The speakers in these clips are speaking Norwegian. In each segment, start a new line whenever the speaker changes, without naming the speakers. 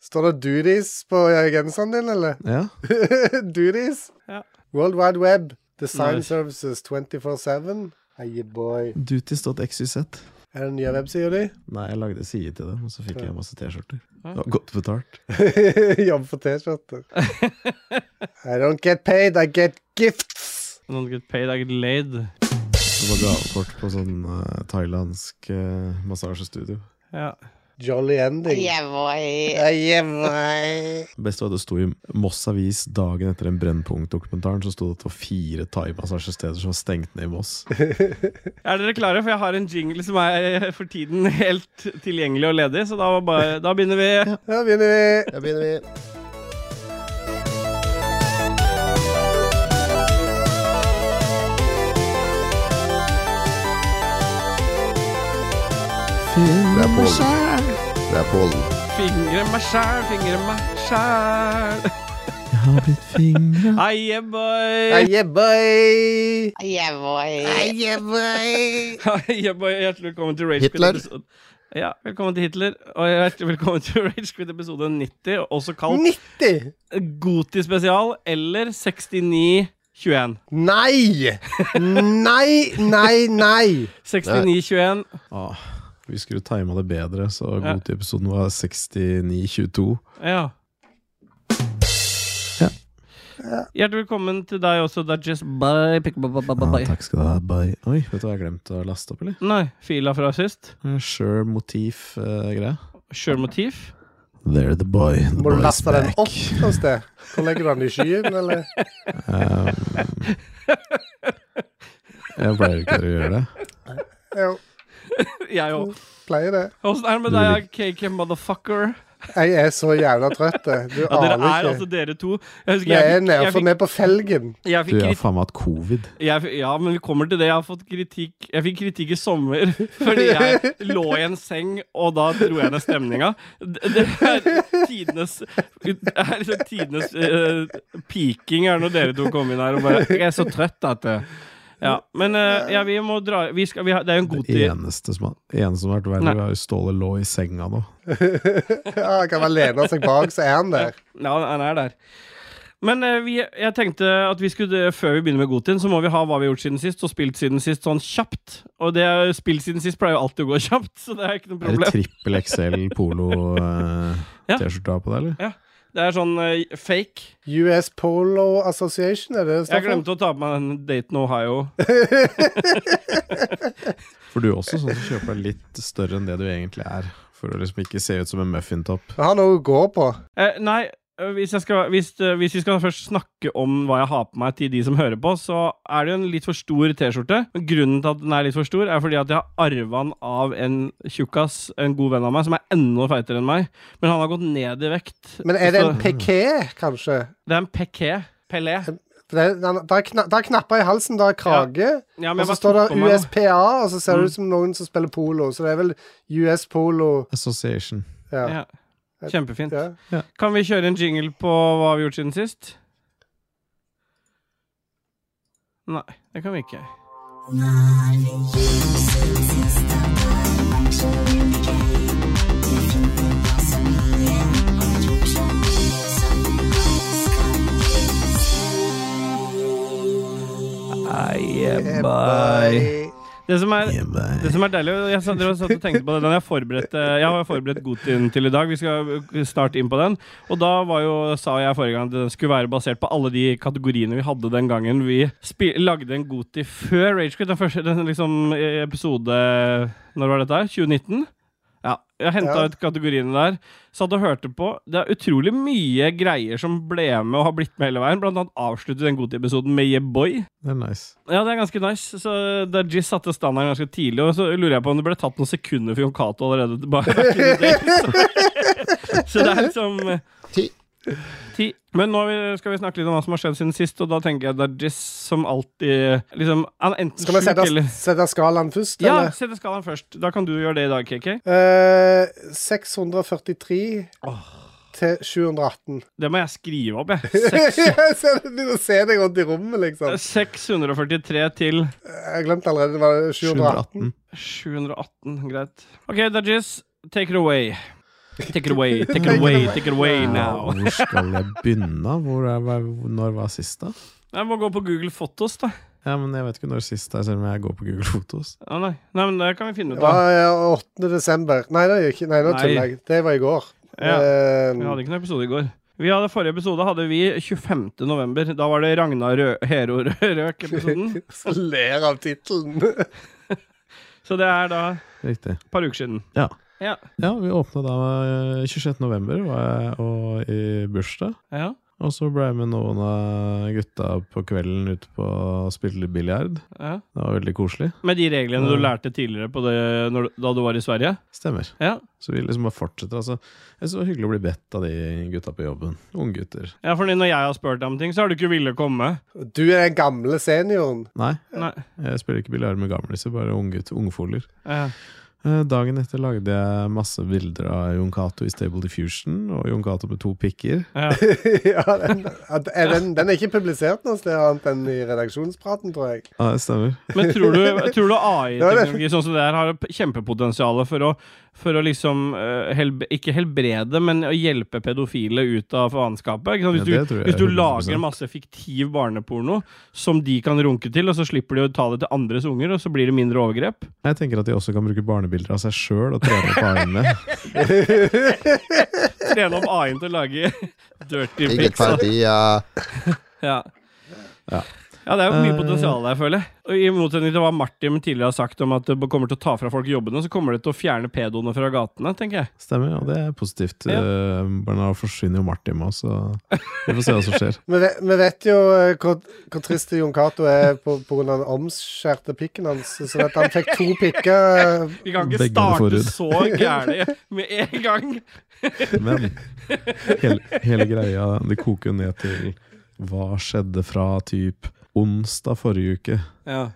Står det 'Duties' på eh, genseren din, eller?
Ja.
Duties?
Ja.
World Wide Web. Design
Nice.
Services 24-7. Hei, boy.
Duties.xyz.
Er det nye websider di?
Nei, jeg lagde side til dem, og så fikk jeg masse T-skjorter. Det
Ja.
var godt betalt.
Jobb for T-skjorter. I don't get paid, I get gifts.
I don't get paid, I get laid.
Det var gavekort på sånn eh, thailandsk eh, massasjestudio.
Ja.
Jolly ending.
Yeah, boy.
Hei, boy.
Best var at det sto i Moss Avis dagen etter den Brennpunkt-dokumentaren, så sto det at det var fire thaimassasjesteder som var stengt ned i Moss.
Er dere klare? For jeg har en jingle som er for tiden helt tilgjengelig og ledig, så da, var bare, da begynner vi.
Da begynner vi.
Da begynner vi. Det er Pålen. Det er Pålen.
Fingre meg sjæl, fingre meg sjæl.
Jeg har blitt fingra
Aye, boy.
Hei, boy.
Yeah, boy.
Hei, boy.
Aye, boy. Hjertelig velkommen til Rage
Hitler.
Quit-episode. Ja, velkommen til Hitler, og hjertelig velkommen til Rage Quit episode 90, også kalt
90.
Goti spesial eller 6921.
Nei! Nei, nei, nei.
6921.
ah, Vi skulle tima det bedre, så
Ja.
god til episoden var 69-22.
Ja.
Ja.
Hjertelig velkommen til deg også, Dajess. Bye. pick- ba- ba- ba- ba-
Ah,
bye.
takk skal du ha. Bye. Oi, vet du hva jeg har glemt å laste opp, eller? Eh,
Nei, fila fra sist.
Sure motif-greia.
Sjølmotiv.
There the boy. The
Må du
boy's
laste den
back.
opp noe sted? Hvor legger du den i skyen, eller?
Um, jeg pleier ikke å gjøre det.
Jo,
Jeg òg.
pleier det.
Åssen er det med deg, KK motherfucker?
Jeg er så jævla trøtt. Du
Ja, dere er
aner
altså
ikke.
dere to. Jeg husker
Vi er
jeg fikk,
nede
jeg
for
fikk,
meg på felgen.
Du,
jeg fikk
jeg har
kritikk
faen meg hatt covid.
jeg, fikk- Ja, men vi kommer til det. Jeg har fått kritikk Jeg fikk kritikk i sommer fordi jeg lå i en seng, og da dro jeg ned stemninga. Det det er tidenes det er liksom tidenes eh, piking er når dere to kom inn her og bare Jeg er så trøtt at det Ja. Men eh, ja, vi må dra vi skal, vi har, Det er jo en god
Det
tid.
eneste som har, eneste som har vært verre,
Nei.
var jo Ståle lå i senga nå.
Ja, han kan bare lene seg bak, så er han der.
Ja, han er der. Men eh, vi, jeg tenkte at vi skulle, eh, før vi begynner med Gotin, så må vi ha hva vi har gjort siden sist, og spilt siden sist sånn kjapt. Og det er- spilt siden sist pleier jo alltid å gå kjapt, så det er ikke noe
Er
problem.
det trippel eh, XL
Ja.
polo-T-skjorta på deg, eller?
Det er sånn eh, fake.
US Polo Association, er det det
Jeg
står for?
glemte å ta på meg den Dayton, Ohio.
For du er også sånn som kjøper deg litt større enn det du egentlig er. For å liksom ikke se ut som en muffintopp.
Jeg har noe å gå på.
Eh, nei, eh, hvis, jeg skal, hvis, eh, hvis vi skal først snakke om hva jeg har på meg til de som hører på, så er det jo en litt for stor T-skjorte. Men Grunnen til at den er litt for stor, er fordi at jeg har arva den av en tjukkas, en god venn av meg, som er enda feitere enn meg. Men han har gått ned i vekt.
Men er det en
Så-
piké, kanskje?
Det er en peké. Pelé.
For Det er, den- det er kna- det er knapper i halsen, det er krage,
Ja,
og
men jeg
så
bare
står
tok på
det
meg Mm. den.
USPA, og så ser det ut som noen som spiller polo. Så det er vel US Polo
Association.
Ja.
Ja. Kjempefint.
ja.
Kan vi kjøre en jingle på hva vi har gjort siden sist? Nei, det kan vi ikke. Det som er det som er deilig, og jeg satt, dere satt og tenkte på det, den jeg forberedte Jeg har forberedt Gotin til i dag, vi skal snart inn på den. Og da var jo, sa jeg forrige gang at den skulle være basert på alle de kategoriene vi hadde den gangen vi spi lagde en Goti før Ragequit. Den første den liksom, episode Når var dette? her? 2019? Ja. Jeg henta
Ja.
ut kategoriene der, satt og hørte på. Det er utrolig mye greier som ble med og har blitt med hele veien. Blant annet avsluttet den Goti-episoden med Yeah Boy.
Det er nice.
Ja, det er ganske nice. Så da Jizz satte standarden ganske tidlig, og så lurer jeg på om det ble tatt noen sekunder for Jon Cato allerede. tilbake back in the day. Så, så det er liksom eh,
Ti.
Ti. Men nå vil- skal vi snakke litt om hva som har skjedd siden sist, og da tenker jeg at Jizz som alltid liksom, han er enten
Skal vi
sjuk
sette,
eller
sette skalaen først,
Ja,
eller?
sette skalaen først. Da kan du gjøre det i dag, KK.
Eh, 643 til 718.
Det må jeg skrive opp, jeg. Seks-
Jeg ser det begynner å se deg rundt i rommet, liksom.
643 til
Jeg glemte allerede det var 718.
718.
718. Greit. OK, Dajis, take it away. Take it away, take it away, take it away now.
Hvor skal jeg begynne? Hvor er, hva- når var sist, da?
Jeg må gå på Google Fotos, da.
Ja, men Jeg vet ikke når sist er, selv om jeg går på Google Fotos.
Å, nei. nei, men det kan vi finne ut
Det
av.
var eh, 8. desember. Nei, det er jo ikke, nei nå
Nei.
tuller jeg. Det var i går.
Ja.
Eh,
Vi hadde ikke noen episode i går. Vi hadde, forrige episode hadde vi 25. november. Da var det Ragnar Rø Hero Røk-episoden.
så ler av tittelen.
Så det er da
Riktig.
et par uker siden.
Ja.
Ja.
Ja, vi åpna da eh, 26. november, var jeg og i bursdag.
ja.
Og så ble jeg med noen av gutta på kvelden ute på og spilte litt biljard.
ja.
Det var veldig koselig.
Med de reglene du lærte tidligere på det, når, du- da du var i Sverige?
Stemmer.
Ja.
Så vi liksom bare fortsetter. Altså, jeg synes det var hyggelig å bli bedt av de gutta på jobben. Unge gutter.
ja, for når jeg har spurt deg om ting, så har du ikke villet komme.
Du er den gamle senioren.
Nei,
Nei.
jeg spiller ikke biljard med gamliser, bare unge gutter, ungfoler.
Ja.
Eh, Dagen etter lagde jeg masse bilder av Jon Cato i Stable Diffusion, og Jon Cato med to pikker.
Ja.
ja, den, at- er den, den er ikke publisert noe sted annet enn i redaksjonspraten, tror jeg.
Ja, det stemmer.
Men tror du, tror du AI-teknologi
Det
sånn som det her har p- kjempepotensial for å, for å liksom eh, helb Ikke helbrede, men å hjelpe pedofile ut av faenskapet? ikke sant?
Ja, det
Hvis, du-
tror jeg
hvis du
100%.
lager masse fiktiv barneporno som de kan runke til, og så slipper de å ta det til andres unger, og så blir det mindre overgrep?
Jeg tenker at de også kan bruke barnebilder av seg sjøl og trene på armene.
Trene opp AI-en til å lage dirty
Eget
pics. da.
parti, ja.
Ja.
Ja.
Ja, det er jo mye
Eh,
potensial der, føler jeg. Og I motsetning til hva Martin tidligere har sagt om at det kommer til å ta fra folk jobbene, så kommer det til å fjerne pedoene fra gatene, tenker jeg.
Stemmer, og det er positivt.
Ja.
Eh, Bernard forsvinner jo Martin med oss, så vi får se hva som skjer.
Vi vet, vi vet jo eh, hvor, hvor trist Jon Cato er på, på grunn av den omskjærte pikken hans. Sånn at han fikk to pikker. eh,
Vi kan ikke
Begge
starte
forhud.
så gærent med en gang.
Men hele, hele greia, det koker jo ned til hva skjedde fra typ onsdag forrige uke
Ja.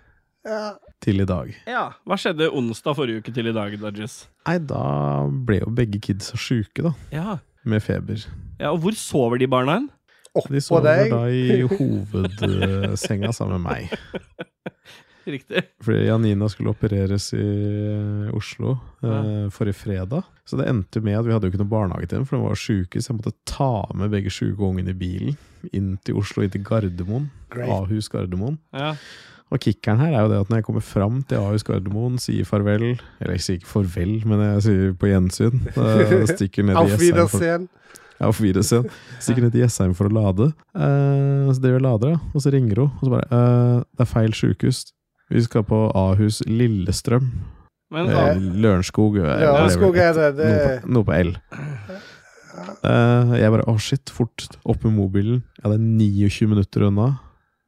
Ja.
til i dag.
Hva skjedde onsdag forrige uke til i dag, Dodges?
Nei, da ble jo begge kidsa sjuke, da.
Ja.
Med feber.
ja, og hvor sover de barna hen?
De
Oppå
sover
deg.
da i hovedsenga sammen med meg.
Riktig.
Fordi Janina skulle opereres i eh, Oslo eh, forrige fredag. Så det endte med at vi hadde jo ikke noe barnehage til dem, for de var sjuke. Så jeg måtte ta med begge sjuke ungene i bilen inn til Oslo, inn til Gardermoen.
Great.
Ahus Gardermoen.
Ja.
Og kickeren her er jo det at når jeg kommer fram til Ahus Gardermoen, sier farvel Eller jeg sier ikke farvel, men jeg sier på gjensyn. eh, Stikker ned i
Auf
Jessheim for,
Wiedersehen.
ja, auf Wiedersehen. Stikker ned i Jessheim for å lade. Eh, så driver jeg og lader, da. Og så ringer hun, og så bare eh, Det er feil sjukehus. Vi skal på Ahus Lillestrøm.
Men
Eh, Lørenskog. eh,
Lørenskog
whatever.
er det. det
Noe på, noe på L. Eh, jeg bare å shit, fort opp med mobilen. Ja, det er 29 minutter unna.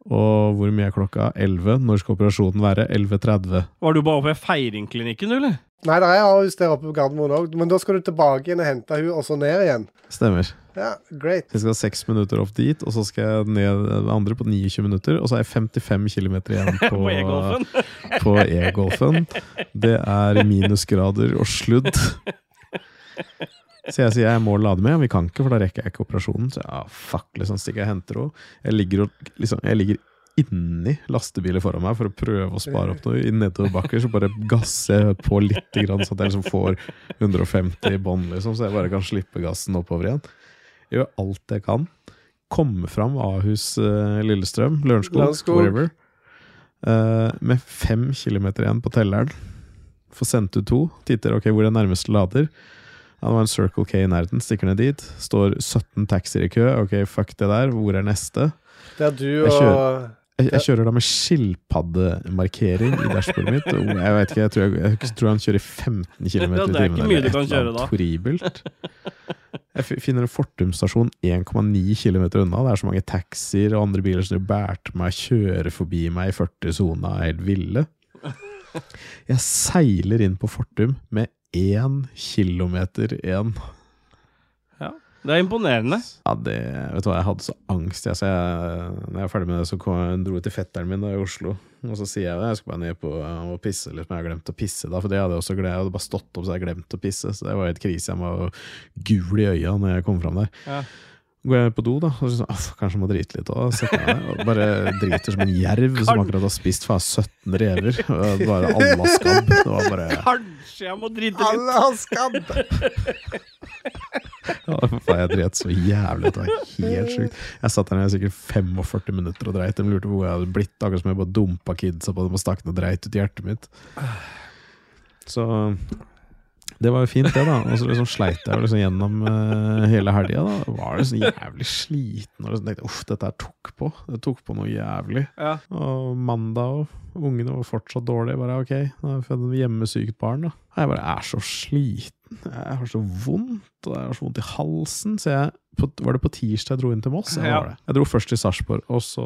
Og hvor mye er klokka? 11. Når skal operasjonen være? 11.30.
var du bare oppe i Feiringklinikken, du, eller?
Nei, det er Ahus der oppe på Gardermoen òg, men da skal du tilbake igjen og hente hun, og så ned igjen.
Stemmer.
Ja, great.
Så jeg skal seks minutter opp dit, og så skal jeg ned det andre på 29 minutter. Og så er jeg 55 km igjen på,
På E-golfen?
på e-golfen. Det er minusgrader og sludd. Så jeg sier jeg må lade med, vi kan ikke, for da rekker jeg ikke operasjonen. Så ja, fuck, liksom, stikker jeg og henter henne. Jeg ligger, og, liksom, jeg ligger inni lastebiler foran meg for å prøve å spare opp noe. I nedoverbakker så bare gasser jeg på litt, grann, sånn at jeg liksom får 150 i bånn, liksom, så jeg bare kan slippe gassen oppover igjen. Gjør alt jeg kan. Komme fram Ahus, eh, Lillestrøm, Lørenskog,
Lørenskog.
whatever. Eh, med fem kilometer igjen på telleren. Får sendt ut to. Titter ok, hvor er nærmeste lader. Ja, det var en Circle K i nærheten. Stikker ned dit. Står 17 taxier i kø. Ok, fuck det der. Hvor er neste?
Der du
Jeg
og
Jeg, jeg kjører da med skilpaddemarkering i dashbordet mitt. Og Jeg vet ikke, jeg tror, jeg, jeg tror han kjører 15 km i
Ja,
timen.
det er ikke mye
eller
du
et eller
kan
annet
kjøre da.
Horribelt. Jeg fi- finner en Fortum stasjon 1,9 km unna. Det er så mange taxier og andre biler som bærte meg, kjører forbi meg i 40-sona, er helt ville. Jeg seiler inn på Fortum med én kilometer igjen.
Det er imponerende.
Ja, det, vet du hva, jeg hadde så angst. Jeg, så jeg, når jeg var ferdig med det, så kom, jeg- dro jeg til fetteren min da, i Oslo. Og så sier jeg det, jeg skal bare ned på eh, og pisse, liksom. Jeg har glemt å pisse da, for det hadde jeg også glemt. Jeg hadde bare stått opp så jeg hadde glemt å pisse, så det var helt krise. Jeg var gul i øya når jeg kom fram der.
Ja.
går jeg på do, da, og så sånn, «Aff, kanskje jeg må drite litt òg. Bare driter som en jerv som akkurat har spist faen 17 rever. Og Bare alle skabb. Det var bare
Kanskje jeg må drite litt.
Alle har skabb!
ja, faen, Jeg dreit så jævlig. Det var helt sjukt. Jeg satt der i sikkert 45 minutter og dreit. De lurte på hvor jeg hadde blitt, akkurat som jeg bare dumpa kidsa på dem og stakk den og dreit ut i hjertet mitt. Så det var jo fint, det, da. Og så liksom sleit jeg jo liksom gjennom eh, hele helga. Da var liksom jævlig sliten og liksom tenkte uff, dette her tok på. Det tok på noe jævlig.
Ja.
Og mandag og Ungene var fortsatt dårlige. Bare ok, nå har jeg fått et hjemmesykt barn. da. Jeg bare er så sliten. Jeg har så vondt, og jeg har så vondt i halsen. Så jeg, på, var det på tirsdag jeg dro inn til Moss? Ja.
Ja.
Var det. Jeg dro først til Sarpsborg, og så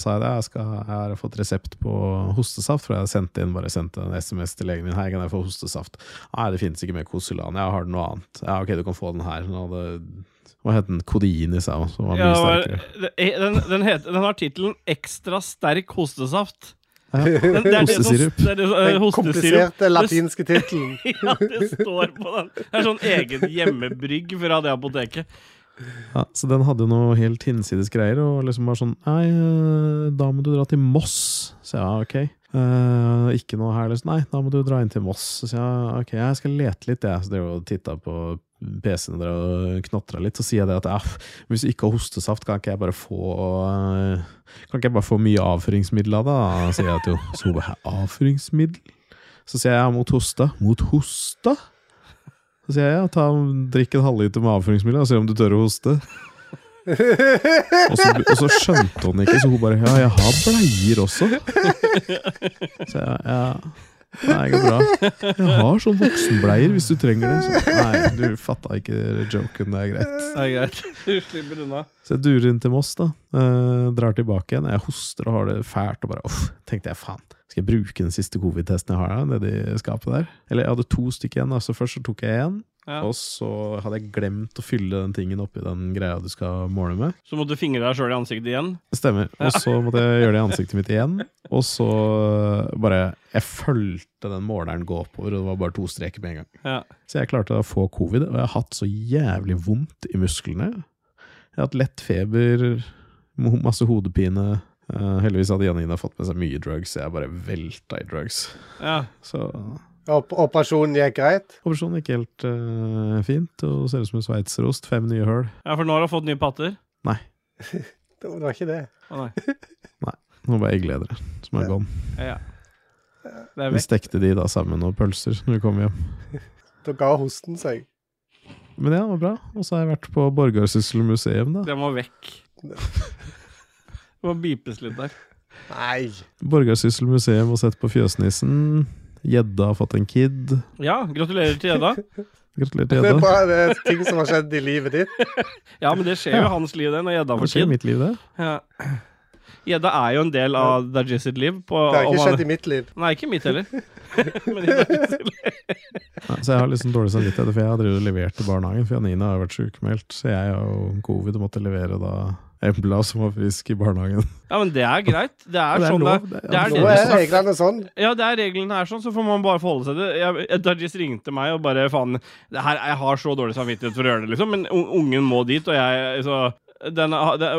sa jeg det. Jeg, skal, jeg har fått resept på hostesaft, for jeg sendte inn bare sendte en SMS til legen min. Hei, kan jeg få hostesaft? Nei, det finnes ikke mer Kosylan. Jeg har noe annet. Ja, ok, du kan få den her. Den hadde, hva het den? Kodein i seg, som var mye
Ja, det var-
sterkere.
den, den, heter, den har tittelen 'Ekstra sterk hostesaft'.
Ja.
Den, det er det som-
Hostesirup.
det er det som- eh,
Den
Hostesirup.
kompliserte latinske tittelen.
Ja, det står på den. Det er sånn egen hjemmebrygg fra det apoteket.
Ja, så den hadde jo noe helt hinsides greier, og liksom bare sånn Nei, eh, da må du dra til Moss. Så jeg, ja, ok. Eh, ikke noe her, liksom. Nei, da må du dra inn til Moss. Så jeg, ja, ok, jeg skal lete litt, jeg. Så drev og titta på PC-en der og knotra litt. Så sier jeg det at ja, hvis du ikke har hostesaft, kan ikke jeg bare få eh, Kan ikke jeg bare få mye avføringsmiddel av det, da? Sier jeg til henne. Så hun bare avføringsmiddel? Så sier jeg ja, mot hoste. Mot hoste? Så sier jeg ja, ta, drikk en halvliter med avføringsmiddel og se om du tør å hoste. og, så, og så skjønte hun ikke, så hun bare ja, jeg har bleier også. Så jeg ja, nei, det går bra. Jeg har sånn voksenbleier hvis du trenger det. Så, nei, du fatta ikke joken, det er greit.
Det er greit. Du slipper unna.
Så jeg durer inn til Moss, da. Eh, drar tilbake igjen. Jeg hoster og har det fælt. Og bare uff, tenkte jeg faen. Skal jeg bruke den siste covid-testen jeg har da, nedi skapet der? Eller jeg hadde to stykker igjen. da, Så først så tok jeg én,
Ja.
og så hadde jeg glemt å fylle den tingen oppi den greia du skal måle med.
Så måtte du fingre deg sjøl i ansiktet igjen.
Stemmer. Og så måtte jeg gjøre det i ansiktet mitt igjen. Og så eh, bare Jeg fulgte den måleren gå oppover, og det var bare to streker med en gang.
Ja.
Så jeg klarte å få covid, og jeg har hatt så jævlig vondt i musklene. Jeg har hatt lett feber, mo- masse hodepine. Eh, heldigvis hadde Janine fått med seg mye drugs, så jeg bare velta i drugs.
Ja.
Så
Op operasjonen gikk greit.
operasjonen gikk helt eh, fint, og ser ut som en sveitserost. Fem nye høl.
ja, for nå har du fått nye patter.
Nei,
Det var ikke det.
Å nei.
nå var eggledere som er gone.
Ja. Det er
Vi
vekk.
stekte de da sammen og pølser når vi kom hjem.
Da ga hosten seg.
Men ja, det var bra. Og så har jeg vært på Borgarsyssel museum, da.
Det må vekk. Det må bipes litt der.
Nei.
Borgarsyssel museum og sett på Fjøsnissen. Gjedda har fått en kid.
Ja, gratulerer til Edda.
Gratulerer
Det
til
er
gjedda.
bare det er ting som har skjedd i livet ditt.
Ja, men det skjer jo i hans liv, det, når gjedda
Hva
får
skjer i
kid.
mitt liv, det?
Ja. Gjedda er jo en del av Dajis sitt liv. På,
Det har
om
ikke
han-
skjedd i mitt liv.
Nei, ikke mitt heller. men i Dajis sitt liv.
Nei, så jeg har liksom dårlig samvittighet, for jeg har drevet og levert til barnehagen. For Janine har jo vært sjukmeldt, så jeg har jo covid og måtte levere da Embla, som var frisk i barnehagen.
Ja, men det er greit. Det er,
Det er
sånn
lov,
det er.
det er
Nå
lov.
det
er
som er-
reglene sånn.
Ja, det er reglene er sånn, så får man bare forholde seg til det. Jeg- Dajis ringte meg og bare faen det her, Jeg har så dårlig samvittighet for å gjøre det, liksom, men un- ungen må dit, og jeg så den, den,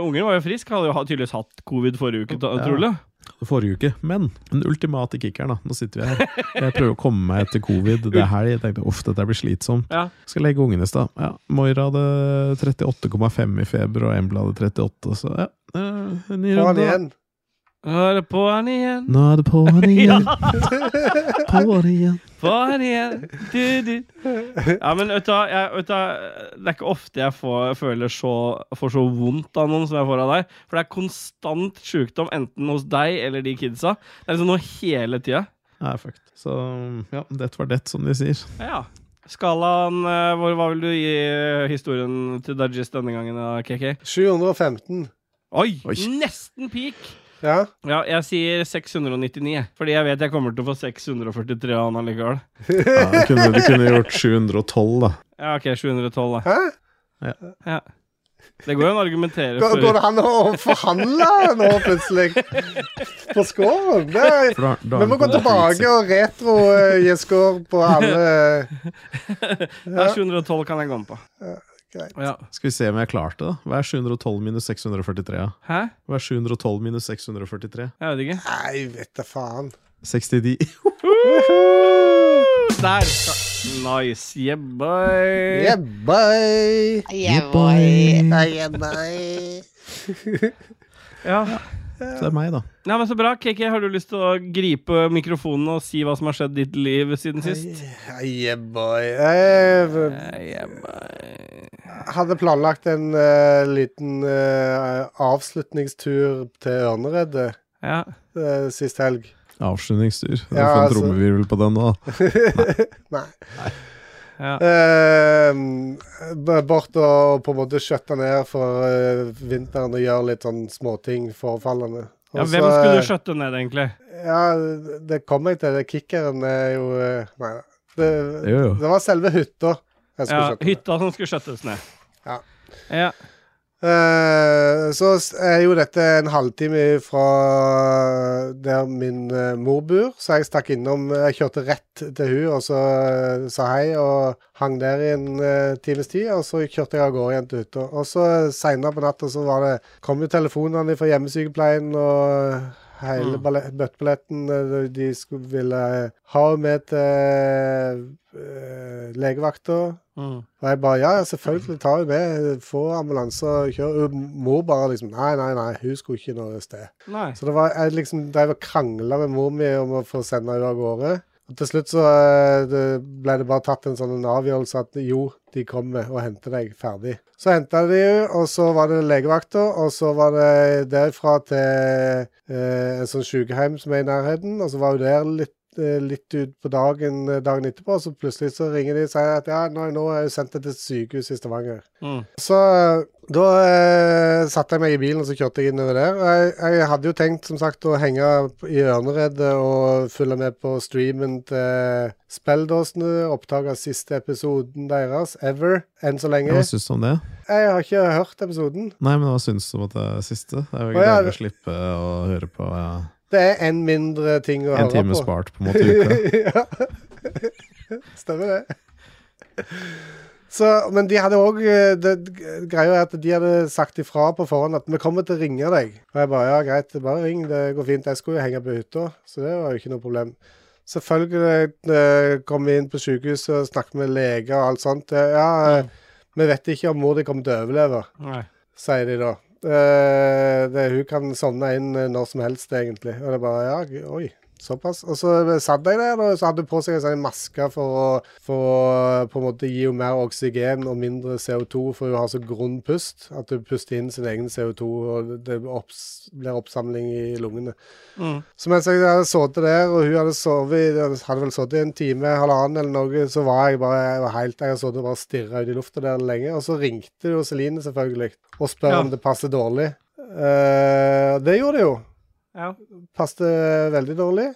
Ungen var jo frisk, hadde jo ha- tydeligvis hatt covid forrige uke, ta-
Ja.
trolig.
Forrige uke. Men den ultimate kickeren, da. Nå sitter vi her. Jeg prøver å komme meg etter covid. Det er helg. Jeg tenkte uff, dette blir slitsomt.
Ja.
Skal legge ungen i stad. Ja, Moira hadde 38,5 i feber, og Embla hadde 38, så ja. eh, en Ny
Få han
runde. da.
igjen.
Nå er det på'n igjen,
Nå er det på'n igjen. På'n igjen.
på'n igjen du, du. Ja, men vet du, hva, jeg, vet du, hva, det er ikke ofte jeg får, føler så, får så vondt av noen som jeg får av deg. For det er konstant sjukdom, enten hos deg eller de kidsa. Det er liksom noe hele tida.
Nei, fuck. Så ja, det var det, som de sier.
Ja. Skalaen eh, hvor, Hva vil du gi eh, historien til Dudgies denne gangen, da, KK?
715.
Oi,
Oi.
Nesten peak!
Ja.
Ja, jeg sier 699, jeg. fordi jeg vet jeg kommer til å få 643 av han allikevel.
Ja, du, kunne, du kunne gjort 712, da.
Ja, OK, 712, da.
Hæ?
Det går jo an å argumentere
Går, går
for
det an å forhandle nå, plutselig? På scoren? Det er
For da- da er
Vi må
den
gå
på
tilbake og eh, retro-gi score på alle
Ja, 712 kan jeg gå med på.
greit.
Ja.
Skal vi se om jeg klarte det. da? Hva er 712 minus 643? da?
Hæ?
Hva er 712 minus 643?
Jeg vet ikke.
Nei, vet da faen.
69.
Der! skal- Nice. Yeah, boy.
Yeah, bye.
Yeah,
Yeah, boy.
Nei, yeah, bye.
Ja.
Så det er meg, da.
Nei, men Så bra. KK, har du lyst til å gripe mikrofonen og si hva som har skjedd i ditt liv siden sist?
Nei, Yeah, boy. Jeg
Yeah, boy.
hadde planlagt en eh, liten eh, avslutningstur til Ørneredet
Ja.
eh, sist helg.
Avslutningstur.
Ja,
Du får en
altså-
trommevirvel på den nå.
Nei.
ja.
Eh, b- bort og på en måte skjøtte ned for eh, vinteren og gjøre litt sånn småting forfallende.
ja hvem skulle du skjøtte ned, egentlig?
eh, Ja, det kom jeg til. Det kickeren er jo eh, Nei da. Det,
Jo, jo.
det var selve hytta jeg skulle
Ja,
skjøtte. ned.
hytta som skulle skjøttes ned.
Ja.
ja.
Eh, så s- er jo dette en halvtime fra der min eh, mor bor, så jeg stakk innom. Jeg kjørte rett til hun, og så eh, sa hei og hang der i en eh, times tid. Og så kjørte jeg av gårde igjen til hytta. Og så seinere på natta så var det, kom jo telefonene fra hjemmesykepleien og hele
Mm.
balle- bøtteballetten. eh, De skulle, ville ha henne med til eh, legevakta.
Mm.
Og jeg bare ja, ja, selvfølgelig, ta henne med. Få ambulanse og kjør. Hun Mor bare liksom nei, nei, nei, hun skulle ikke noe sted.
Nei.
Så det var, jeg liksom drev og krangla med mor mi om å få sende henne av gårde. Og til slutt så eh, det ble det bare tatt en sånn en avgjørelse at jo, de kommer og henter deg ferdig. Så henta de henne, og så var det legevakta, og så var det derfra til eh, en sånn sykehjem som er i nærheten, og så var hun der litt eh, litt ut på dagen eh, dagen etterpå, og så plutselig så ringer de og sier at ja, nå, nå er hun sendt til et sykehus i Stavanger.
Mm.
Så da eh, satte jeg meg i bilen og så kjørte jeg innover der. Og Jeg, jeg hadde jo tenkt som sagt å henge i Ørneredet og følge med på streamen til Spelldåsene, opptak av siste episoden deres ever, enn så
Hva
lenge.
syns du om det?
Jeg har ikke hørt episoden.
Nei, men hva syns du om at det er siste? Det
Å,
er jo
ja,
deilig
det-
å slippe å høre på ja,
Det er en mindre ting å
en
høre
time
på.
spart på en måte i uka.
ja. Stemmer det. Så, men de hadde òg Greia er at de hadde sagt ifra på forhånd at vi kommer til å ringe deg. Og jeg bare ja, greit, bare ring, det går fint. Jeg skulle jo henge på hytta, så det var jo ikke noe problem. Selvfølgelig eh, kom vi inn på sykehuset og snakket med leger og alt sånt. Eh, Ja, eh, vi vet ikke om mor di kommer til å overleve
Nei.
sier de da. Eh, det, hun kan sovne inn eh, når som helst, egentlig. Og det er bare ja, g- oi, såpass. Og så eh, satt jeg der, og så hadde hun på seg en sånn maske for å, for å eh, på en måte gi henne mer oksygen og mindre CO2, for hun har så grunn pust at hun puster inn sin egen CO2, og det opps, blir oppsamling i lungene.
Mm.
Så mens jeg hadde sittet der, og hun hadde sovet i- hadde vel sittet i en time, halvannen eller noe, så var jeg bare jeg var helt Jeg hadde sittet og bare stirra ut i lufta der lenge. Og så ringte jo Celine, selvfølgelig, og spør
Ja.
om det passer dårlig. Eh, det gjorde det jo.
Ja.
Passet eh, veldig dårlig.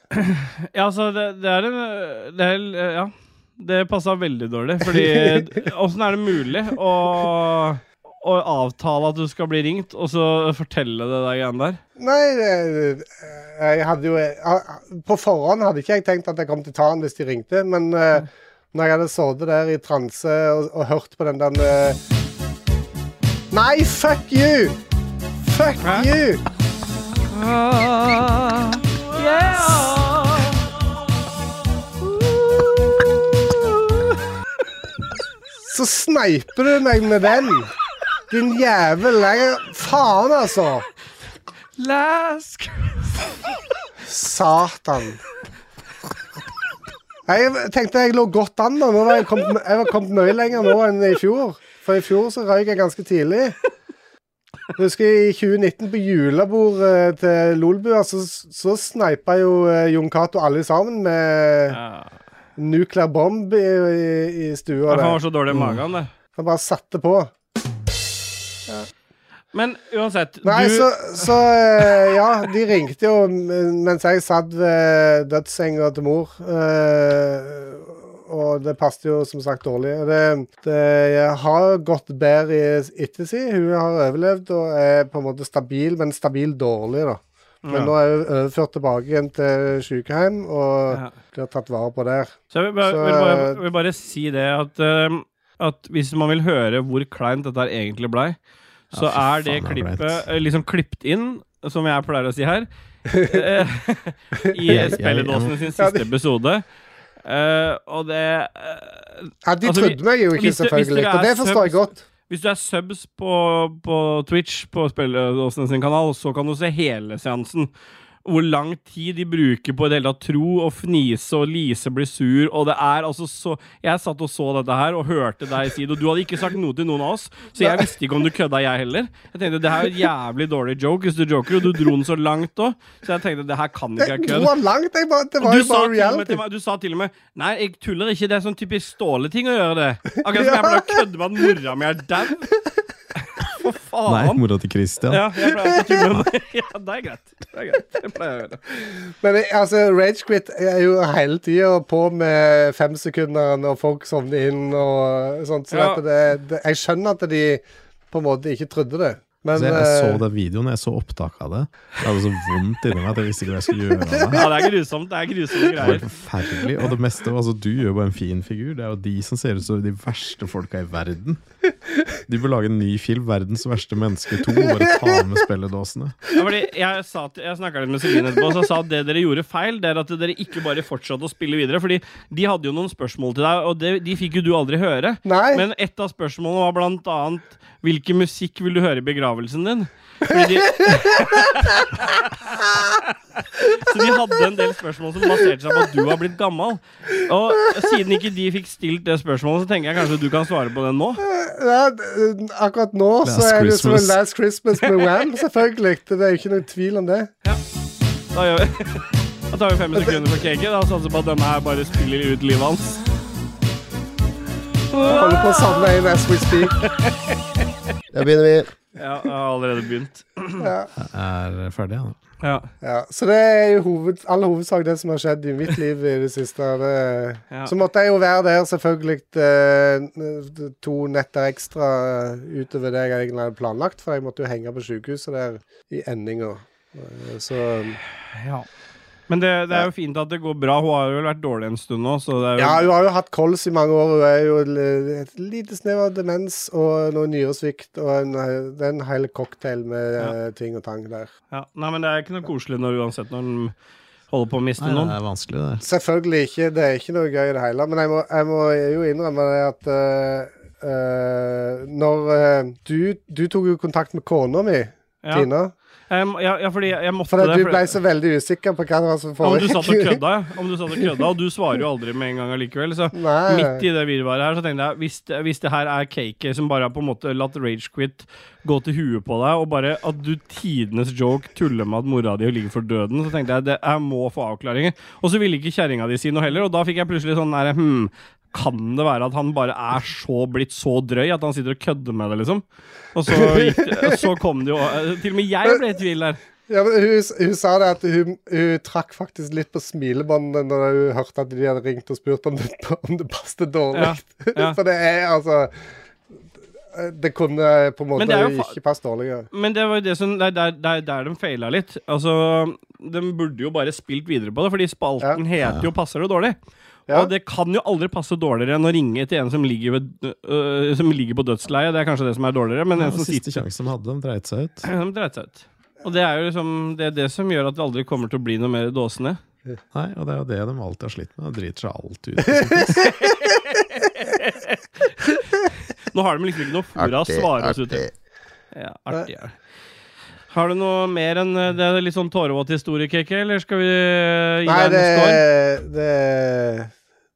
Ja, altså, det, det er en det er, Ja. Det passa veldig dårlig, fordi åssen er det mulig å, å avtale at du skal bli ringt, og så fortelle det der greiene der?
Nei, det- eh, jeg hadde jo jeg- På forhånd hadde ikke jeg tenkt at jeg kom til å ta den hvis de ringte, men eh, når jeg hadde sittet der i transe og, og hørt på den der eh, Nei, fuck you! Fuck
Hæ?
you! Så sneiper du meg med den. Din jævel. Jeg, faen, altså.
Lask!
Satan. Jeg tenkte jeg lå godt an da. Nå var jeg, kommet, jeg var kommet mye lenger nå enn i fjor. For i fjor så røyk jeg ganske tidlig. Jeg husker i 2019 på julebordet til Lolbua, så, så sneipa jo eh, Jon Cato alle sammen med
Ja.
nuclear bomb i, i, i stua.
Han var
Der.
så dårlig i magen, det.
Han bare satte på.
Men uansett,
Nei,
du
så, så eh, Ja, de ringte jo m- mens jeg satt ved dødssenga til mor. eh, og det passet jo som sagt dårlig. Og Det, det har gått bedre i ettertid. Hun har overlevd og er på en måte stabil, men stabil dårlig, da. Men
Ja.
nå er hun overført tilbake igjen til sykehjem og
Ja.
blir tatt vare på der.
Så jeg vil bare,
Så-
vil bare, vil bare si det at um, at hvis man vil høre hvor kleint dette her egentlig blei,
Ja, fy
så
faen,
er det
det er
klippet
kleint.
eh, liksom klippet inn, som jeg pleier å si her, eh, i
Jeg- jeg-
spilledåsene sin
Ja,
siste
det-
episode. Eh, og det eh,
Ja, de
Altså, vi-
trodde meg jo ikke,
hvis du- hvis du
selvfølgelig.
er
Og det forstår jeg
sub-
godt.
Hvis du er subs på, på Twitch, på spilledåsene sin kanal, så kan du se hele seansen. Hvor lang tid de bruker på i det hele tatt tro og fnise og Lise blir sur. Og det er altså så Jeg satt og så dette her og hørte deg si det, og du hadde ikke sagt noe til noen av oss, så jeg visste ikke om du kødda, jeg heller. Jeg tenkte det her er en jævlig dårlig joke, hvis du joker, og du dro den så langt òg, så jeg tenkte det her kan ikke
Jeg
jeg
dro
kødde.
han langt. Jeg bare, det var
Du
jo
sa,
bare
til og med
reality.
til meg, du sa til og med Nei, jeg tuller ikke, det er sånn typisk ståleting å gjøre det. Akkurat som jeg pleier å kødde med at mora mi er dau. For
Nei,
faen.
mora til Christian.
Ja, jeg pleier å tulle med det. Ja, det er greit. Det er greit. Jeg pleier å gjøre det.
Men jeg- altså, Ragequit er jo hele tida på med femsekunderen, og folk sovner inn og sånt. Så
Ja.
at det, det, jeg skjønner at de på en måte ikke trodde det. Men
Så Altså, jeg, jeg så
eh,
den videoen, jeg så opptak av det. Jeg hadde så vondt inni meg at jeg visste ikke hva jeg skulle gjøre av meg.
Ja, det er grusomt. Det er grusomme
Det var
greier.
forferdelig. Og det meste altså, Du gjør bare en fin figur. Det er jo de som ser ut som de verste folka i verden. De bør lage en ny film, 'Verdens verste menneske 2', og bare ta med spilledåsene.
Ja, fordi jeg sa til- jeg snakka litt med Celine etterpå, og så sa at det dere gjorde feil, det er at dere ikke bare fortsatte å spille videre. Fordi de hadde jo noen spørsmål til deg, og det, de fikk jo du aldri høre.
Nei.
Men et av spørsmålene var blant annet Hvilken musikk vil du høre i begravelsen din? Fordi de... Så de hadde en del spørsmål som baserte seg på at du har blitt gammel. Og siden ikke de fikk stilt det spørsmålet, så tenker jeg kanskje du kan svare på det nå.
eh, ja, d- akkurat nå så
Last
er det som en
Christmas.
Last Christmas med Wham, selvfølgelig. Det er jo ikke noen tvil om det.
Da, gjør vi. da tar vi fem sekunder for cake. Da satser vi på at denne her bare spiller ut livet hans.
Jeg holder på å savne en as we speak.
Da begynner vi.
Ja, jeg har allerede begynt.
Jeg er ferdig, jeg, nå.
Ja,
Ja, så det er i hoved, all hovedsak det som har skjedd i mitt liv i det siste. Det,
Ja.
Så måtte jeg jo være der, selvfølgelig, eh, to netter ekstra eh, utover det jeg egentlig hadde planlagt, for jeg måtte jo henge på sykehuset der i endinga. Eh, Så
Men det, det er jo fint at det går bra. Hun har jo vært dårlig en stund nå, så det er jo
Ja, hun har jo hatt kols i mange år. Hun er jo l- et lite snev av demens og noe nyresvikt og en, eh, det er en hel cocktail med
Ja.
eh, ting og tang der.
Ja, nei, men det er ikke noe koselig når, uansett når den holder på å miste
Nei, det
noen.
er vanskelig, det. der.
Selvfølgelig ikke. Det er ikke noe gøy i det hele. Men jeg må, jeg må jo innrømme det at eh, eh, Når eh, du, du tok jo kontakt med kona mi,
Ja.
Tina.
Jeg må- ja, ja, fordi jeg, jeg måtte
For at
det.
du
for-
ble så veldig usikker på hva det var som
ja, men du satt og
foregikk.
kødda, ja. Om du satt og kødda, og du svarer jo aldri med en gang allikevel. Så
Nei.
midt i det virvaret her, så tenkte jeg hvis det, hvis det her er cake som bare har på en måte latt ragequit gå til huet på deg, og bare at du tidenes joke tuller med at mora di ligger for døden, så tenkte jeg det, jeg må få avklaringer. Og så ville ikke kjerringa di si noe heller, og da fikk jeg plutselig sånn nære hm, kan det være at han bare er så blitt så drøy at han sitter og kødder med det, liksom? Og så, gikk det, så kom det jo eh, Til og med jeg ble i tvil der.
Ja, men hun, hun sa det at hun, hun trakk faktisk litt på smilebåndene når hun hørte at de hadde ringt og spurt om det, om det passet dårlig.
Ja, ja.
For det er altså Det kunne på en måte
Men det er jo fa-
ikke passe dårligere.
Men det var jo det som Det er der, der, der de feila litt. Altså, de burde jo bare spilt videre på det, fordi spalten heter jo 'Passer det dårlig'?
Ja.
Og det kan jo aldri passe dårligere enn å ringe til en som ligger, ved, øh, som ligger på dødsleiet. Det er kanskje det som er dårligere, men
Det
en
var
som
siste
sitter
sjansen de hadde, de dreit seg ut.
De dreit seg ut. Og det er jo liksom Det er det som gjør at det aldri kommer til å bli noe mer dåsende.
Nei, og det er jo det de alltid har slitt med. De driter seg alltid ut.
Nå har de liksom ikke noe fora å
Artig,
svare oss ut
artig.
til. Ja, artig er det. Har du noe mer enn øh, det er litt sånn tårevåt historie, KK, eller skal vi øh, gi
Nei,
deg
det,
en score?
det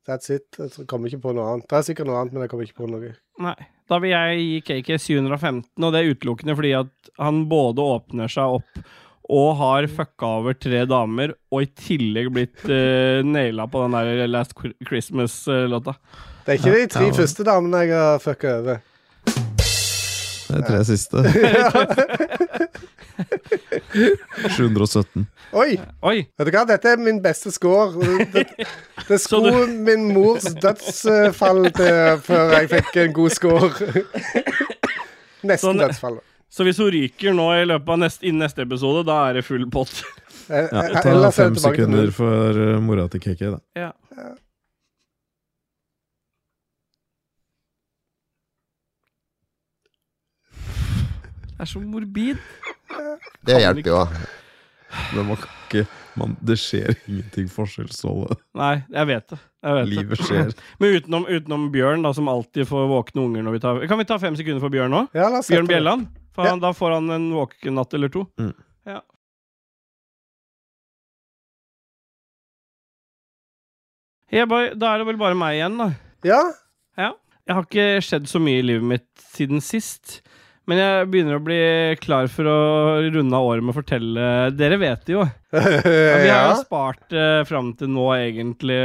That's it. Jeg tror- kommer ikke på noe annet. Det er sikkert noe annet, men jeg kommer ikke på noe.
Nei. Da vil jeg gi KK 715, og det er utelukkende fordi at han både åpner seg opp og har fucka over tre damer, og i tillegg blitt uh, naila på den der Last eh, Christmas-låta.
Det er ikke de tre
ja.
første damene jeg har fucka over.
Det er tre siste. 717.
Oi!
Oi!
Vet du hva, dette er min beste score. Det, det skulle min mors dødsfall til før jeg fikk en god score. Nesten
Sånn-
dødsfall. Eh,
Så hvis hun ryker nå i løpet av neste, innen neste episode, da er det full pott.
Eh,
Ja,
eh,
ta
ellers er
fem
det tilbake til
sekunder
null.
for eh, mora til KK, da.
Ja. Det er så morbid.
Det hjelper jo. da.
Men man kan ikke man, Det skjer ingenting forskjell, Ståle.
Nei, jeg vet det. Jeg vet det.
Livet skjer.
Men utenom, utenom Bjørn, da, som alltid får våkne unger når vi tar Kan vi ta fem sekunder for Bjørn nå?
Ja, la oss
Bjørn
sette det.
Bjelland? For han, Da får han en våkenatt eller to.
Mm.
Ja. Hey boy, da er det vel bare meg igjen, da.
Ja,
Jeg har ikke skjedd så mye i livet mitt siden sist. Men jeg begynner å bli klar for å runde av året med å fortelle Dere vet det jo. Ja, vi har jo
ja.
spart uh, fram til nå, egentlig.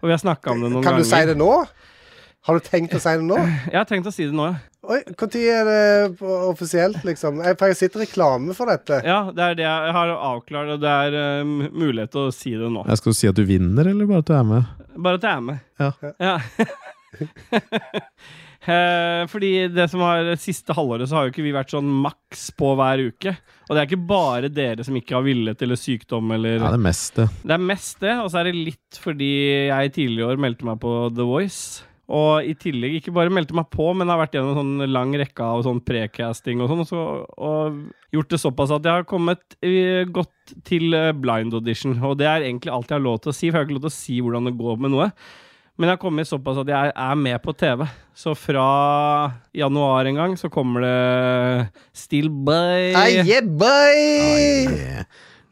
Og vi har snakka om det noen
Kan du
ganger.
si det nå? Har du tenkt å si det nå?
Jeg har tenkt å si det nå, ja.
Oi, Når er det på- offisielt, liksom? Jeg, for jeg sitter i reklame for dette.
Ja, det er det jeg har avklart, og det er eh, m- mulighet til å si det nå.
Jeg skal du si at du vinner, eller bare at du er med?
Bare at jeg er med.
Ja.
Eh, Fordi det som har siste halvåret, så har jo ikke vi vært sånn maks på hver uke. Og det er ikke bare dere som ikke har villet eller sykdom eller
Ja, det meste.
Det er mest det, og så er det litt fordi jeg tidligere i år meldte meg på The Voice. Og i tillegg ikke bare meldte meg på, men har vært gjennom en sånn lang rekke av sånn precasting og sånn, og, så, og gjort det såpass at jeg har kommet eh, godt til eh, blind audition. Og det er egentlig alt jeg har lov til å si, for jeg har ikke lov til å si hvordan det går med noe. Men jeg har kommet såpass at jeg er med på TV. Så fra januar en gang så kommer det Still By.
Hey, yeah, boy!
Yeah.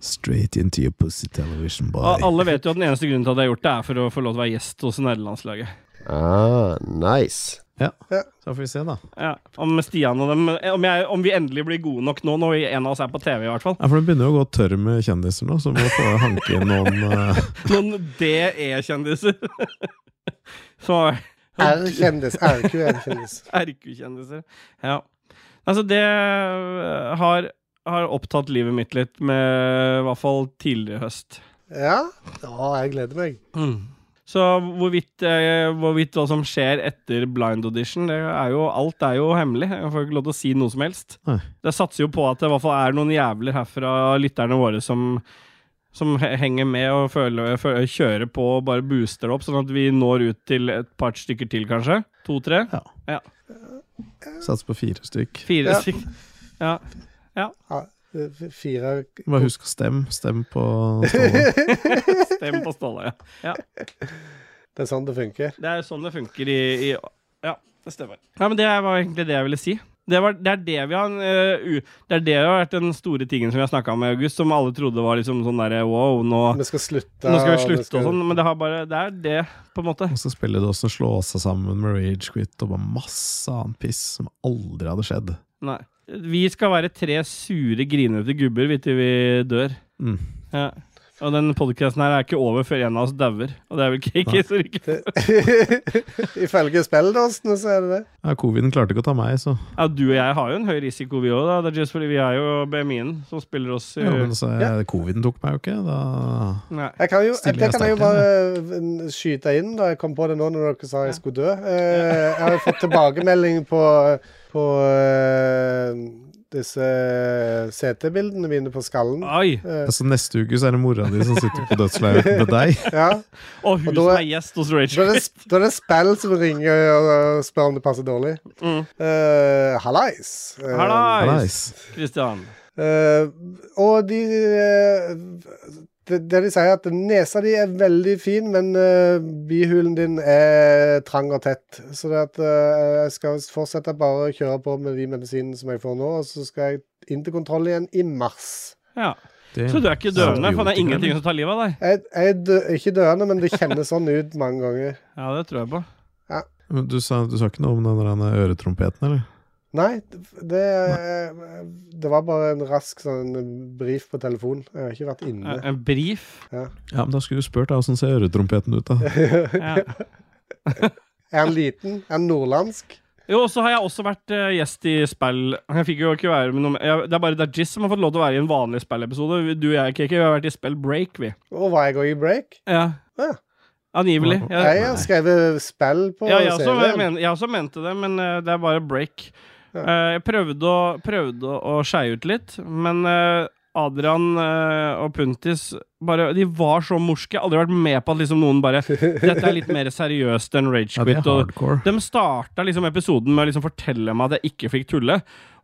Straight into your pussy television, boy.
Og alle vet jo at den eneste grunnen til at jeg har gjort det, er for å få lov til å være gjest hos nederlandslaget.
Ah, nice.
Så får vi se, da.
Ja, om Stian og dem eh, om, jeg, om vi endelig blir gode nok nå, når en av oss er på TV, i hvert fall.
Ja, for det begynner jo å gå tørr med kjendiser nå, så vi må få hanke inn noen eh,
Noen DE-kjendiser. Så
R-kjendis. RQN-kjendis.
RQ-kjendiser. Ja. Altså, det øh, har, har opptatt livet mitt litt, med i hvert fall tidligere høst.
Ja? ja, jeg gleder meg.
Så hvorvidt, eh, hvorvidt hva som skjer etter blind audition, det er jo, alt er jo hemmelig. Jeg får ikke lov til å si noe som helst.
Nei.
Jeg satser jo på at det i hvert fall er noen jævler herfra, lytterne våre, som, som he- henger med og føler, føler, kjører på og bare booster det opp, sånn at vi når ut til et par stykker til, kanskje. To-tre?
Sats på fire stykk.
Fire
Ja.
stykker?
Ja, f- fire
Bare husk å stemme. Stem på Ståle.
Stem på Ståle, ja.
Det er sånn det funker.
Det er jo sånn det funker i, i Ja, det stemmer. Nei, men Det var egentlig det jeg ville si. Det, var, det, er det, vi har, eh, u- det er det har vært den store tingen som vi har snakka om i august, som alle trodde var liksom sånn derre wow, nå,
Vi skal slutte.
nå skal vi
og
slutte og sånn, men det, har bare, det er det, på en måte.
Og så spiller det også slå seg sammen med Rage Quit og bare masse annen piss som aldri hadde skjedd.
Nei. Vi skal være tre sure, grinete gubber vi, til vi dør.
Mm.
Ja. Og den podkasten her er ikke over før en av oss dauer. Og det er vel ikke, ikke så riktig.
Ifølge spilledåsene så er det det.
Ja, Coviden klarte ikke å ta meg, så
Ja, du og jeg har jo en høy risiko, vi òg. da. Det er just fordi vi er jo BMI-en som spiller oss i
jo, men så jeg, Coviden tok meg jo ikke. Da
Nei.
Jeg kan jo,
Stiller
det
jeg
kan jeg jo
sterkt
bare eh, skyte inn, da jeg kom på det nå når dere sa jeg skulle dø. Eh, Jeg har jo fått tilbakemelding på, på eh, disse CT-bildene mine på skallen.
Oi!
Eh.
Altså Neste uke så er det mora di som sitter på dødsleiet med deg.
Ja.
Og hun
Og da-
som er gjest hos Rage
Da er, det, sp- da er det spill som ringer og spør om det passer dårlig.
Mm.
Eh, Hallais. Eh,
Hallais,
Nice.
Kristian.
Eh, og de eh, det, det de sier, er at nesa di er veldig fin, men eh, bihulen din er trang og tett. Så det at eh, jeg skal fortsette bare å kjøre på med de medisinene som jeg får nå, og så skal jeg inn til kontroll igjen i mars.
Ja.
Det-
Så du er ikke døvende, for det er ingenting som tar livet av deg?
Jeg, jeg er dø, ikke døende, men det kjennes sånn ut mange ganger.
Ja, det tror jeg på.
Men Du sa, du sa ikke noe om den der øretrompeten, eller?
Nei, det, eh, det var bare en rask sånn brief på telefonen. Jeg har ikke vært inne.
En brief.
Ja, men Da skulle du spurt da, åssen ser øretrompeten ut, da?
Ja.
Er han liten? Er han nordlandsk?
Jo, og så har jeg også vært eh, gjest i spill. Jeg fikk jo ikke være med noe jeg, Det er bare Dajis som har fått lov til å være i en vanlig spillepisode. Du og jeg, KK, vi har vært i Spell Break, vi.
Og var jeg òg i break?
Ja.
Ja.
Angivelig.
Ja.
Jeg
Ja,
har skrevet spill på
ja, jeg, også,
CV-en.
men, jeg også mente det, men eh, det er bare break. Eh, jeg prøvde å, prøvde å, å skeie ut litt, men eh, Adrian eh, og Puntis bare, De var så morske. Jeg har Aldri vært med på at liksom noen bare Dette er litt mer seriøst enn
Ja, det
Ragequit.
er hardcore.
de starta liksom episoden med å liksom fortelle meg at jeg ikke fikk tulle.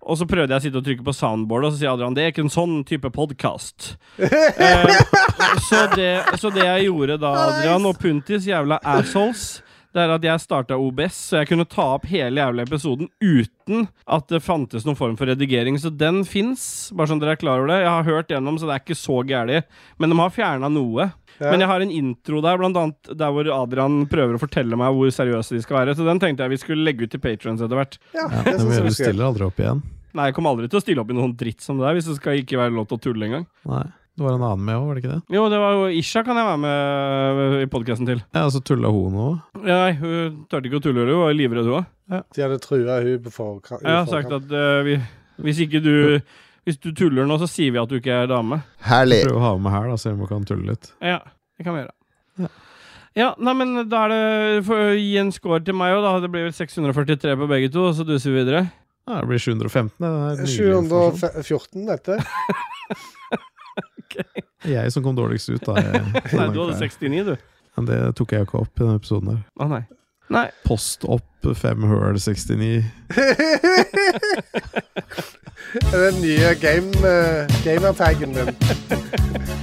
Og så prøvde jeg å sitte og trykke på soundboardet, og så sier Adrian det er ikke en sånn type podkast. eh, så, det, så det jeg gjorde da, Adrian, og Puntis, jævla assholes det er at jeg starta OBS, så jeg kunne ta opp hele jævla episoden uten at det fantes noen form for redigering. Så den fins, bare sånn dere er klar over det. Jeg har hørt gjennom, så det er ikke så gæli. Men de har fjerna noe.
Ja.
Men jeg har en intro der, blant annet der hvor Adrian prøver å fortelle meg hvor seriøse de skal være. Så den tenkte jeg vi skulle legge ut til patrons etter hvert.
Ja,
Ja,
jeg synes
men
det
du
var skøy.
stiller aldri opp igjen.
Nei, jeg kommer aldri til å stille opp i noen dritt som det der, hvis det skal ikke være lov til å tulle engang.
Nei. Det var en annen med òg, var det ikke det?
Jo, det var jo Isha kan jeg være med i podkasten til.
Ja, og så tulla hun òg.
Nei, hun turte ikke å tulle, hun var livredd, hun òg.
De hadde trua hun på forkant.
Jeg har sagt at eh, vi, hvis ikke du Hvis du tuller nå, så sier vi at du ikke er dame.
Herlig.
Prøv å ha med her, da, se om hun kan tulle litt.
Ja, det kan vi gjøre.
Ja.
Ja, nei, men da er det for, å Gi en score til meg òg, da. Det blir vel 643 på begge to, og så duser vi videre.
Ja, det blir 715. Det er nydelig informasjon.
714, dette.
Jeg som kom dårligst ut, da. Jeg,
Nei, du hadde 69, du.
Men det tok jeg jo ikke opp i denne episoden her.
Å, nei. Nei.
Post opp 5 Hurl 69.
Det er den nye game, eh, gamertaggen min.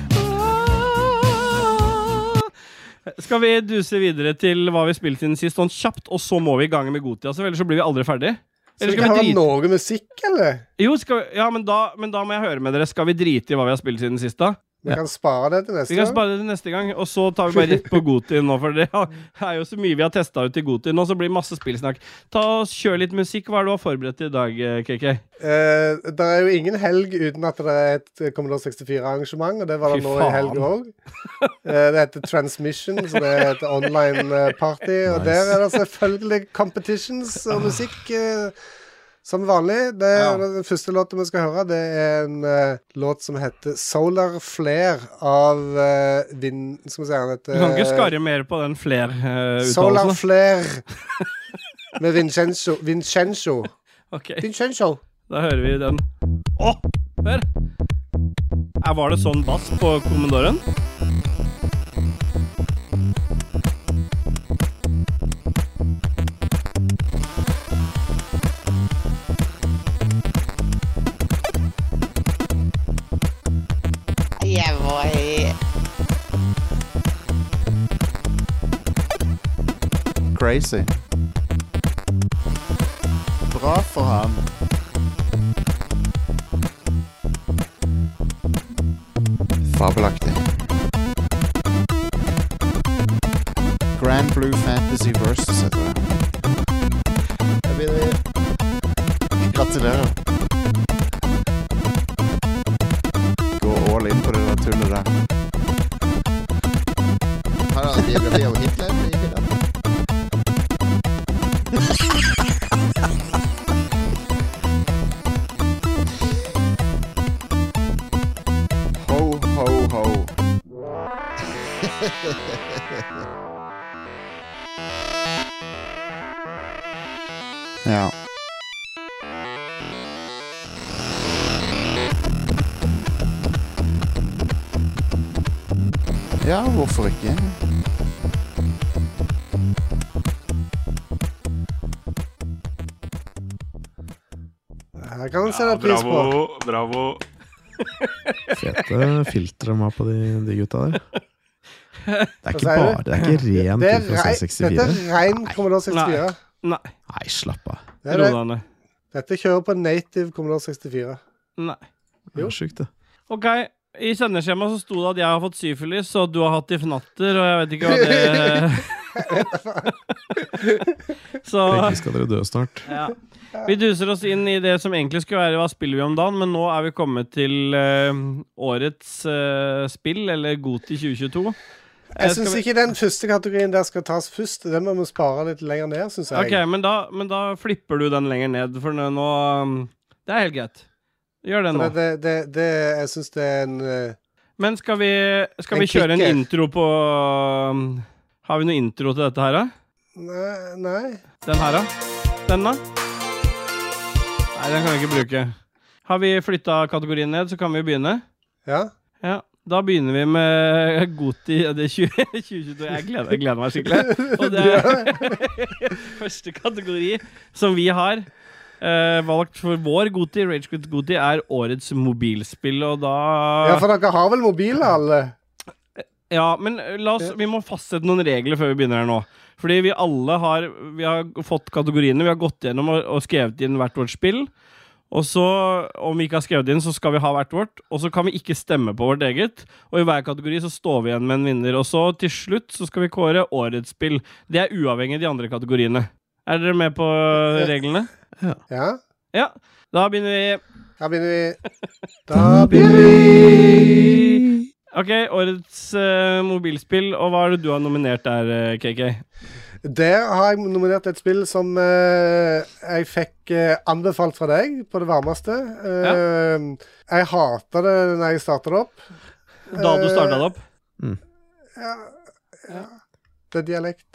Skal vi duse videre til hva vi spilte inn sist, sånn kjapt, og så må vi i gang med Gotia, så ellers så blir vi aldri ferdig?
Så
Eller
vi kan
skal
ha
vi drite
noe musikk, eller?
Jo, skal vi, ja, men da, men da må jeg høre med dere. Skal vi drite i hva vi har spilt siden sist, da?
Vi
Ja.
kan spare det til
Vi
neste
kan
gang.
spare det til neste gang, og så tar vi bare rett på Gotin nå, for det er jo så mye vi har testa ut i Gotin nå, så blir det masse spillsnakk. Ta og Kjør litt musikk. Hva er det du har forberedt til i dag, eh, KK?
Eh, det er jo ingen helg uten at det er et eh, Commodore 64-arrangement, og det var det
Fy
nå i
faen.
helg òg. det heter Transmission, så det er et online eh, party. Og
Nice.
der er det selvfølgelig competitions og musikk. eh, som vanlig. Det,
Ja.
Den første låten vi skal høre, det er en eh, låt som heter 'Solar Flare' av uh, Vind... Skal vi si han heter
Du kan ikke
eh,
skarre mer på den eh,
Solar
fler-uttalelsen.
Flare med Vincenzo. Vincenzo.
ok,
Vincenzo.
da hører vi den. Å, hør! Eh, Var det sånn bass på kommandoren?
Yeah, boy.
Crazy. Bra for han.
Fabelaktig.
Grand Blue Fantasy Versus heter det. Jeg vil- Gratulerer. Gå all in på det der tullet der.
Her er en biografi av Hitler. ikke det?
Ho, ho, ho. ja. Ja, hvorfor ikke?
Her kan han sette
Ja,
pris på.
bravo, bravo.
Fete filtre de har på de, de gutta der. Det er
Hva
ikke
sier du?
bare Det er ikke rent
Det er
ut fra
rei, dette er
64.
rein Commodore 64.
Nei.
Nei, slapp av.
Det er
Ro
det.
deg ned.
Dette kjører på native Commodore 64.
Nei.
Det
Jo.
er sjukt, det.
Ok, i sendeskjemaet så sto det at jeg har fått syfilis, og du har hatt ifnatter, og jeg vet ikke hva det Så
Begge skal dere dø snart.
ja. Vi duser oss inn i det som egentlig skulle være Hva spiller vi om dagen? Men nå er vi kommet til eh, årets eh, spill, eller Goti 2022. Eh,
Jeg
skal
syns
vi-
ikke den første kategorien der skal tas først. Den må vi spare litt lenger ned, syns jeg.
Ok, men da, men da flipper du den lenger ned, for nå um, Det er helt greit. Gjør det
For
nå.
det, det, det, det, jeg syns det er en eh,
Men skal vi, skal
En
vi kjøre en
klikker.
intro på um, Har vi noe intro til dette her, da?
Nei. nei.
Den her, da? Den, da? Nei, den kan vi ikke bruke. Har vi flytta kategorien ned, så kan vi begynne.
Ja?
Ja, da begynner vi med Goti det er 20, 2022. Jeg gleder, jeg gleder meg skikkelig. Og det er første kategori som vi har eh, valgt for vår Goti, Ragequit Goti, er årets mobilspill, og da
ja, for dere har vel mobiler, alle?
Ja, men eh, la oss, vi må fastsette noen regler før vi begynner her nå. Fordi vi alle har, vi har fått kategoriene, vi har gått gjennom og, og skrevet inn hvert vårt spill. Og så, om vi ikke har skrevet inn, så skal vi ha hvert vårt. Og så kan vi ikke stemme på vårt eget. Og i hver kategori så står vi igjen med en vinner. Og så til slutt så skal vi kåre årets spill. Det er uavhengig av de andre kategoriene. Er dere med på eh, reglene?
Ja?
Ja. Da begynner vi.
Da begynner vi. Da begynner vi.
Ok, årets eh, mobilspill. Og hva er det du har nominert der, eh, KK?
Der har jeg nominert et spill som eh, jeg fikk eh, anbefalt fra deg på det varmeste. Eh, Jeg hata det når jeg starta det opp.
Da du starta
Eh,
det opp?
Ja, ja. Det er dialekt.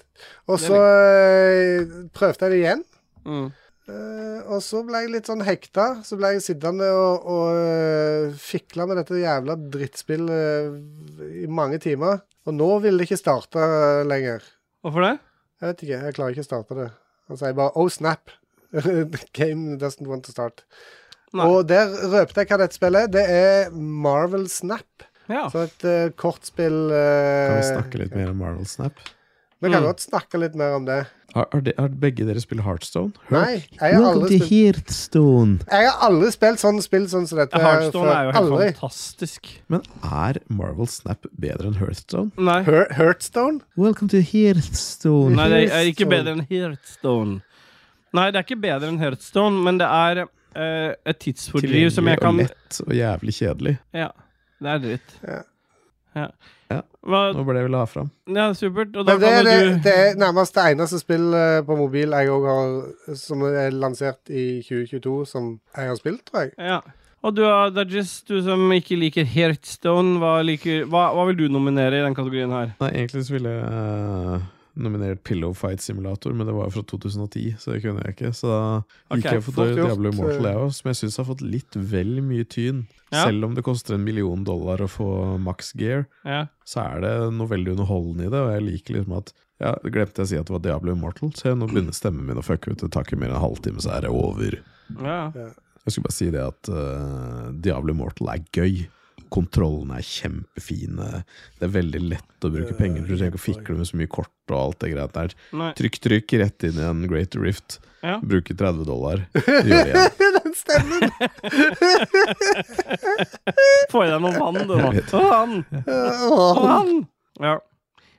Og så eh, prøvde jeg det igjen.
Mm.
Eh, og så ble jeg litt sånn hekta. Så ble jeg sittende og, og eh, fikla med dette jævla drittspillet eh, i mange timer. Og nå vil det ikke starte eh, lenger.
Hvorfor det?
Jeg vet ikke, jeg klarer ikke å starte det. Han sier bare 'oh snap'. The Game doesn't want to start.
Nei.
Og der røpte jeg hva dette spillet er. Det er Marvel Snap.
Ja.
Så et eh, kortspill eh,
Kan vi snakke litt mer om Marvel Snap?
Vi kan
Mm.
godt snakke litt mer om det.
Har, har, de, har begge dere spilt Heartstone?
Nei, jeg har aldri spilt,
Heartstone.
jeg har aldri spilt sånn spill sånn som dette. her
Heartstone er jo helt
aldri.
fantastisk.
Men er Marvel Snap bedre enn Heartstone?
Nei.
Hur- Hearthstone?
Welcome to Heartstone.
Nei, det er ikke bedre enn Heartstone. Nei, det er ikke bedre enn Heartstone, men det er eh, et tidsfordriv som jeg kan
Og lett og jævlig kjedelig.
Ja, det er dritt.
Ja.
Ja.
Ja.
Hva,
Nå ble det jeg ville ha fram.
ja, supert. Og da
Men det er,
kan
det,
jo du
det er nærmest det eneste spill eh, på mobil jeg òg har som er lansert i 2022, som jeg har spilt, tror jeg.
Ja. Og du, eh, Dajis, du som ikke liker Heartstone, hva, liker, hva, hva vil du nominere i den kategorien her?
Nei, egentlig så ville jeg eh, nominert Pillow Fight Simulator, men det var jo fra 2010, så det kunne jeg ikke. Så da gikk
Ok,
jeg for
fort gjort.
Diablo Immortal, jeg òg, som jeg syns har fått litt vel mye tyn.
Ja.
Selv om det koster en million dollar å få max gear,
Ja.
så er det noe veldig underholdende i det, og jeg liker liksom at ja, Glemte jeg å si at det var Diablo Immortal? Se, nå begynner stemmen min å fucke ut. Det tar ikke mer enn en halvtime, så er det over.
ja.
Jeg skulle bare si det at eh, Diablo Immortal er gøy. Kontrollene er kjempefine. Det er veldig lett å bruke penger. Du trenger ikke å fikle med så mye kort og alt det greit der.
Nei.
Trykk, trykk, rett inn i en Great Rift.
Ja.
Bruke 30 dollar. Gjør det igjen.
Den stemmen!
Få i deg noe vann, du, nå.
Jeg vet.
Å, vann!
Åh.
Faen! Ja.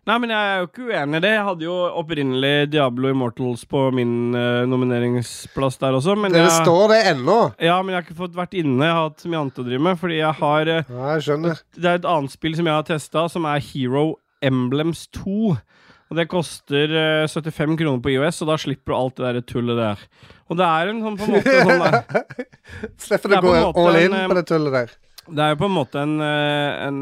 Nei, men jeg er jo ikke uenig i det. Jeg hadde jo opprinnelig Diablo Immortals på min eh, nomineringsplass der også, men
Dere
jeg,
står det ennå.
ja, men jeg har ikke fått vært inne. Jeg har hatt mye annet å drive med. Fordi jeg har eh,
Ja, jeg skjønner.
Det er et annet spill som jeg har testa, som er Hero Emblems 2. Og det koster eh, 75 kroner på IOS, og da slipper du alt det der tullet der. Og det er en sånn på en måte sånn der,
Slipper
Det
du
er
å gå
på en måte
all in
en, eh,
på det tullet der.
Det er jo på en måte en, eh, en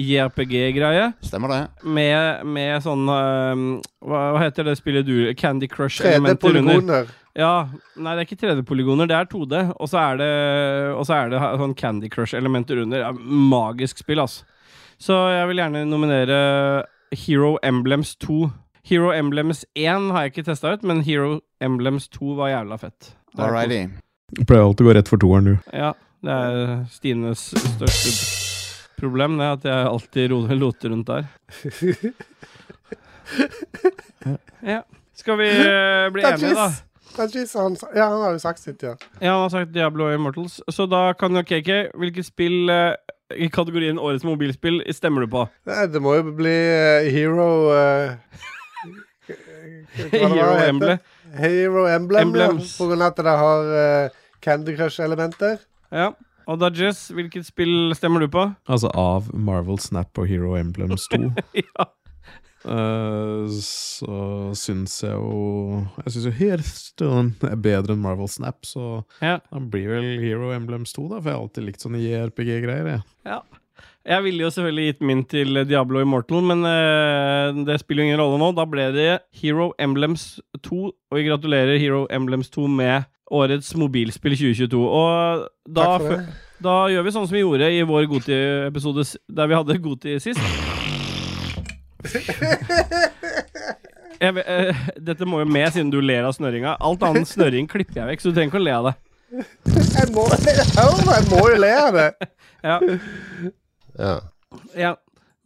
JRPG-greie.
Stemmer det?
med, med sånn øhm, hva, hva heter det spillet du Candy
Tredje
Crush-elementer under.
polygoner.
Ja, Nei, det er ikke 3D-polygoner, det er 2D. Og så er det, og så er det ha- sånn Candy Crush-elementer under. Det er Magisk spill, altså. Så jeg vil gjerne nominere Hero Emblems 2. Hero Emblems 1 har jeg ikke testa ut, men Hero Emblems 2 var jævla fett. Det er
Alrighty.
Du pleier alltid å gå rett for toeren, du.
Ja, det er Stines største problem, det er at jeg alltid ro- loter rundt der. Ja. Skal vi eh, bli enige, da?
Dajis! Dajis, han, sa- ja, han har jo sagt sitt, ja.
Ja, han har sagt Diablo Immortals. Så da kan jo KK Hvilket spill eh, i kategorien Årets mobilspill stemmer du på?
Nei, det må jo bli eh, Hero eh, hva det var det
Hero
heter?
Emble.
Hero Emblem,
Emblems.
ja. På grunn av at det har eh, Candy Crush-elementer.
Ja. Og Dodges, hvilket spill stemmer du på?
Altså av Marvel Snap og Hero Emblems 2.
ja.
eh, så syns jeg jo Jeg syns jo Hearthstone er bedre enn Marvel Snap, så
Ja.
han blir vel Hero Emblems 2, da. For jeg har alltid likt sånne JRPG-greier, jeg.
Ja. Jeg ville jo selvfølgelig gitt min til Diablo Immortal, men eh, det spiller jo ingen rolle nå. Da ble det Hero Emblems 2, og vi gratulerer Hero Emblems 2 med årets mobilspill 2022. Og da,
Takk for det.
fø- Da gjør vi sånn som vi gjorde i vår Goti-episode s- der vi hadde Goti sist. Jeg, ve- eh, dette må jo med, siden du ler av snørringa. Alt annet snørring klipper jeg vekk, så du trenger ikke å le av det.
Jeg må, jeg må jo le av det.
Ja,
Ja.
ja.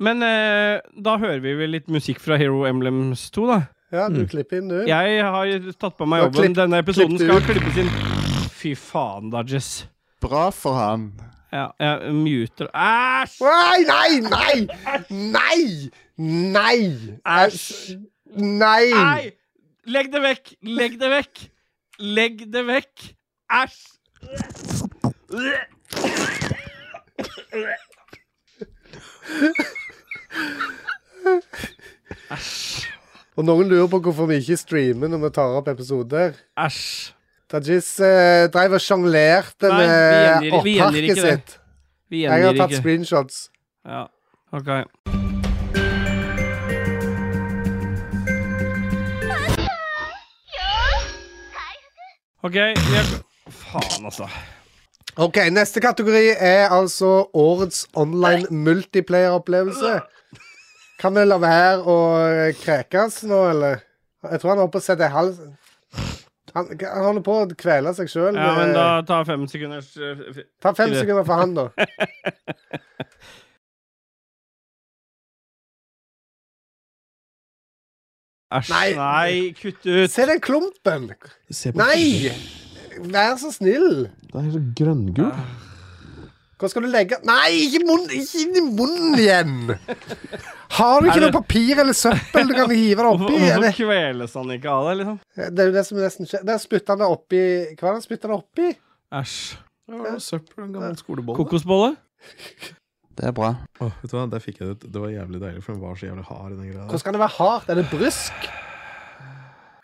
Men eh, da hører vi vel litt musikk fra Hero Emblems 2, da.
Ja,
Mm.
du klipper inn, du.
Jeg har tatt på meg
Du har
jobben.
klipp-
Denne episoden
klippet
skal
ut.
klippes inn. Fy faen, Dodges.
Bra for han.
Ja, jeg muter Æsj!
Nei, nei, nei! Nei! Nei! Æsj! Nei!
Nei! Legg det vekk! Legg det vekk! Legg det vekk! Æsj!
Og noen lurer på hvorfor vi ikke streamer når vi tar opp episoder.
Æsj.
Tajis eh, drev og sjonglerte
Nei, vi
med
gjengir- vi gjengir
oppharket
ikke det.
sitt.
Vi
Jeg har
gjengir
tatt
ikke.
screenshots.
Ja, ok. Ok, vi er Faen, altså.
OK, neste kategori er altså årets online multiplayer-opplevelse. Kan vi la være å eh, krekes nå, eller? Jeg tror han holder på å sette hals... Han, han holder på å kvele seg sjøl.
Ja, men da ta fem sekunders eh, f-
Ta fem
Fire.
sekunder for han, da.
Æsj.
Nei.
Nei, kutt ut.
Se den klumpen!
Se på
Nei! Vær så snill!
Den er så grønngul.
Hvor skal du legge Nei, ikke, munn, ikke inn i munnen igjen! Har du ikke
Er det-
noe papir eller søppel du kan hive det oppi?
Hvorfor
eller?
hvorfor kveles han ikke av det, liksom?
Eh, Det er jo det som nesten skjer. Der spytter han det oppi Hva er det han spytter det oppi?
Æsj.
Ja, søppel, en gammel skolebolle.
Kokosbolle?
Det er bra.
Åh, vet du hva, der fikk jeg det ut. Det var jævlig deilig, for den var så jævlig hard. i den greia der.
Hvordan kan det være hardt? Er det brysk?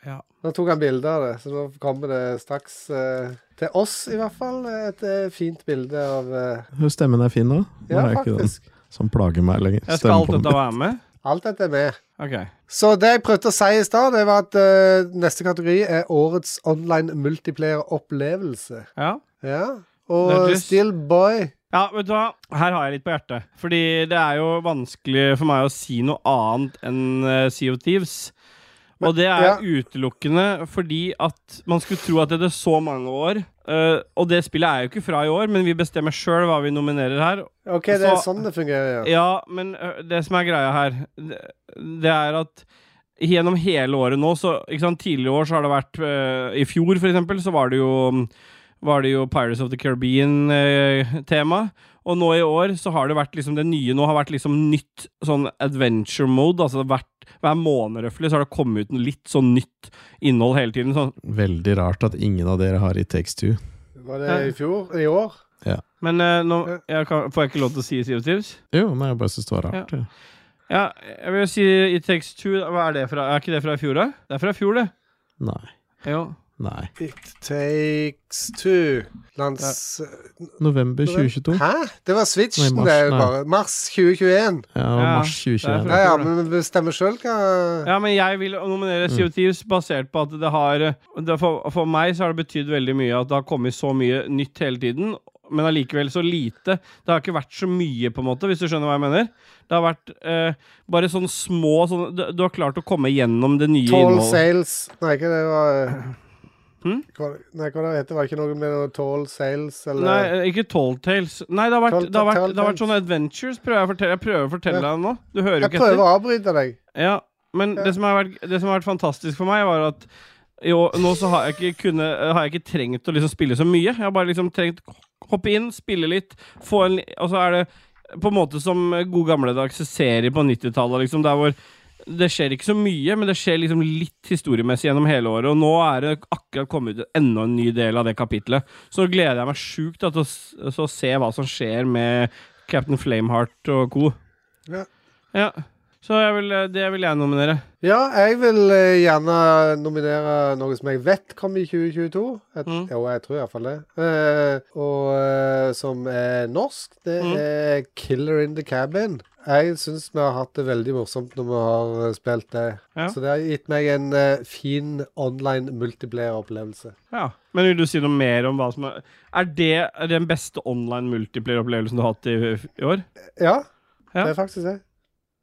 Ja.
Nå tok han bilde av det, så nå kommer det straks eh, til oss, i hvert fall. Et eh, fint bilde av eh,
Stemmen er fin, da. Nå
Ja,
er ikke den
faktisk.
som plager meg lenger.
Jeg skal
Stemmen
alt
på den.
dette være med?
Alt dette er med.
Ok.
Så det jeg prøvde å si i stad, det var at eh, neste kategori er årets online multiplayer-opplevelse.
Ja.
Ja. Og
Det er
eh,
just-
Still Boy
ja, vet du hva? Her har jeg litt på hjertet. Fordi det er jo vanskelig for meg å si noe annet enn eh, Sea of Thieves. Og det er
ja.
utelukkende fordi at man skulle tro at det er så mange år. eh, og det spillet er jo ikke fra i år, men vi bestemmer sjøl hva vi nominerer her.
OK, det er
Så-
sånn det fungerer, ja.
Ja, men ø, det som er greia her, det, det er at gjennom hele året nå, så ikke sant, Tidligere år så har det vært ø, I fjor, for eksempel, så var det jo var det jo Pirates of the Caribbean-tema. Og nå i år så har det vært liksom det nye nå har vært liksom nytt sånn adventure mode. Altså det har vært, hver måned røftlig så har det kommet ut litt sånn nytt innhold hele tiden. Sånn.
Veldig rart at ingen av dere har It Takes Two.
Eh,
Var det i fjor? I år?
Men ø, nå jeg kan, får jeg ikke lov til å si Sea of Thieves?
Jo, nei, jeg bare syns det var rart. Ja.
Ja, jeg vil si It Takes Two. Hva er det fra? Er ikke det fra i fjor, da? Det er fra i fjor, det.
Nei.
Jo.
Nei.
It takes two Lands...
November 2022.
Hæ? Det var switchen,
Nei, mars,
det er jo
nei.
bare. Mars 2021.
Ja, og
Ja,
mars
det
2021.
er
Ja, ja, men vi bestemmer sjøl hva
Ja, men jeg vil nominere CO Thieves basert på at det har det for, for meg så har det betydd veldig mye at det har kommet så mye nytt hele tiden, men allikevel så lite. Det har ikke vært så mye, på en måte, hvis du skjønner hva jeg mener. Det har vært eh, bare sånne små sånne, du, du har klart å komme gjennom det nye
Tall
innholdet.
sales Nei, ikke det var
Hm?
hva, Nei, hva det heter Var det ikke noe med noe tall sales, eller
Nei, eh, ikke Tall Tales. Nei, det har vært,
Tall-
det har vært,
Tall
det har vært
Tales.
sånne adventures. Prøver jeg, å fortelle, jeg prøver å
Ja.
fortelle deg nå. Du hører jo
Jeg
ikke etter.
prøver å avbryte deg.
Ja, men det som, har vært, det som har vært fantastisk for meg, var at jo, nå så har jeg ikke, kunne, har jeg ikke trengt å liksom spille så mye. Jeg har bare liksom trengt å hoppe inn, spille litt, få en li- Og så er det på en måte som gode gamledagse serier på 90-tallet, liksom, der hvor det skjer ikke så mye, men det skjer liksom litt historiemessig gjennom hele året. Og nå er det akkurat kommet ut enda en ny del av det kapitlet. Så gleder jeg meg sjukt da til å s- så se hva som skjer med Captain Flameheart og co.
Ja.
ja. Så jeg vil, eh, det vil jeg nominere.
Ja, jeg vil eh, gjerne nominere noe som jeg vet kom i 2022. Et,
Mm.
Jo, jeg tror iallfall det. Eh, og eh, som er norsk, det
Mm.
er Killer in the Cabin. Jeg syns vi har hatt det veldig morsomt når vi har eh, spilt det.
Ja.
Så det har gitt meg en eh, fin online multiplayer-opplevelse.
Ja. Men vil du si noe mer om hva som er Er det den beste online multiplayer-opplevelsen du har hatt i, i år?
Ja,
Ja.
det er faktisk det.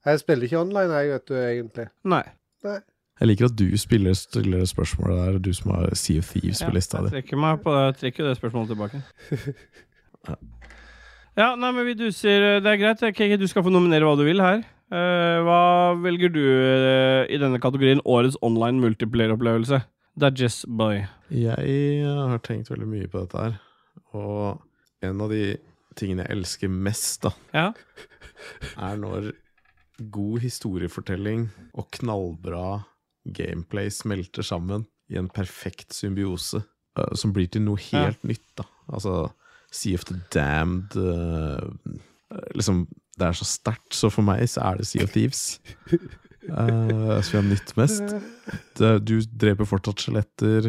Jeg spiller ikke online, jeg, vet du, egentlig.
Nei.
Jeg liker at du spiller, stiller spørsmålet der, du som har Sea of Thieves på lista
jeg
di.
trekker meg på jeg trekker det spørsmålet tilbake. Ja, nei, men vi duser. Det er greit. KK, du skal få nominere hva du vil her. Eh, hva velger du eh, i denne kategorien årets online multiplayer-opplevelse? Det er Jess Boy.
Jeg eh, har tenkt veldig mye på dette her, og en av de tingene jeg elsker mest, da,
Ja.
er når god historiefortelling og knallbra gameplay smelter sammen i en perfekt symbiose, eh, som blir til noe helt nytt, da. Altså Sea of the Damned eh, Liksom, det er så sterkt, så for meg så er det Sea of Thieves. Uh, som jeg har nytt mest. Det, du dreper fortsatt skjeletter,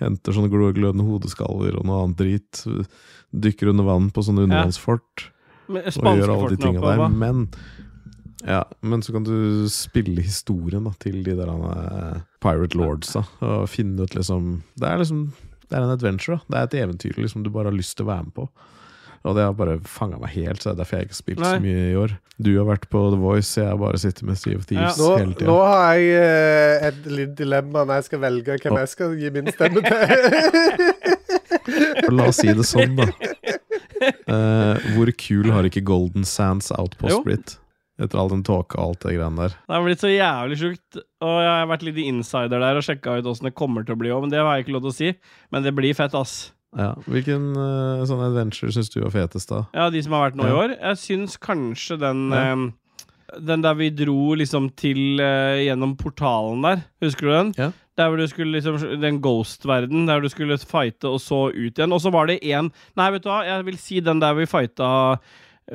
henter sånne gl- glødende hodeskaller og noe annet drit. Dykker under vann på sånne undervannsfort og
Men
gjør alle de
Spanskefortene
tinga
oppe,
der.
hva?
Men, ja, men så kan du spille historien da, til de der eh, Pirate Lordsa og finne ut liksom Det er liksom Det er en adventure. da Det er et eventyr liksom, du bare har lyst til å være med på. Og det har bare fanga meg helt, så det er derfor jeg ikke har spilt
Nei.
så mye i år. Du har vært på The Voice, jeg har bare sittet med Steve Thieves
Nå,
hele
nå
tida.
har jeg eh, et lite dilemma når jeg skal velge hvem
Å.
jeg skal gi min stemme til.
La oss si det sånn, da. Eh, hvor kul har ikke Golden Sands Outpost
Jo.
blitt? Etter all den tåka og alt det greiene der.
Det har blitt så jævlig sjukt. Og jeg har vært litt insider der og sjekka ut åssen det kommer til å bli òg, men det har jeg ikke lov til å si. Men det blir fett, ass.
Ja. Hvilken eh, sånn adventure syns du var fetest, da?
Ja, de som har vært nå i
Ja.
år. Jeg syns kanskje den
Ja.
ehm, Den der vi dro liksom til eh, gjennom portalen der. Husker du den?
Ja.
Der hvor du skulle liksom Den ghost-verden der hvor du skulle fighte og så ut igjen. Og så var det én Nei, vet du hva, jeg vil si den der vi fighta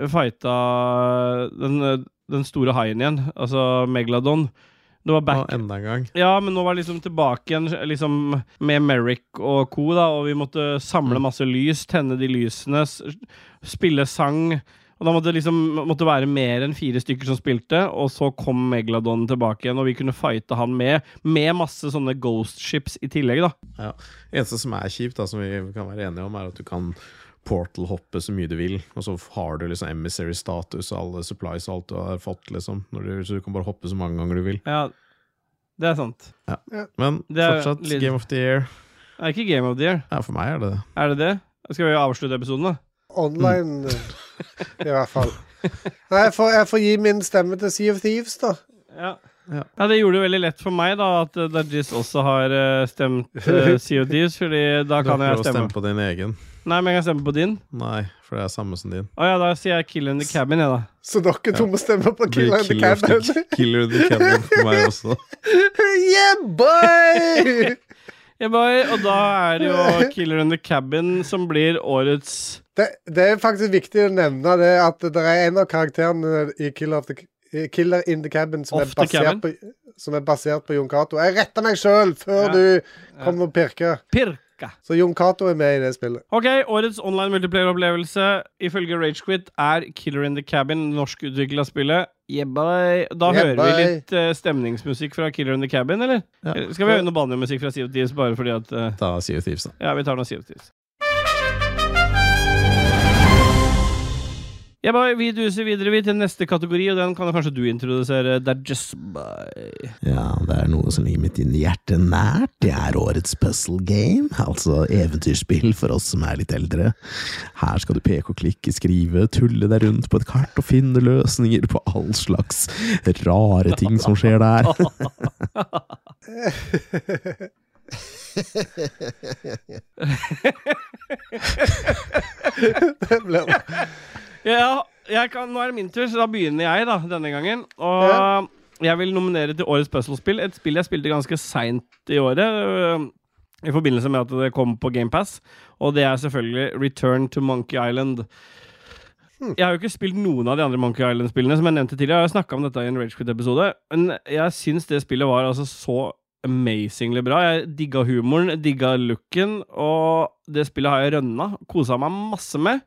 Fighta den, eh, den store haien igjen. Altså Megalodon. Det var back
Å, enda en gang.
ja, men nå var det liksom tilbake igjen liksom, med Merrick og co., da, og vi måtte samle
Mm.
masse lys, tenne de lysene, s- spille sang. Og da måtte det liksom måtte være mer enn fire stykker som spilte, og så kom Megalodon tilbake igjen, og vi kunne fighte han med, med masse sånne ghost ships i tillegg, da.
Eneste som er kjipt, da, som vi kan være enige om, er at du kan portal-hoppe så mye du vil, og så har du liksom emissary-status og alle supplies og alt du har fått, liksom. Når du, så du kan bare hoppe så mange ganger du vil.
Ja, det er sant.
Men
Det er
fortsatt
litt-
Game of the Year.
Det er ikke Game of the Year.
Ja, for meg er det det.
Er det det? Skal vi avslutte episoden, da?
Online,
Mm.
i hvert fall. Nei, jeg får, jeg får gi min stemme til Sea of Thieves, da.
Ja.
Ja.
ja, det gjorde det veldig lett for meg da at eh, Dajis også har eh, stemt uh, CODs, fordi da kan jeg
prøv å
stemme.
på din egen.
Nei, men jeg kan stemme på din.
Nei, for det er samme som din.
Å ja, da sier jeg Kill in the Cabin, jeg, da.
Så dere to må stemme på
Det blir
Kill and the
Killer of
Cabin.
the- Killer of the Cabin for meg også.
yeah, boy!
Ja, boy, og da er det jo Killer in the Cabin som blir årets
Det, det er faktisk viktig å nevne det at det er en av karakterene i Killer, of the, i Killer in the Cabin som,
Of
er
the cabin?
basert, på, som er basert på Jon Cato. Jeg retta meg sjøl før
Ja.
du kom og pirka.
Pirka.
Så Jon Cato er med i det spillet.
OK, årets online multiplayer-opplevelse ifølge Ragequit er Killer in the Cabin, norskutvikla spillet. Yeah, boy. Da
Yeah,
hører vi
boy.
litt eh, stemningsmusikk fra Killer in the Cabin, eller?
Ja.
Eller Skal vi høre noe banjomusikk fra CODs bare fordi at eh,
Da sier vi Thieves, da.
Ja, vi tar noen sidetips. Ja, boy, vi duser videre vi til neste kategori, og den kan jo kanskje du introdusere. Det er just by.
Ja, det er noe som ligger mitt inne i hjertet nært. Det er årets puzzle game, altså eventyrspill for oss som er litt eldre. Her skal du peke og klikke, skrive, tulle deg rundt på et kart og finne løsninger på all slags rare ting som skjer der.
Det ble
Ja, jeg kan, nå er det min tur, så da begynner jeg da, denne gangen. Og
Ja.
jeg vil nominere til årets puzzlespill. Et spill jeg spilte ganske seint i året. øh, I forbindelse med at det kom på GamePass. Og det er selvfølgelig Return to Monkey Island. Jeg har jo ikke spilt noen av de andre Monkey Island-spillene. Som Jeg nevnte tidligere Jeg har snakka om dette i en Ragequit-episode. Men jeg syns det spillet var altså så amazingly bra. Jeg digga humoren, digga looken, og det spillet har jeg rønna. Kosa meg masse med.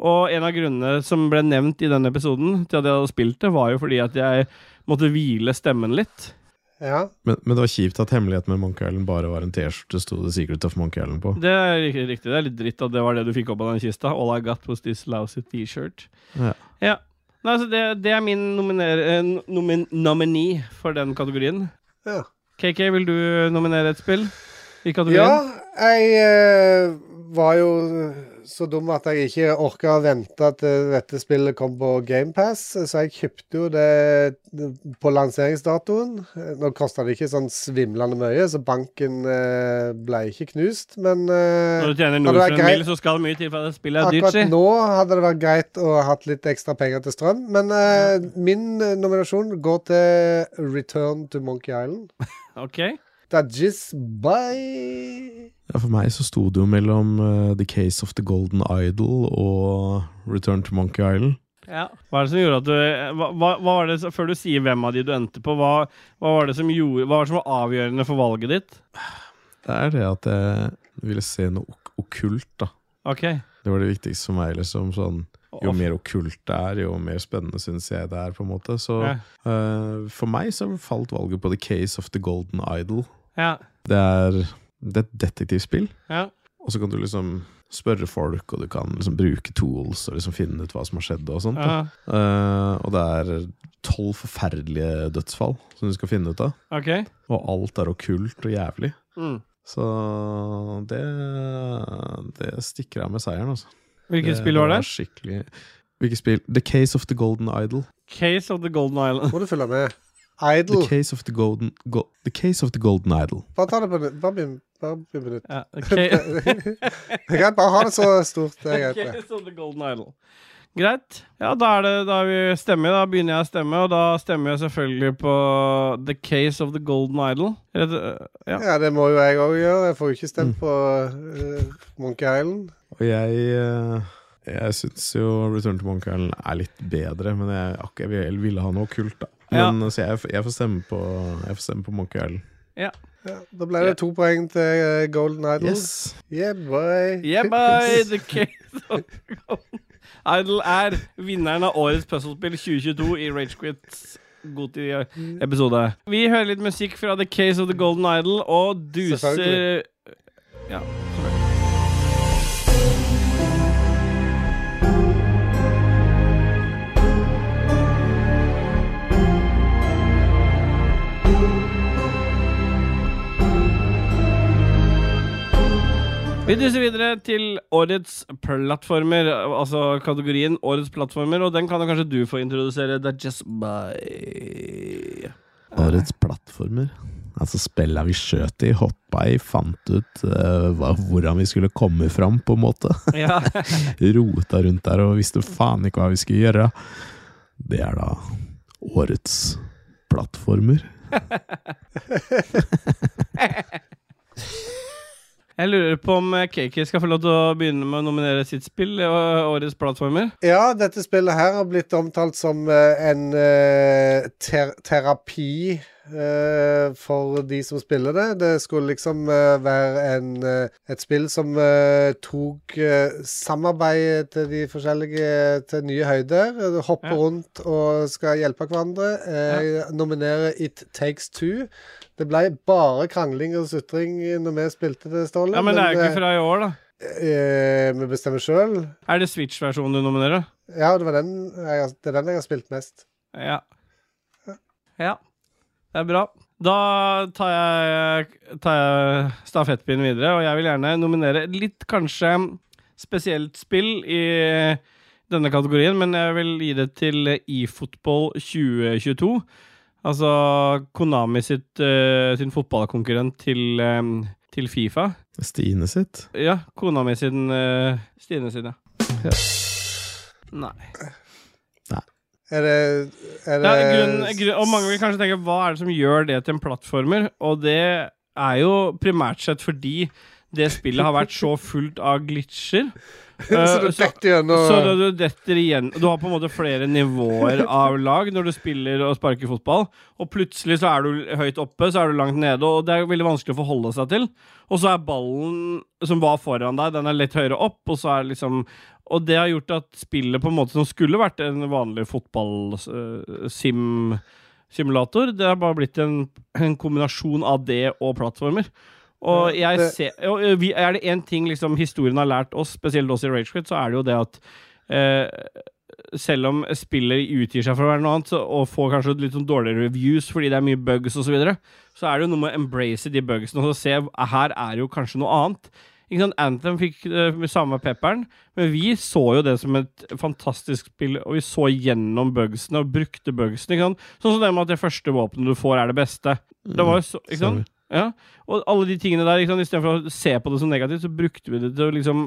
Og en av grunnene som ble nevnt i den episoden, til at jeg hadde spilt det, var jo fordi at jeg måtte hvile stemmen litt.
Ja.
Men, men det var kjipt at hemmeligheten med Monkey Island bare var en T-skjorte sto The Secret of Monkey Island på.
Det er rik- riktig. Det er litt dritt at det var det du fikk opp av den kista. All I got was this lousy T-shirt.
Ja.
Nei, så det, det er min nominer, eh, nomin, nominee for den kategorien.
ja.
KK, vil du nominere et spill
Ja,
i kategorien?
jeg eh, var jo så dum at jeg ikke orka å vente til dette spillet kom på GamePass, så jeg kjøpte jo det på lanseringsdatoen. Nå kosta det ikke sånn svimlende mye, så banken eh, ble ikke knust, men eh,
Når du tjener
Ja,
noe
det er
for en
greit.
mil, så skal det mye til for at det spillet er dyrt,
Akkurat
si.
nå hadde det vært greit å ha hatt litt ekstra penger til strøm, men eh, min eh, nominasjon går til Return to Monkey Island.
Ok.
Dudgies, bye!
Ja, for meg så sto det jo mellom eh, The Case of the Golden Idol og Return to Monkey Island.
Ja. Hva er det som gjorde at du hva, hva hva var det, som- Før du sier hvem av de du endte på, hva, hva var det som gjorde Hva var det som var avgjørende for valget ditt?
Det er det at jeg ville se noe ok okkult, da.
Ok.
Det var det viktigste for meg. liksom sånn Jo
Og-
mer okkult det er, jo mer spennende syns jeg det er. på en måte Så
Ja.
eh, for meg så falt valget på The Case of the Golden Idol.
Ja.
Det er, det er et detektivspill,
ja.
og så kan du liksom spørre folk, og du kan liksom bruke tools og liksom finne ut hva som har skjedd. Og sånt da.
ja.
Eh, Og det er tolv forferdelige dødsfall som du skal finne ut av.
Ok.
Og alt er okkult og jævlig.
Mm.
Så det, det stikker av med seieren, altså.
Hvilket spill var det?
Skikkelig Hvilket spill? The Case of the Golden Idol.
Case of the Golden Island.
Må du følge med.
The
Idol.
Case of the Golden, go, the case of the golden Idol.
Bare ta det på nytt. Bare begynn. Bare begynn på nytt.
Ja, Ca-
Jeg kan bare ha det så stort. Det er greit, det.
Case of the Golden Island. Greit. Ja, da er det da er vi stemmer. Da begynner jeg å stemme, og da stemmer jeg selvfølgelig på The Case of the Golden Idol. Rett- Ja.
Ja, det må jo jeg òg gjøre. Jeg får jo ikke stemt på eh, Monkey Island.
Og jeg eh, Jeg syns jo Return to Monkey Island er litt bedre, men jeg, akkurat, jeg ville- ville ha noe kult, da.
Ja.
Men, eh, Så jeg, jeg, får stemme på, jeg får stemme på Monkey Island.
Ja, da ble det to poeng til eh, Golden
Oh.
Idol.
Yes!
Yeah, boy.
Yeah, boy, the case of Idol er vinneren av årets puzzlespill 2022 i Ragequits Goti-episode. Vi hører litt musikk fra The Case of the Golden Idol og duser
Selvfølgelig.
Ja. Vi duser videre til årets plattformer, altså kategorien årets plattformer, og den kan jo kanskje du få introdusere. Det er just by
Årets plattformer. Altså spilla vi skjøt i, hoppa i, fant ut eh, hva, hvordan vi skulle komme fram, på en måte.
Ja.
Rota rundt der og visste faen ikke hva vi skulle gjøre. Det er da årets plattformer.
Jeg lurer på om KK skal få lov til å begynne med å nominere sitt spill og årets plattformer.
Ja, dette spillet her har blitt omtalt som eh, en eh, ter terapi eh, for de som spiller det. Det skulle liksom eh, være en, eh, et spill som eh, tok eh, samarbeidet til de forskjellige eh, til nye høyder. Du Hopper
Ja.
rundt og skal hjelpe hverandre. Eh, Nominere It Takes Two. Det ble bare krangling og sutring når vi spilte det, Ståle.
Ja, Men det er jo
eh,
ikke fra i år, da.
eh, vi bestemmer sjøl.
Er det Switch-versjonen du nominerer?
Ja, det, var den jeg, har- det er den jeg har spilt mest.
Ja. Ja. Det er bra. Da tar jeg, tar jeg stafettpinnen videre, og jeg vil gjerne nominere et litt kanskje spesielt spill i denne kategorien, men jeg vil gi det til eFootball 2022. Altså Konami sitt, eh, sin fotballkonkurrent til, eh, til Fifa.
Stine sitt.
Ja, kona mi sin eh, Stine sin, ja.
Ja.
Nei.
Er det, er
Det
det
er grunn, grunn, og mange vil kanskje tenke hva er det som gjør det til en plattformer? Og det er jo primært sett fordi det spillet har vært så fullt av glitcher.
Så du
Eh, så-
detter gjennom
så det, du detter igjen Du har på en måte flere nivåer av lag når du spiller og sparker fotball. Og plutselig så er du høyt oppe, så er du langt nede, og det er veldig vanskelig å forholde seg til. Og så er ballen som var foran deg, den er litt høyere opp, og så er liksom Og det har gjort at spillet på en måte som skulle vært en vanlig fotball-sim-simulator, det har bare blitt en, en kombinasjon av det og plattformer. Og
Ja,
jeg
det-
ser, og eh, vi, er det én ting liksom, historien har lært oss, spesielt oss i Ragequit, så er det jo det at eh, selv om spiller utgir seg for å være noe annet, så, og får kanskje litt sånn dårligere reviews fordi det er mye bugs osv., så, videre, så er det jo noe med å embrace de bugsene og så se her er jo kanskje noe annet. Ikke sant? Anthem fikk eh, med samme pepperen, men vi så jo det som et fantastisk spill, og vi så gjennom bugsene og brukte bugsene. Ikke sant? Sånn som det med at det første våpenet du får, er det beste. Det var jo så,
Mm,
ikke sant? Ja. Og alle de tingene der, ikke sant? istedenfor å se på det som negativt, så brukte vi det til å liksom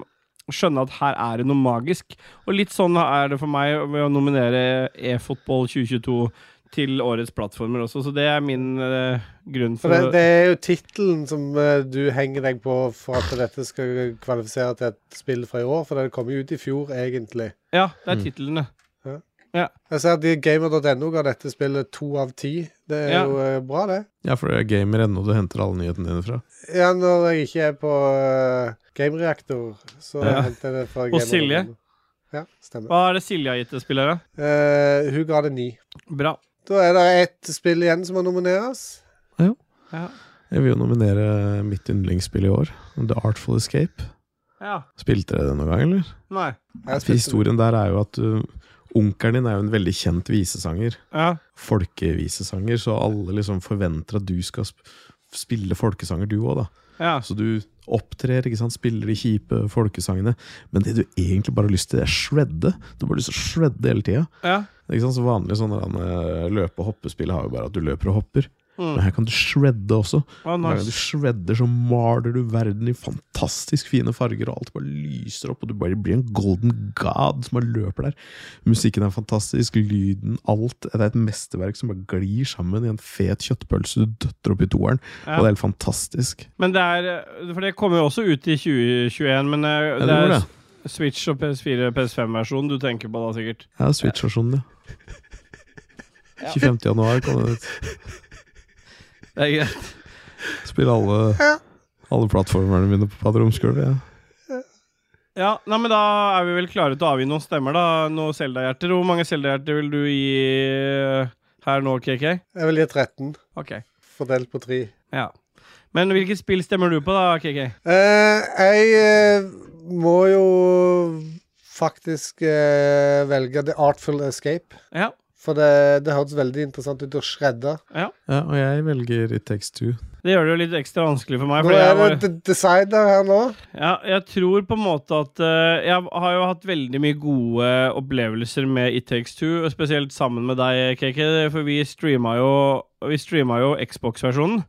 skjønne at her er det noe magisk. Og litt sånn er det for meg ved å nominere eFotball 2022 til årets plattformer også, så det er min eh, grunn
For
for
det,
å-
det er jo tittelen som eh, du henger deg på for at dette skal kvalifisere til et spill fra i år, for det kom jo ut i fjor, egentlig.
Ja, det
Mm.
er titlene.
Jeg ser at de- gamer.no ga dette spillet to av ti. Det er
Ja.
jo eh, bra, det.
Ja, for det er gamer.no du henter alle nyhetene dine fra.
Ja, når jeg ikke er på eh, gamereaktor, så
Ja.
henter jeg det fra
Og Silje?
gamer.no. Ja, stemmer.
Hva er det Silje har gitt det spillet? da?
Eh, hun ga det ni.
Bra.
Da er det ett spill igjen som må nomineres.
Ja.
Jeg vil jo nominere mitt yndlingsspill i år, The Artful Escape.
ja.
Spilte dere det noen gang, eller?
Nei.
Jeg
For historien der er jo at uh, onkelen din er jo en veldig kjent visesanger.
Ja.
Folkevisesanger, så alle liksom forventer at du skal sp spille folkesanger, du òg, da.
ja.
Så Altså, du opptrer, ikke sant? spiller de kjipe folkesangene. Men det du egentlig bare har lyst til, det er shredde. Du har bare lyst til å shredde hele tida.
ja.
Ikke sant? Så vanlige sånne eh, løpe- og hoppespill har jo bare at du løper og hopper.
Mm.
Men her kan du shredde også.
Å,
Hver gang du
nice.
shredder, så maler du verden i fantastisk fine farger, og alt bare lyser opp, og du bare blir en golden god som bare løper der. Musikken er fantastisk, lyden, alt. Det er et mesterverk som bare glir sammen i en fet kjøttpølse du døtter opp i toeren,
Ja.
og det er helt fantastisk.
Men det er eh, For det kommer jo også ut i 2021, men eh,
Ja, det
det
gjorde
er
det.
S- Switch og PS4 PS5-versjonen du tenker på da, sikkert.
Ja, Switch-versjonen, ja. 25. januar kan du
Det er greit.
spille alle, alle plattformerne mine på romsgulvet. Ja.
Ja, nei, men Da er vi vel klare til å avgi noen stemmer, da. Noen Zelda-hjerter. Hvor mange Zelda-hjerter vil du gi eh, her nå, KK?
Jeg vil gi 13,
Ok,
fordelt på 3.
ja. Men hvilket spill stemmer du på, da, KK?
Eh, jeg eh, må jo faktisk eh, velge The Artful Escape.
Ja.
For det, det hørtes veldig interessant ut å shredde.
Ja, og jeg velger It Takes Two.
Det gjør det jo litt ekstra vanskelig for meg.
Nå
fordi jeg
er
var-
det d- designer her nå.
Ja, jeg tror på en måte at eh, Jeg har jo hatt veldig mye gode opplevelser med It Takes Two, og spesielt sammen med deg, KK, for vi streama jo, vi streama jo Xbox-versjonen.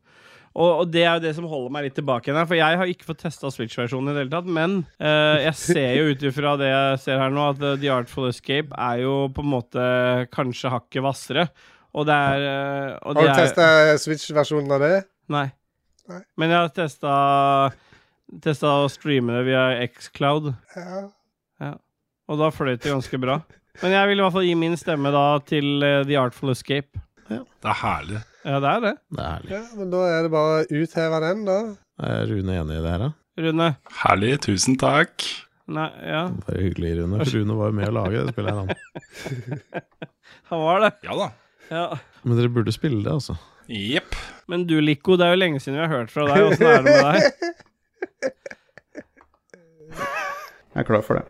Og, og det er jo det som holder meg litt tilbake igjen her, for jeg har ikke fått testa Switch-versjonen i det hele tatt, men eh, jeg ser jo ut ifra det jeg ser her nå, at eh, The Artful Escape er jo på en måte kanskje hakket hvassere. Og det er eh, og
Har
det
du
er-
testa Switch-versjonen av det?
Nei.
Nei.
Men jeg har testa Testa å streame det via Xcloud,
Ja.
og da fløyt det ganske bra. Men jeg vil i hvert fall gi min stemme da til eh, The Artful Escape.
Det er herlig.
Ja, det er det.
Det er herlig.
ja, men da er det bare å utheve den, da.
Er Rune enig i det her, da?
Rune.
Herlig, tusen takk.
Nei, ja.
Bare hyggelig, Rune. For Rune var jo med å lage det spillet her, han.
Han var det.
Ja da.
Ja.
Men dere burde spille det, altså.
Jepp.
Men du, Lico, det er jo lenge siden vi har hørt fra deg. Åssen er det med deg?
Jeg er klar for det.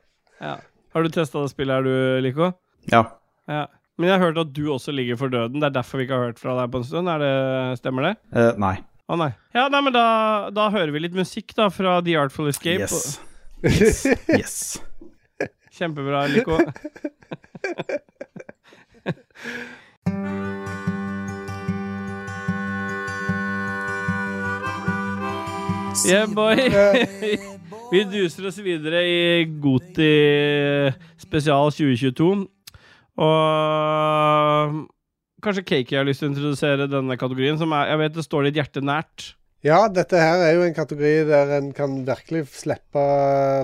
Ja. Har du testa det spillet her, du, Lico?
Ja.
Ja. Men jeg har hørt at du også ligger for døden. Det er derfor vi ikke har hørt fra deg på en stund. Er det, stemmer det?
Eh, nei.
Å nei. Ja, nei, men da, da hører vi litt musikk da fra The Artful Escape.
Yes. Yes. yes.
Kjempebra, Lico. Yeah, boy. Vi duser oss videre i Goti spesial 2022. Og kanskje Cakey har lyst til å introdusere denne kategorien, som er, jeg vet det står litt hjerte nært.
Ja, dette her er jo en kategori der en kan virkelig slippe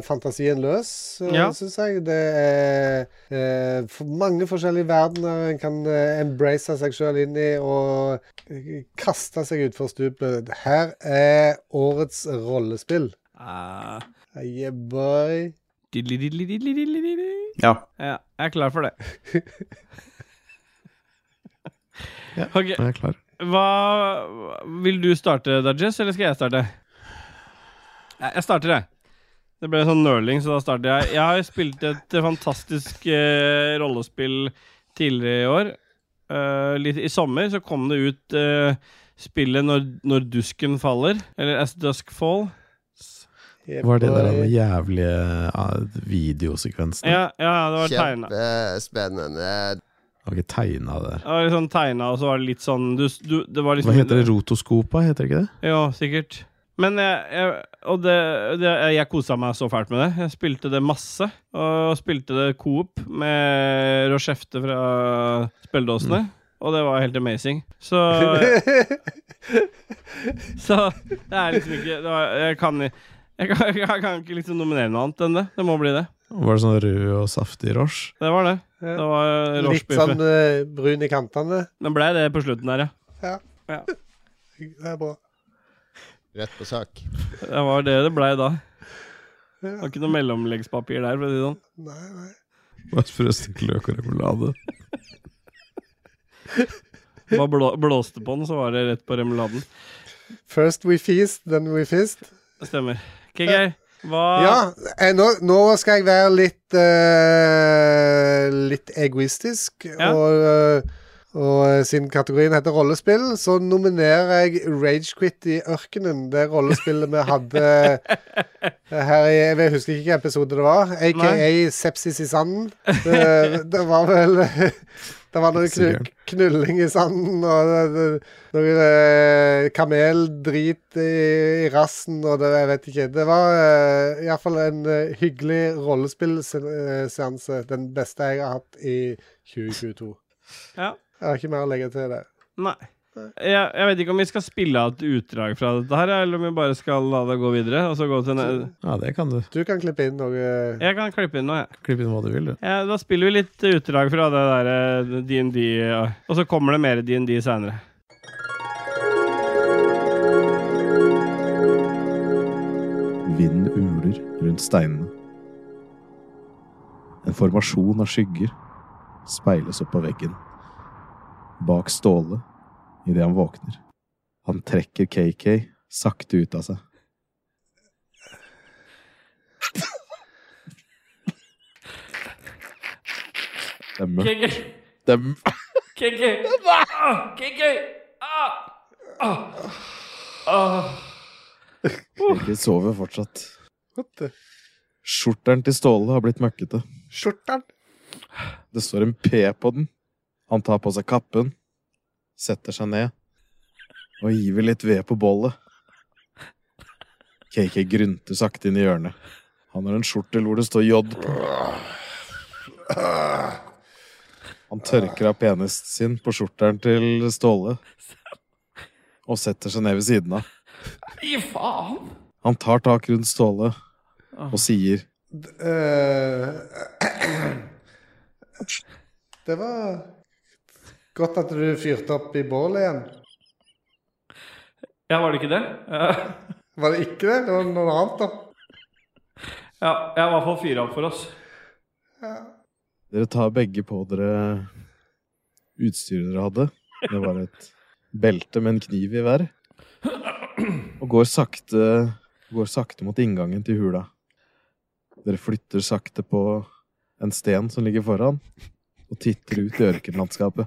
fantasien løs,
Ja.
ja. syns jeg. Det er eh, for mange forskjellige verdener en kan eh, embrace seg sjøl inn i og eh, kaste seg utfor stupet.
Ah.
Her er årets rollespill. Yeah, boy.
Ja,
Ja.
jeg er klar for det.
Ja.
Ok,
Jeg er klar.
hva Vil du starte, Dajess, eller skal jeg starte? Jeg jeg starter, jeg. Det ble sånn nøling, så da starter jeg. Jeg har spilt et eh, fantastisk eh, rollespill tidligere i år. Eh, litt I sommer så kom det ut eh, spillet når, 'Når dusken faller', eller 'As Dusk Fall'.
Var det der den jævlige ja, videosekvensen?
Ja, ja det var tegna.
Kjempespennende.
Har ikke tegna det der.
Det var litt sånn tegna, og så var det litt sånn du, du, Det var liksom
Hva heter det? Rotoskopa, heter det ikke det?
Ja, sikkert. Men jeg, jeg, og det, det, jeg kosa meg så fælt med det. Jeg spilte det masse. Og spilte det coop med Rochefte fra spilledåsene.
Mm.
Og det var helt amazing. Så, så det er liksom ikke det var, jeg, kan, jeg, kan, jeg kan ikke liksom nominere noe annet enn det. Det må bli det.
Var det sånn rød og saftig rosj?
Det var det.
Ja.
det var
Litt
rochebiffen.
sånn eh, brun i kantene.
Den blei det på slutten der, ja.
Det er bra.
Rett på sak.
Det var det det blei da. Det
Ja.
var ikke noe mellomleggspapir der. for å si det sånn.
Nei, nei.
Bare sprø løk og remulade.
Det var blå, blåste på den, så var det rett på remuladen.
First we feast, then we fist.
Det stemmer. KK, hva
Ja, eh, nå, nå skal jeg være litt eh, Litt egoistisk.
Ja.
Og, eh, og eh, siden kategorien heter rollespill, så nominerer jeg Ragequit i ørkenen. Det rollespillet vi hadde eh, her i Jeg husker ikke hvilken episode det var. Aka Sepsis i sanden. Det, det var vel Det var noe knu,
Sikkert.
knulling i sanden, og det, det, noe eh, kameldrit i, i rassen, og det, jeg vet ikke. Det var eh, i hvert iallfall en eh, hyggelig rollespillseanse. Den beste jeg har hatt i 2022.
Ja.
Jeg har ikke mer å legge til det.
Nei. Jeg, jeg vet ikke om vi skal spille av et utdrag fra dette her, eller om vi bare skal la det gå videre. Og så gå til en,
Ja, det kan du.
Du kan klippe inn noe eh,
jeg kan klippe inn noe, jeg.
Klipp inn hva du vil, du.
Ja, da spiller vi litt utdrag fra det der eh, DND, og så kommer det mer DND seinere.
Vinden uler rundt steinene. En formasjon av skygger speiles opp av veggen. Bak Ståle idet han våkner. Han trekker KK sakte ut av seg. Det er mørkt.
KK,
Det er mørkt.
KK, Ah, KK, ah, ah, ah.
KK sover fortsatt.
What the-
Skjorteren til Ståle har blitt møkkete.
Skjorten?
Det står en P på den. Han tar på seg kappen, setter seg ned og hiver litt ved på bollet. KK grynter sakte inn i hjørnet. Han har en skjortel hvor det står J på. Han tørker av penisen sin på skjorteren til Ståle og setter seg ned ved siden av.
Fy faen!
Han tar tak rundt Ståle og sier
Eh, Det var godt at du fyrte opp i bålet igjen.
Ja, var det ikke det? Eh,
Var det ikke det? Det var noe annet, da.
Ja, jeg var i hvert fall fyra opp for oss.
Dere tar begge på dere utstyret dere hadde. Det var et belte med en kniv i hver. Og går sakte, går sakte mot inngangen til hula. Dere flytter sakte på en sten som ligger foran, og titter ut i ørkenlandskapet.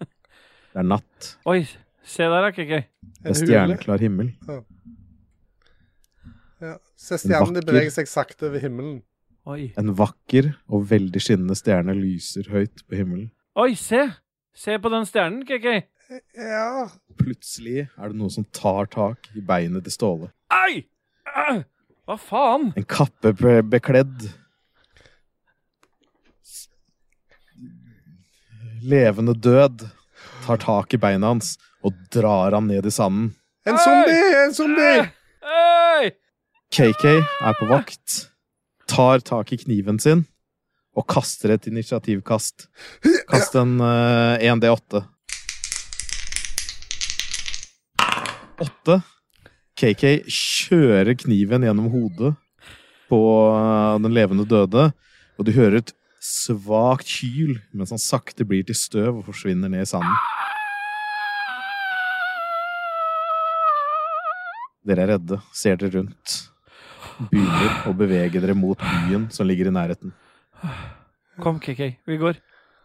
Det er natt.
Oi, se der, da, KK.
Det er
En hule.
stjerneklar himmel.
Ja. Så stjernene
vakker-
beveger seg sakte over himmelen.
Oi.
En vakker og veldig skinnende stjerne lyser høyt på himmelen.
Oi, se! Se på den stjernen, KK.
Ja.
Plutselig er det noe som tar tak i beinet til Ståle.
Ai! Au! Hva faen?
En kappe be- bekledd s- Levende død tar tak i beina hans og drar han ned i sanden.
En zombie! En zombie!
Oi!
KK er på vakt, tar tak i kniven sin og kaster et initiativkast. Kast en eh, 1D8. Åtte. KK kjører kniven gjennom hodet på eh, den levende døde, og du hører et svakt hyl mens han sakte blir til støv og forsvinner ned i sanden. Dere er redde, ser dere rundt, begynner å bevege dere mot byen som ligger i nærheten.
Kom, KK. Vi går.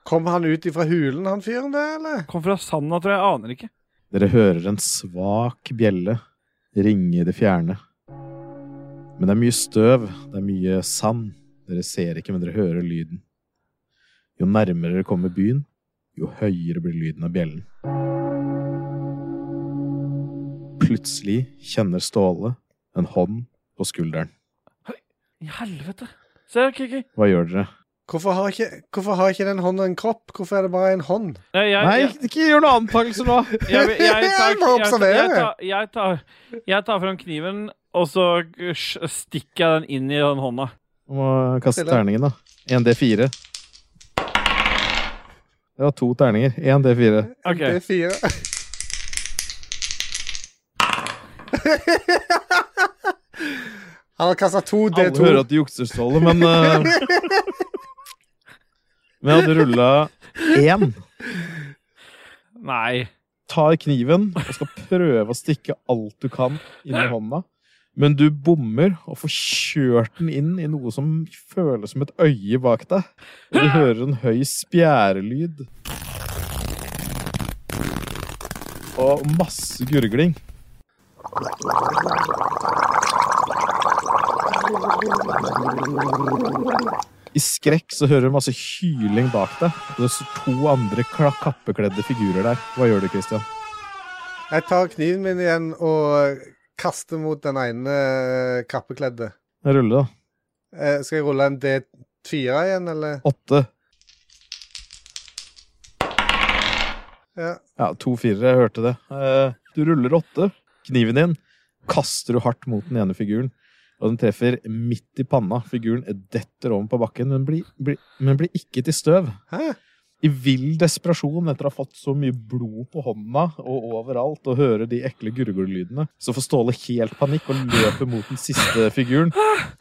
Kom han ut ifra hulen, han fyren der, eller?
Kom fra sanda, tror jeg. jeg. Aner ikke.
Dere hører en svak bjelle ringe i det fjerne. Men det er mye støv, det er mye sand. Dere ser ikke, men dere hører lyden. Jo nærmere dere kommer byen, jo høyere blir lyden av bjellen. Plutselig kjenner Ståle en hånd på skulderen.
I helvete. Se, KK.
Hva gjør dere?
Hvorfor har ikke, hvorfor har ikke den hånda en kropp? Hvorfor er det bare en hånd?
Nei, jeg,
Nei,
jeg,
ikke gjør noen antakelser nå!
jeg, jeg, jeg, tar,
Jeg må
jeg, tar, jeg,
observere.
tar, jeg, tar, jeg tar fram kniven, og så eh, stikker jeg den inn i den hånda.
Du må kaste terningen, da. 1D4. Det var to terninger. 1D4.
Ok.
Det er fire. Han har kasta to
Alle hører
D2.
at du jukser, Ståle, men eh, Men jeg hadde rulla én.
Nei.
Tar kniven og skal prøve å stikke alt du kan inn i hånda. Men du bommer og får kjørt den inn i noe som føles som et øye bak deg. Og du hører en høy spjærelyd. Og masse gurgling. I skrekk så hører du masse hyling bak deg. Og det står to andre kla- kappekledde figurer der. Hva gjør du, Christian?
Jeg tar kniven min igjen og kaster mot den ene eh, kappekledde.
Rulle, da.
Eh, Skal jeg rulle en D4 igjen, eller?
Åtte.
Ja.
Ja, to firere. Jeg hørte det. Eh, Du ruller åtte. Kniven din kaster du hardt mot den ene figuren. Og den treffer midt i panna. Figuren detter over på bakken, men blir, blir, men blir ikke til støv.
Hæ?
I vill desperasjon etter å ha fått så mye blod på hånda og overalt og høre de ekle gurglelydene, så får Ståle helt panikk og løper mot den siste figuren.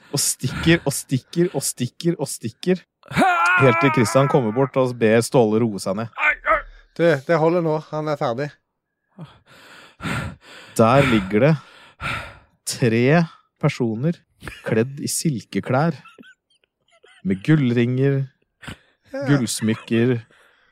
Og stikker og stikker og stikker og stikker. Helt til Christian kommer bort og ber Ståle roe seg ned.
Du, det holder nå. Han er ferdig.
Der ligger det tre personer kledd i silkeklær. Med gullringer, gullsmykker,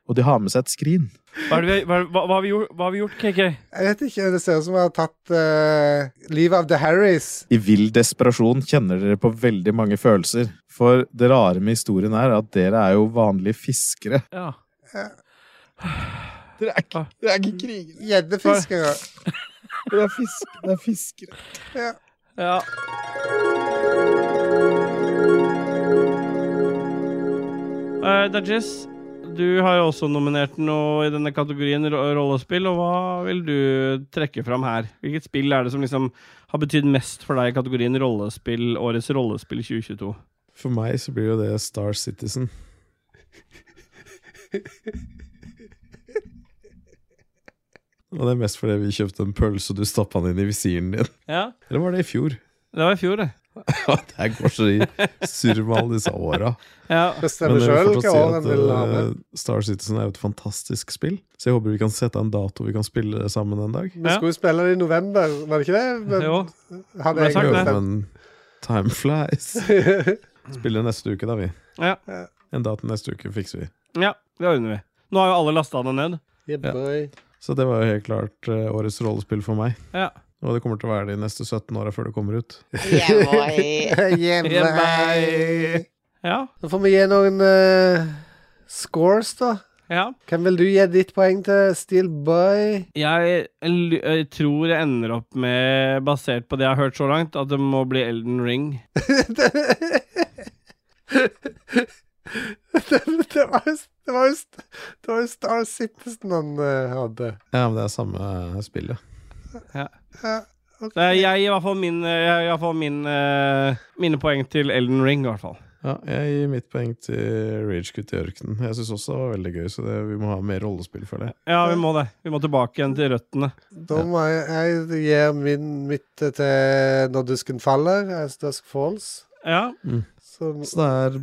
og de har med seg et skrin.
Hva, er det vi, hva, hva, hva, har vi gjort, hva har vi gjort, KK?
Jeg vet ikke. Det ser ut som jeg har tatt eh, livet av The Harrys.
I vill desperasjon kjenner dere på veldig mange følelser. For det rare med historien er at dere er jo vanlige fiskere.
Ja.
Dere er ikke, dere er ikke krigere,
Gjeddefiskere.
dere er, fisk, dere er fiskere.
ja.
Eh, Dajis, du har jo også nominert noe i denne kategorien ro- rollespill, og hva vil du trekke fram her? Hvilket spill er det som liksom har betydd mest for deg i kategorien rollespill, årets rollespill 2022?
For meg så blir jo det Star Citizen. Og det er mest fordi vi kjøpte en pølse, og du stappa den inn i visiren din.
Ja,
Eller var det i fjor?
det var i fjor, det.
Ja, det går så i surr med alle disse åra.
Ja.
Bestemmer sjøl hvilke år han vil ha
eh,
med.
Star Citizen er jo et fantastisk spill, så jeg håper vi kan sette en dato vi kan spille det sammen en dag.
Vi skulle jo spille det i november, var det ikke det? Men,
Jo.
hadde
det
jeg
ble sagt,
Jo,
glemt
det.
men time flies. Spiller neste uke, da, vi.
Ja.
En dato neste uke fikser vi.
ja, det ordner vi. Nå har jo alle lasta det ned.
Yeah,
Ja.
boy.
Så det var jo helt klart eh, årets rollespill for meg.
Ja.
Og det kommer til å være det de neste 17 åra før det kommer ut.
Yeah, boy.
Ja.
Da får vi gi noen eh, scores, da.
ja.
Hvem vil du gi ditt poeng til, Steel Boy?
Jeg, l- jeg tror jeg ender opp med, basert på det jeg har hørt så langt, at det må bli Elden Ring.
det, det, var jo, det, var jo, st- det var jo Star Citizen han eh, hadde.
Ja, men det er samme spillet.
Ok.
eh, Så jeg gir i hvert fall, min, jeg, gir i hvert fall min, eh, mine poeng til Elden Ring, i hvert fall.
Ja, jeg gir mitt poeng til Ragequit i ørkenen. Jeg syns også det var veldig gøy, så det, vi må ha mer rollespill for det.
Ja, vi må det. Vi må tilbake igjen til røttene.
Da må jeg, jeg gir min mitt til Når dusken faller, As Dusk Falls.
Ja,
Som,
Så det er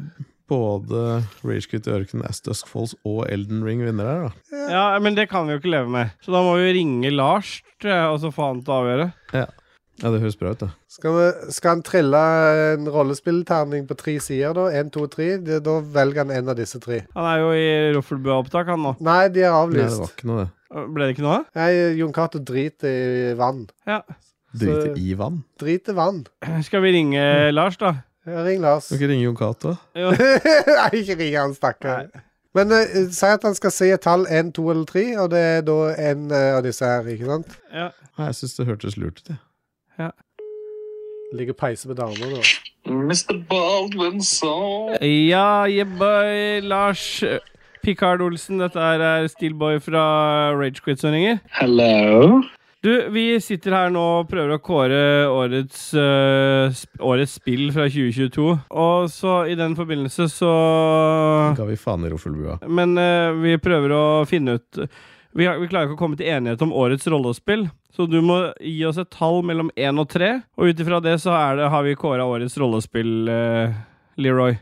både Ragequit i ørkenen, As Dusk Falls og Elden Ring vinner her, da.
ja, men det kan vi jo ikke leve med. Så da må vi ringe Lars, tror jeg, og så få han til å avgjøre.
Ja, det høres bra ut, det.
skal, vi, skal han trille en rollespillterning på tre sider, da? Én, to, tre? Det- Da velger han en av disse tre.
Han er jo i Roffelbua-opptak, han nå.
Nei, de er
Nei, det
avlyst.
var ikke noe, det.
Ble det ikke noe?
Nei, Jon Cato driter i vann.
Ja.
Drite i vann.
Driter vann.
Skal vi ringe Lars, da?
Ring Lars.
Skal ikke ringe Jon Cato?
Jo.
Nei, ikke ring han, stakkar. Men eh, si at han skal si et tall én, to eller tre, og det er da en eh, av disse her, ikke sant?
Ja.
Nei, jeg syns det hørtes lurt ut, jeg.
Ligger og peiser med damer nå.
Mr. Baldwin sa
Ja, yeah, boy, Lars. Picard Olsen, dette her er Steelboy fra Ragequit som ringer.
Hello.
Du, vi sitter her nå og prøver å kåre årets, øh, sp årets spill fra 2022. Og så i den forbindelse så
Ga vi faen i Roffelbua.
Men øh, vi prøver å finne ut vi, har, vi klarer ikke å komme til enighet om årets rollespill. Så du må gi oss et tall mellom én og tre, og ut ifra det så er det, har vi kåra årets rollespill, øh, Leroy.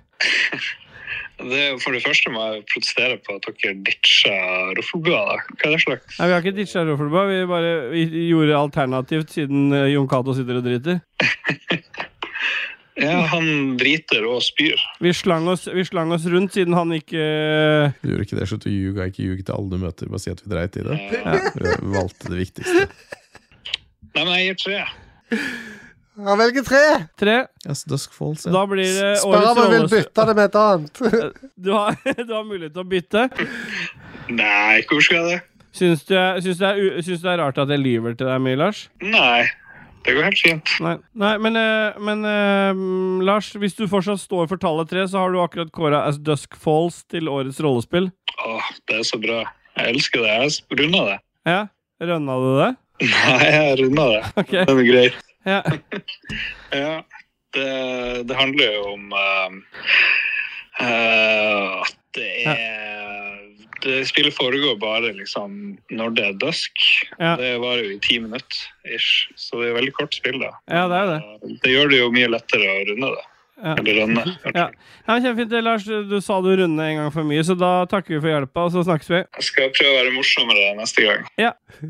Det, er- for det første må jeg protestere på at dere ditcha Roffelbua. da. Hva er det slags?
Nei, Vi har ikke ditcha Roffelbua. Vi bare vi gjorde alternativt, siden eh, Jon Cato sitter og driter.
Ja, han driter og spyr.
Vi slang, oss, vi slang oss rundt, siden han ikke eh,
Du gjorde ikke det, slutt å ljuge. Ikke ljug til alle du møter, bare si at vi dreit i det. Vi valgte det viktigste.
Nei, men jeg gir tre.
Han velger tre!
Tre.
As Dusk Falls,
Da blir det
Spør om
årets
han vil
rollespill.
bytte det med et annet.
Du har, du har mulighet til å bytte.
Nei, hvorfor skal jeg det?
Syns du, jeg- syns, det er, u- syns det er rart at jeg lyver til deg mye, Lars?
Nei, det går helt fint.
Nei, Nei men, eh, men eh, mm, Lars, hvis du fortsatt står for tallet tre, så har du akkurat kåra As Dusk Falls til årets rollespill.
Åh, det er så bra. Jeg elsker det. Jeg runder det.
Ja? Rønna du det?
Nei, jeg runder det.
Ok.
Det er greit.
Ja.
Ja, det, det handler jo om ehm, eh, at det er Det spillet foregår bare liksom når det er dusk.
Ja.
Det varer jo i ti minutter ish, så det er jo veldig kort spill, da.
ja, det er det.
Det gjør det jo mye lettere å runde det.
Ja.
Eller rønne.
Ja. Ja, men Kjempefint, det, Lars. Du sa du runde en gang for mye, så da takker vi for hjelpa, og så snakkes vi.
Jeg skal prøve å være morsommere neste gang.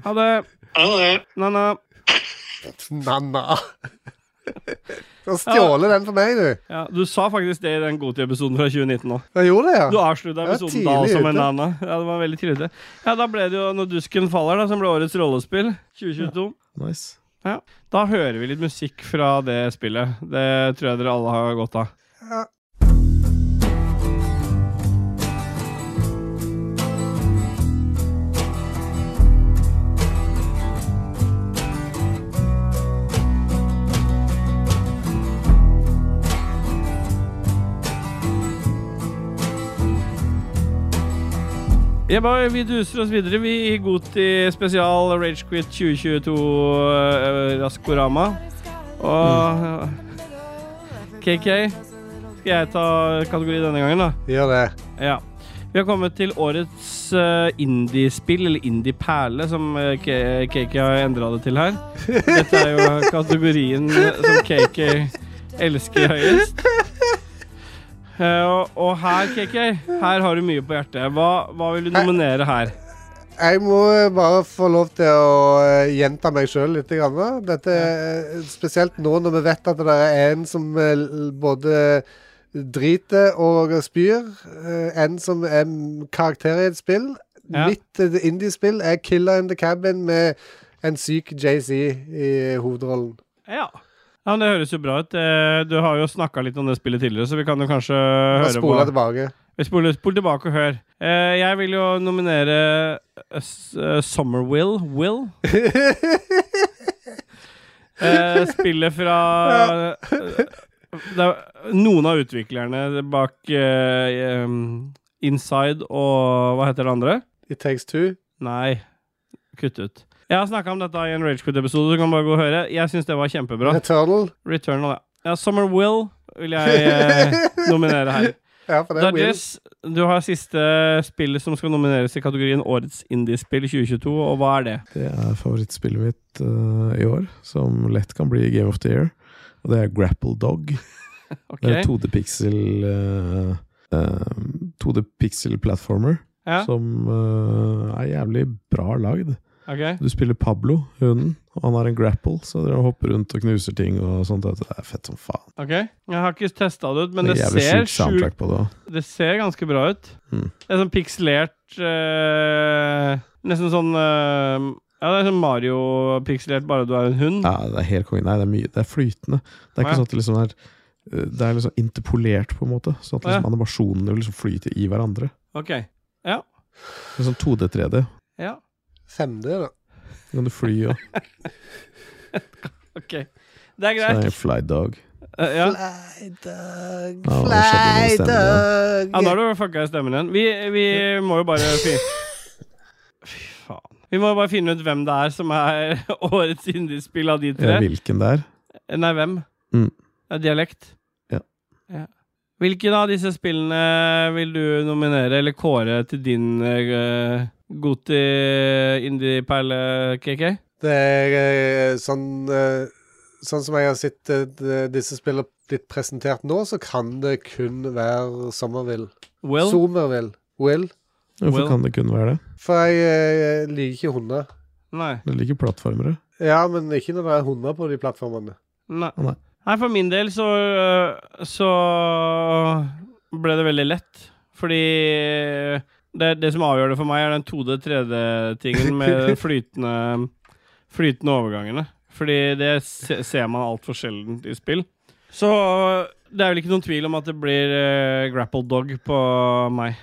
Ha det.
Ha det!
Na-na.
Nanna. Du har stjålet den for meg, du.
Ja, du sa faktisk det i den Goti-episoden fra 2019 òg.
Jeg gjorde det,
Du
ja.
avslutta
Ja,
episoden
tidlig
da også med
ute.
Nana. Ja, det var veldig tidlig ute. Ja, da ble det jo Når dusken faller, da, som ble årets rollespill 2022.
Nice.
Da hører vi litt musikk fra det spillet. Det tror jeg dere alle har godt av.
Ja.
Yeah, boy, vi duser oss videre. Vi i Goti spesial Ragequit 2022 eh, Raskorama. Og eh, KK, skal jeg ta kategori denne gangen, da?
Gjør det.
Ja. Vi har kommet til årets eh, indiespill, eller indie-perle, som eh, K- KK har endra det til her. Dette er jo kategorien eh, som KK elsker høyest. Eh, og, og her, KK, her har du mye på hjertet. Hva, hva vil du nominere her?
Jeg må eh, bare få lov til å eh, gjenta meg sjøl litt. Grann, da. Dette, eh, spesielt nå når vi vet at det er en som eh, l- både driter og spyr. eh, En som er m- karakter i et spill.
Ja.
Mitt eh, indie-spill er 'Killer in the Cabin' med en syk JC i hovedrollen.
Ja. ja, men Det høres jo bra ut. Eh, Du har jo snakka litt om det spillet tidligere, så vi kan jo kanskje
Og
høre på
spoler tilbake.
Vi spoler, spol tilbake og hør. Eh, jeg vil jo nominere eh, S- eh, Summerwill. Will. Eh, spillet fra eh, det er Noen av utviklerne bak eh, em, Inside og Hva heter det andre?
It takes two.
Nei, kutt ut. Jeg har snakka om dette i en Ragequit-episode, så du kan bare gå og høre. Jeg syns det var kjempebra.
Eternal.
Returnal, ja. ja Summer Will vil jeg eh, nominere her.
Ja, for det er weird.
Dodges, du har siste spill som skal nomineres i kategorien Årets indiespill 2022, og hva er det?
Det er favorittspillet mitt eh, i år, som lett kan bli Game of the Year. Og det er Grapple Dog.
Ok,
Det er 2D-pixel eh, 2D-pixel-platformer
Ja.
som eh, er jævlig bra lagd.
ok.
Du spiller Pablo, hunden, og han har en grapple, så dere hopper rundt og knuser ting og sånt. Det er fett som faen.
ok. Jeg har ikke testa det ut, men
Det
det,
er jævlig
ser
sjukt
sjukt
soundtrack på det òg.
Det ser ganske bra ut.
Mm.
Det er sånn pikselert eh, Nesten sånn eh, Ja, det er sånn Mario-pikselert, bare du er en hund.
Ja, det er helt konge. Nei, det er mye. Det er flytende. Det er
Å,
ikke
ja.
sånn at det liksom er eh, det er liksom interpolert, på en måte. Så at
Å, ja.
liksom animasjonene liksom flyter i hverandre.
Ok.
Det er sånn 2D-3D.
Ja.
5D, da.
Så kan du fly og
ok Det er
Så er
greit.
det en fly dog.
Eh, ja.
Flydog,
Ja, det skjedde noe stemning,
ja, nå har du fucka i stemmen igjen. Vi, vi må jo bare fi- Fy faen. Vi må jo bare finne ut hvem det er som er årets indiespill av de
Ja,
tre.
hvilken det er?
Nei, hvem?
Mm.
Det er dialekt.
Ja.
Ja. Hvilken av disse spillene vil du nominere eller kåre til din uh, Goti indie-perle, KK?
Det er eh, sånn eh, Sånn som jeg har sett eh, d- disse spillene blitt presentert nå, så kan det kun være Sommervill.
Will?
Sommervill. Will.
Hvorfor
Well.
kan det kun være det?
For jeg eh, liker ikke hunder.
Nei.
Det ligger plattformere.
Ja, men ikke når det er hunder på de plattformene.
Nei.
Nei.
Nei, for min del så øh, Så ble det veldig lett. Fordi det, det som avgjør det for meg, er den 2D-3D-tingen med flytende Flytende overgangene. Fordi det se, ser man altfor sjelden i spill. Så det er vel ikke noen tvil om at det blir øh, grapple dog på meg.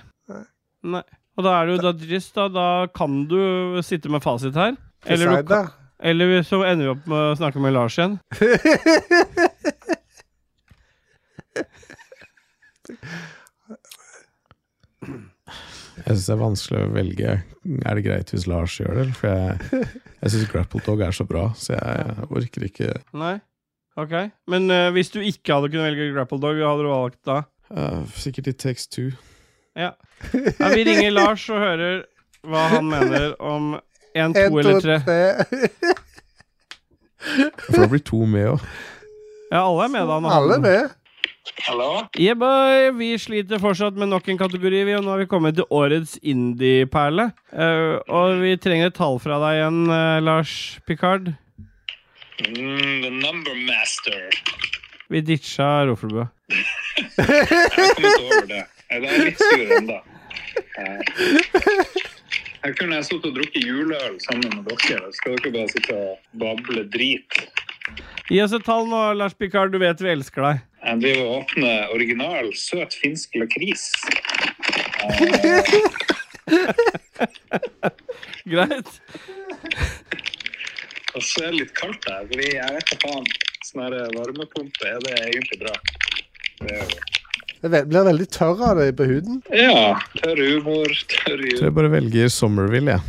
Nei. Og da er det jo da Driss, da. Da kan du sitte med fasit her. Eller, du,
Poseida.
ka- eller så ender vi opp med å snakke med Lars igjen.
Jeg syns det er vanskelig å velge. Er det greit hvis Lars gjør det? eller? For jeg, jeg syns Grapple Dog er så bra, så jeg orker ikke
Nei. Ok. Men eh, hvis du ikke hadde kunnet velge Grapple Dog, hva hadde du valgt da?
Eh, Sikkert i Text 2.
Ja, vi ringer Lars og hører hva han mener om én,
En,
to
to,
eller tre.
tre.
For da blir to med òg.
Ja, alle er med da. nå.
Alle med.
Hallo?
Yeah, boy. Vi sliter fortsatt med nok en kategori, vi, og nå har vi kommet til årets indie-perle. Eh, og vi trenger et tall fra deg igjen, eh, Lars Picard.
Mm, the Number Master.
Vi ditcha Roffelbø.
Jeg har kommet over det. Jeg er litt sur ennå. Jeg kunne jeg sittet og drukket juleøl sammen med dere. Skal dere bare sitte og bable drit?
Gi oss et tall nå, Lars Picard. Du vet vi elsker deg.
Jeg driver og åpner original søt finsk lakris.
Greit?
Og så er det litt kaldt her, fordi jeg vet ikke faen. Sånn her varmepumpe, er det egentlig bra? Det er jo-
Det ve- blir veldig tørr av det på huden.
Ja. Tørr humor, tørr
Så
humor.
jeg bare velger Somerville, jeg.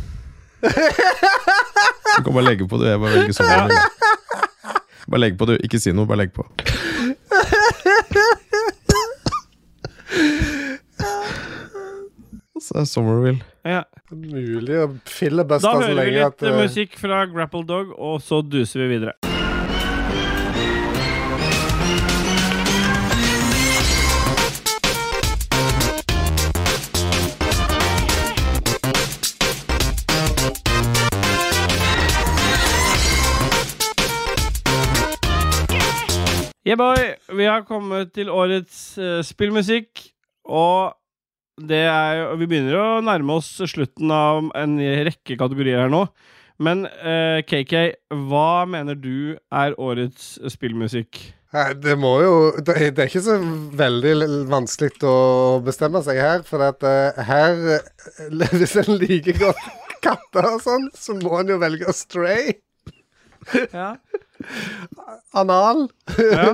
Du kan bare legge på det. Jeg bare velger Somerville. Bare legg på, du. Ikke si noe, bare legg på. Så er Somerville.
Ja.
Mulig å
Da
fillebuste så
hører vi
lenge
litt
at eh,
musikk fra Grapple Dog, og så duser vi videre. Yeah, boy. Vi har kommet til årets eh, spillmusikk, og det er, jo- vi begynner jo å nærme oss slutten av en rekke kategorier her nå. Men eh, KK, hva mener du er årets spillmusikk?
Nei, Det må jo Det er det er ikke så veldig l- vanskelig å bestemme seg her, for at eh, her eh, Hvis en liker godt katter og sånn, så må en jo velge å stray.
Ja.
Anal.
Ja.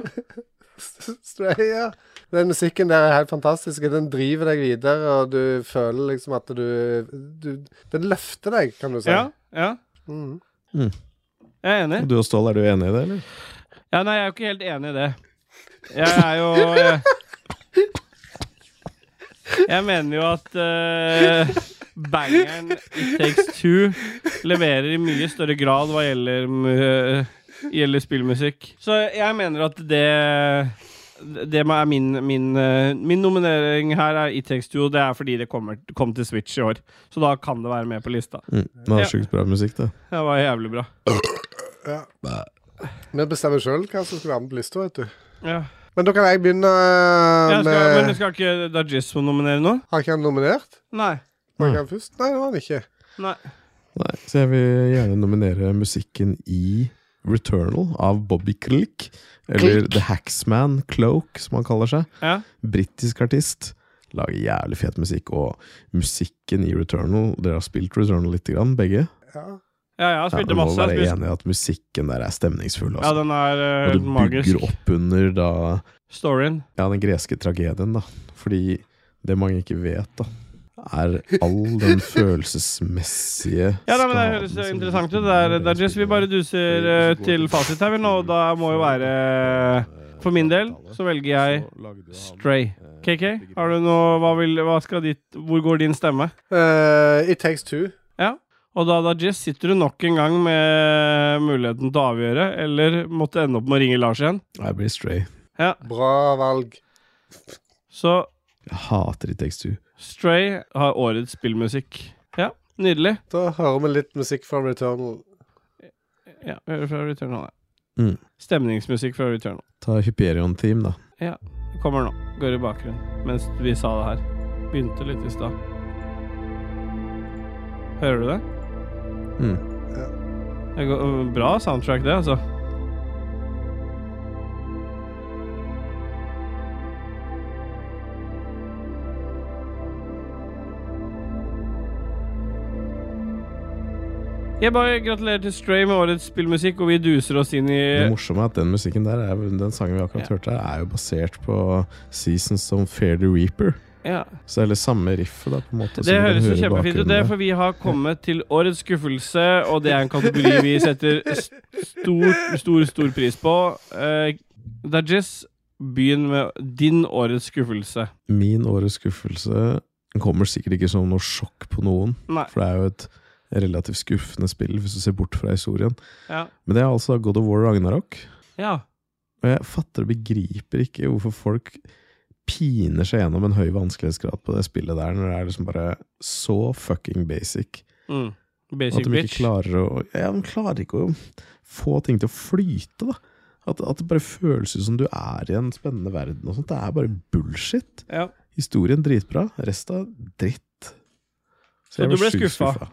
stray, ja. Den musikken der er helt fantastisk. og Den driver deg videre, og du føler liksom at du, du Den løfter deg, kan du si.
Ja. ja.
Mhm.
Jeg er enig.
Du og Stål, er du enig i det, eller?
Ja, nei, jeg er jo ikke helt enig i det. Jeg er jo eh, Jeg mener jo at eh, bangeren i Takes Two leverer i mye større grad hva gjelder, mu- eh, gjelder spillmusikk. Så jeg mener at det det er min, min, eh, min nominering her er i Takes Two, og det er fordi det kommer, kom til Switch i år. Så da kan det være med på lista.
Mm. Det var
Ja.
sjukt bra musikk, det.
Det var jævlig bra.
Vi bestemmer sjøl hva som skal være med på lista, vet du.
Ja.
Men da kan jeg begynne
Jeg skal, men
med
skal ikke Dajismo nominere noe?
Har ikke han nominert?
Nei.
Var
Nei.
ikke han først? Nei, det var han ikke.
Nei.
Nei, så jeg vil gjerne nominere musikken i Returnal av Bobby Click. Eller The Hacksman Cloak, som han kaller seg.
Ja.
Britisk artist. Lager jævlig fet musikk. Og musikken i Returnal Dere har spilt Returnal lite grann, begge?
Ja.
Ja, jeg har
Ja,
spilt
du må
masse.
være
Jeg har spilt-
enig i at musikken der er stemningsfull.
Ja,
Altså.
den er eh,
og
helt
det
magisk.
bygger opp under da
Storyen.
Ja, den greske tragedien, da. Fordi det mange ikke vet, da, er all den følelsesmessige
Ja, nei, men Det
skaden
høres
som-
interessant ut. Det er- det er just Vi bare duser eh, til fasit her, vi nå. og Da må jo være eh, For min del så velger jeg
eh,
Stray. KK, har du noe hva, vil, hva skal ditt Hvor går din stemme?
Eh, It Takes Two.
Og da, da Jess, sitter du nok en gang med muligheten til å avgjøre, eller måtte ende opp med å ringe Lars igjen.
Jeg blir stray.
Ja,
Bra valg.
Så
Jeg hater i Takes Two.
Stray har årets spillmusikk. Ja, nydelig.
Da hører vi litt musikk fra Returnal.
Ja, vi hører fra Returnal, ja.
Mm.
Stemningsmusikk fra Returnal.
Ta Hyperion Team, da.
Det kommer nå. Går i bakgrunnen mens vi sa det her. Begynte litt i stad. Hører du det?
Mm.
Ja.
Det går, øh, bra soundtrack, det, altså. Jeg bare gratulerer til Stray med årets spillmusikk, og vi duser oss inn i
Det morsomme er at den musikken der er, Den sangen vi akkurat hørte, her er jo basert på Seasons of Fair the Reaper.
ja.
Så det er litt samme riffet, da, på en måte. som
Det
du
høres jo
hører i
kjempefint ut, det,
bakgrunnen
for vi har kommet til årets skuffelse, og det er en kategori vi setter s- stor, stor, stor pris på. Uh, Dajis, begynn med din årets skuffelse.
der. Min årets skuffelse den kommer sikkert ikke som noe sjokk på noen,
Nei.
for det er jo et relativt skuffende spill, hvis du ser bort fra historien.
Ja.
Men det er altså God of War Ragnarok.
ja.
Og jeg fatter og begriper ikke hvorfor folk piner seg gjennom en høy vanskelighetsgrad på det spillet der, når det er liksom bare så fucking basic.
Mm.
At
Basic
de ikke
bitch.
klarer å Ja, de klarer ikke å få ting til å flyte, da. At, at det bare føles ut som du er i en spennende verden og sånt. Det er bare bullshit.
Ja.
Historien dritbra, resten dritt.
Så
jeg
du ble
sjukt
skuffa?
skuffa.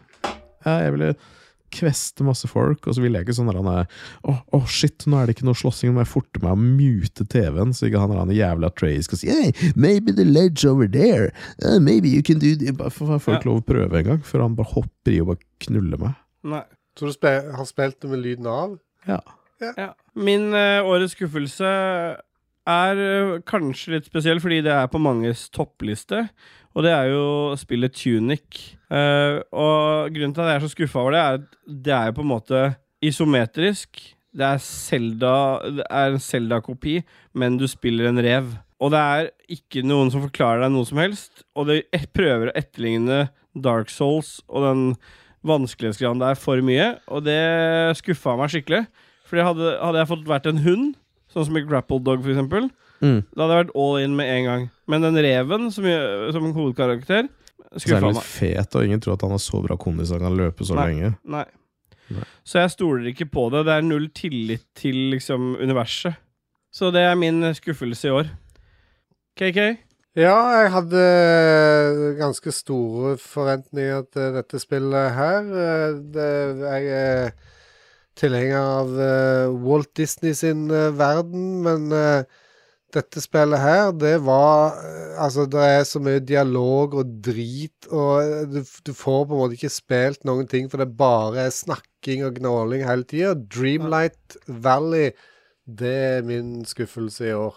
Ja, jeg ville kveste masse folk, og så ville jeg ikke sånn der han er Å, å, shit, nå er det ikke noe slåssing, nå må jeg forte meg å mute TV-en, så ikke han der han jævla Trey skal si hey, Maybe the ledge over there. Uh, maybe you can do the Bare Får får jeg ikke lov å prøve engang, før han bare hopper i og bare knuller meg.
Nei.
Så du spe- har spilt det med lyden av?
Ja.
Ja. Min eh, årets skuffelse er eh, kanskje litt spesiell, fordi det er på manges toppliste. Og det er jo spillet Tunic. Eh, og grunnen til at jeg er så skuffa over det, er at det er jo på en måte isometrisk. Det er, Zelda, det er en Selda-kopi, men du spiller en rev. Og det er ikke noen som forklarer deg noe som helst, og det et- prøver å etterligne Dark Souls og den vanskelighetsgraden der for mye, og det skuffa meg skikkelig. Fordi hadde, hadde jeg fått vært en hund, sånn som i Grapple Dog for eksempel,
Mm.
da hadde jeg vært all in med en gang. Men den reven som, gjør- som hovedkarakter
Så er
skuffa
han
meg.
litt fet, og ingen tror at han har så bra kondis at han kan løpe så
Nei.
lenge.
Nei.
Nei.
Så jeg stoler ikke på det. Det er null tillit til liksom universet. Så det er min skuffelse i år. KK?
Ja, jeg hadde ganske store forventninger til dette spillet her. Eh, Det, jeg er tilhenger av eh, Walt Disney sin eh, verden, men eh, dette spillet her, det var eh, Altså, det er så mye dialog og drit, og eh, du, f- du får på en måte ikke spilt noen ting, for det bare er snakking og gnåling hele tida. Dreamlight Valley, det er min skuffelse i år.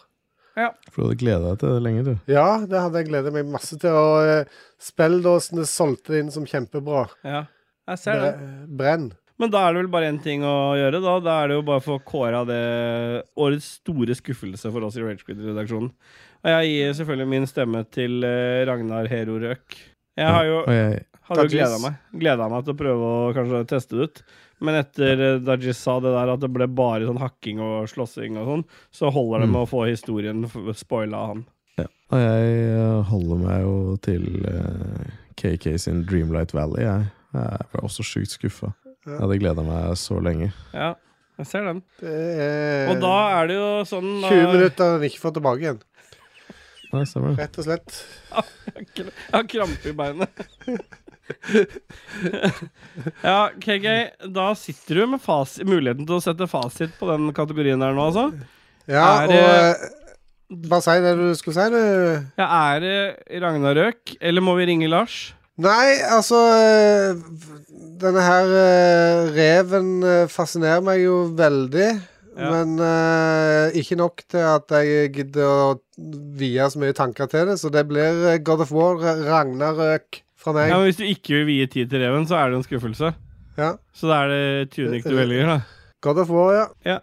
For du hadde gleda deg til det lenge, du.
Ja, det hadde jeg gledet meg masse til. Og eh, spilldåsene solgte det inn som kjempebra.
Ja, jeg ser det.
Bre- Brenn.
Men da er det vel bare én ting å gjøre, da. Da er det jo bare å få kåra det årets store skuffelse for oss i Ragequid-redaksjonen. Og jeg gir selvfølgelig min stemme til eh, Ragnar Hero Røk. Jeg har jo,
Og jeg,
hadde jo gleda
Dajis.
meg, gledet meg til å prøve å kanskje teste det ut. Men etter eh, Dajis sa det der at det ble bare sånn hakking og slåssing og sånn, så holder det med å få historien f- spoila av han.
og jeg eh, holder meg jo til eh, KK sin Dreamlight Valley. Jeg, jeg ble også sjukt skuffa. Jeg hadde gleda meg så lenge.
Ja, jeg ser den.
Det er
Og da er det jo sånn da-
20 minutter han ikke får tilbake igjen,
Nei, stemmer det.
rett og slett.
Jeg har krampe i beinet. ja, KK, da sitter du med fas muligheten til å sette fasit på den kategorien der nå, altså.
Ja,
Er
og
det-
eh, Bare si det du skulle si, du.
Ja, er det Ragnarøk, eller må vi ringe Lars?
Nei, altså eh, Denne her eh, reven eh, fascinerer meg jo veldig.
Ja.
Men eh, ikke nok til at jeg gidder å vie så mye tanker til det, så det blir eh, God of War, eh, Ragnarøk, fra meg.
Ja, men Hvis du ikke vil vie tid til Reven, så er det en skuffelse.
Ja.
Så da er det Tunic du velger, da.
God of War, ja.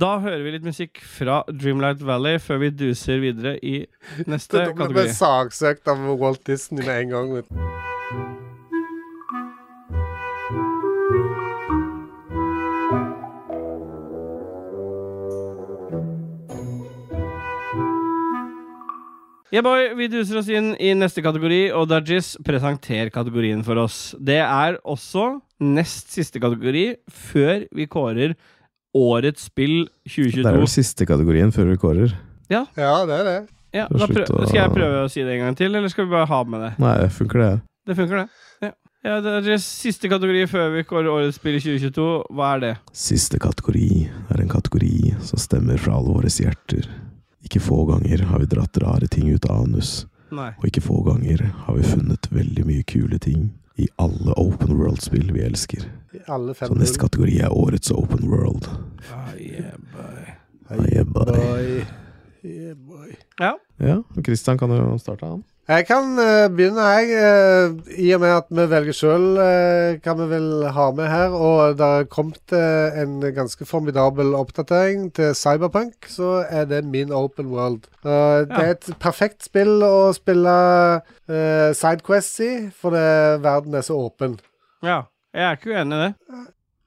Da hører vi litt musikk fra Dreamlight Valley før vi duser videre i neste
Da ble vi
kategori.
saksøkt av Walt Disney med en gang. vet du.
Yeah, boy, vi duser oss inn i neste kategori, og Dajis, presenter kategorien for oss. Det er også nest siste kategori før vi kårer årets spill
Det er
2022.
vel siste kategorien før vi kårer.
Ja, det er det.
Ja,
det er
da prø-
slutt å-
skal jeg prøve å si det en gang til, eller skal vi bare ha med det?
Nei, funker det?
Det funker, det. Ja. Ja, Dajis, siste kategori før vi kårer årets spill i 2022. Hva er det?
Siste kategori er en kategori som stemmer fra alle våre hjerter. Ikke få ganger har vi dratt rare ting ut av anus,
Nei.
og ikke få ganger har vi funnet veldig mye kule ting i alle open world-spill vi elsker.
I alle fem
Så
Sånn
neste
hull.
kategori er årets open world. Aye, boy.
Boy. Yeah, boy.
Ja, Christian kan jo starte, han.
Jeg kan eh, begynne, jeg. eh, I og med at vi velger sjøl hva vi vil ha med her. Og det har kommet eh, en ganske formidabel oppdatering til Cyberpunk, så er det min open world. Eh, Det er et perfekt spill å spille eh, Sidequests i, fordi verden er så åpen.
Ja, jeg er ikke uenig i det.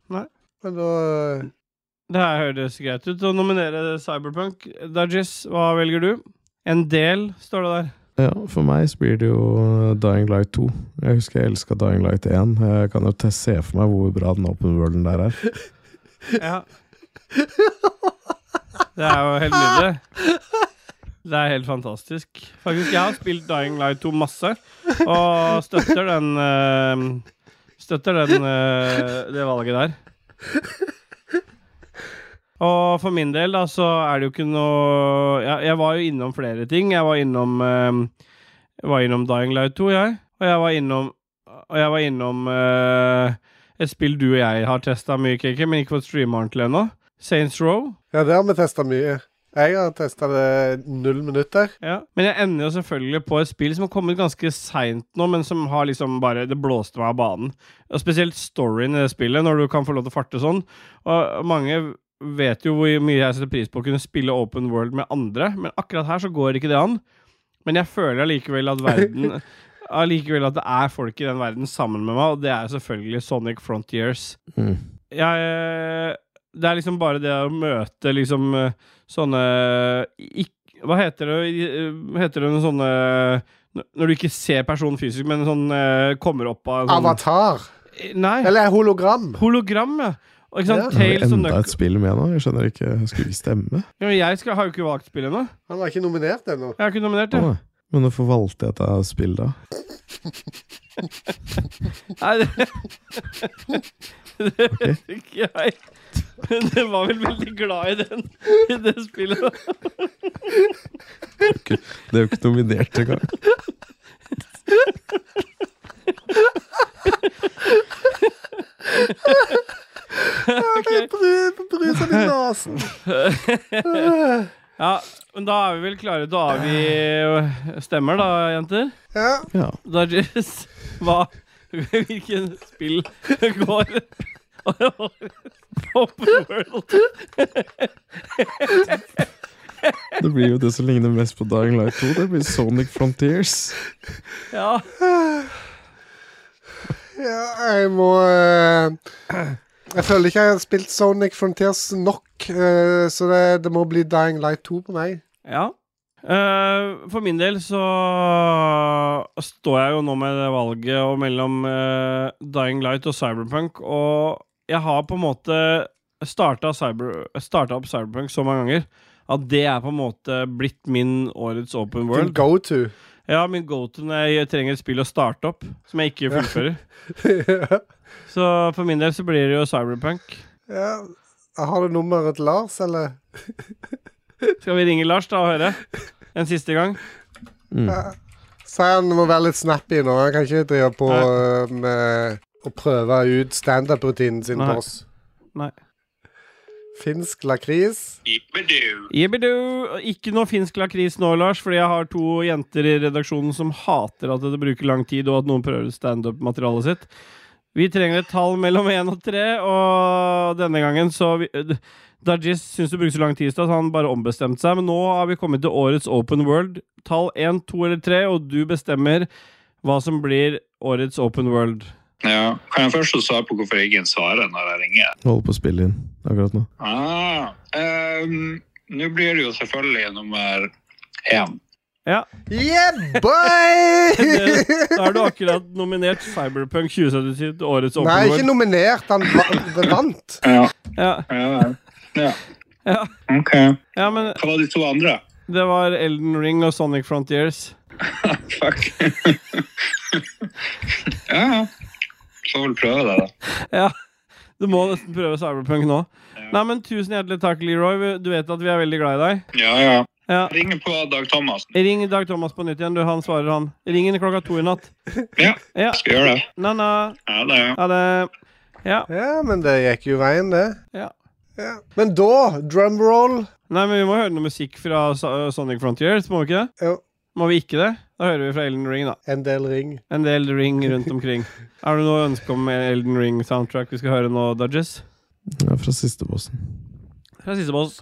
Men da
Det her høres greit ut å nominere Cyberpunk. Dajis, hva velger du? En del, står det der.
Ja, For meg så blir det jo Dying Light 2. Jeg husker jeg elska Dying Light 1. Jeg kan jo te- se for meg hvor bra den open worlden der er.
Ja. Det er jo helt nydelig. Det er helt fantastisk. Faktisk, jeg har spilt Dying Light 2 masse, og støtter den eh, Støtter den eh, det valget der. Og for min del, da, så er det jo ikke noe Jeg, jeg var jo innom flere ting. Jeg var innom eh, Jeg var innom Dying Light 2, jeg. Og jeg var innom Og jeg var innom eh, et spill du og jeg har testa mye, KK, men ikke fått streama ordentlig ennå. Saints Row.
Ja, det har vi testa mye. Jeg har testa det null minutter.
Ja. Men jeg ender jo selvfølgelig på et spill som har kommet ganske seint nå, men som har liksom bare Det blåste meg av banen. Og spesielt storyen i det spillet, når du kan få lov til å farte sånn. Og mange vet jo hvor mye jeg setter pris på å kunne spille open world med andre, men akkurat her så går ikke det an. Men jeg føler allikevel at verden Allikevel at det er folk i den verden sammen med meg, og det er selvfølgelig Sonic Frontiers.
Mm.
Jeg Det er liksom bare det å møte liksom eh, sånne eh, ikk- Hva heter det eh, Heter det noen sånne Når du ikke ser personen fysisk, men sånn eh, kommer opp av en sånn,
Avatar.
Nei,
Eller hologram.
hologram, ja. Og ikke sant,
Ja.
Har vi
Tails og
enda
Knuckles
et spill med nå? Jeg skjønner ikke. Jeg skulle ikke stemme.
ja, men Jeg skal, har jo ikke valgt spill ennå.
Han var ikke nominert ennå.
Jeg har ikke nominert, jeg.
Å, Men hvorfor valgte jeg dette spillet, da?
Nei, det, det vet ikke jeg. Men jeg var vel veldig glad i, den, i det spillet. da.
Det er jo ikke nominert engang.
Okay. Bru, brusen i nesen.
Ja, men da er vi vel klare til å avgi stemmer, da, jenter.
Ja.
Ja.
Dodges, hva Hvilken spill går
Open world.
Det blir jo det som ligner mest på Dying Light 2. Det blir Sonic Frontiers.
Ja.
Ja, jeg må eh, Jeg føler ikke jeg har spilt Sonic Frontiers nok, eh, så det, det må bli Dying Light 2 på meg.
Ja. Eh, for min del så står jeg jo nå med det valget og mellom eh, Dying Light og Cyberpunk, og jeg har på en måte starta, cyber, starta opp Cyberpunk så mange ganger at det er på en måte blitt min årets open
Din
world.
go to.
Ja, min go-to når jeg trenger et spill å starte opp, som jeg ikke fullfører. Så for min del så blir det jo Cyberpunk.
ja. Har du nummeret til Lars, eller?
Skal vi ringe Lars da og høre? En siste gang?
Si han må være litt snappy nå. Han kan ikke drive på eh, med å prøve ut standup-rutinen sin
Nei.
på oss.
Nei.
Finsk lakris.
Ibbedu.
Jibbidu. Ikke noe finsk lakris nå, Lars, fordi jeg har to jenter i redaksjonen som hater at det bruker lang tid, og at noen prøver ut standup-materialet sitt. Vi trenger et tall mellom én og tre, og denne gangen så vi- d- Dajis syns det bruker så lang tid, i stad, så han bare ombestemte seg. Men nå har vi kommet til årets Open World. Tall én, to eller tre, og du bestemmer hva som blir årets Open World.
Ja. Kan jeg først også svare på hvorfor jeg ikke svarer når jeg ringer?
Holder på å spille inn akkurat nå.
Ah, ehm, Nå blir det jo selvfølgelig nummer én.
Yeah, boy!
Det- Eh, Da har du akkurat nominert Cyberpunk 2077 til årets Open
Nei,
World.
ikke nominert. Han va- vant.
Ja,
ja.
ja, ja.
Ja.
Ok.
ja, men
Hva var de to andre?
Det var Elden Ring og Sonic Frontiers.
Fuck. ja, ja. Får vel prøve det, da.
Ja, Du må nesten prøve Cyberpunk nå. Nei, men Tusen hjertelig takk, Leroy. Du vet at vi er veldig glad i deg.
Ja, ja.
Ja.
Ringer på Dag Thomassen.
Ring Dag Thomas på nytt igjen. du, Han svarer, han. Ring inn klokka to i natt.
Ja,
Ja.
skal gjøre det.
Na-na.
Ja, det er jo.
Ha det. Ja.
Ja, men det gikk jo veien, det.
Ja.
Ja. Men da, drumroll
Nei, men vi må høre noe musikk fra Sa- Sonic Frontiers, må vi ikke det?
Jo.
Må vi ikke det? Da hører vi fra Elden Ring, da.
En del ring.
En del ring rundt omkring. Har du noe ønske om Elden Ring-soundtrack vi skal høre nå, Dodges?
Ja, fra siste bossen.
Fra siste boss.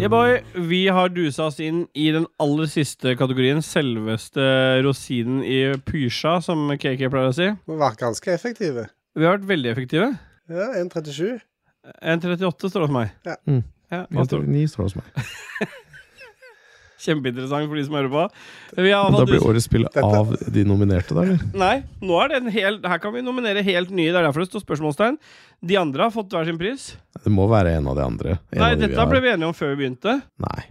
Yeah, boy. Vi har dusa oss inn i den aller siste kategorien, selveste rosinen i pysja, som KK pleier å si.
Vi var ganske effektive.
Vi har vært veldig effektive.
Ja, 1,37.
1,38 står det hos meg.
Ja.
Mm.
Ja, altså, hva står det?
9 står hos meg.
Kjempeinteressant for de som hører på. Vi har
Da
fått
blir
dus-
årets spill av de nominerte, da, eller?
Nei, nå er det en hel, her kan vi nominere helt nye. Det er derfor det står spørsmålstegn. De andre har fått hver sin pris.
Det må være en av de andre. En
Nei,
av de vi
dette
har.
ble vi enige om før vi begynte.
Nei.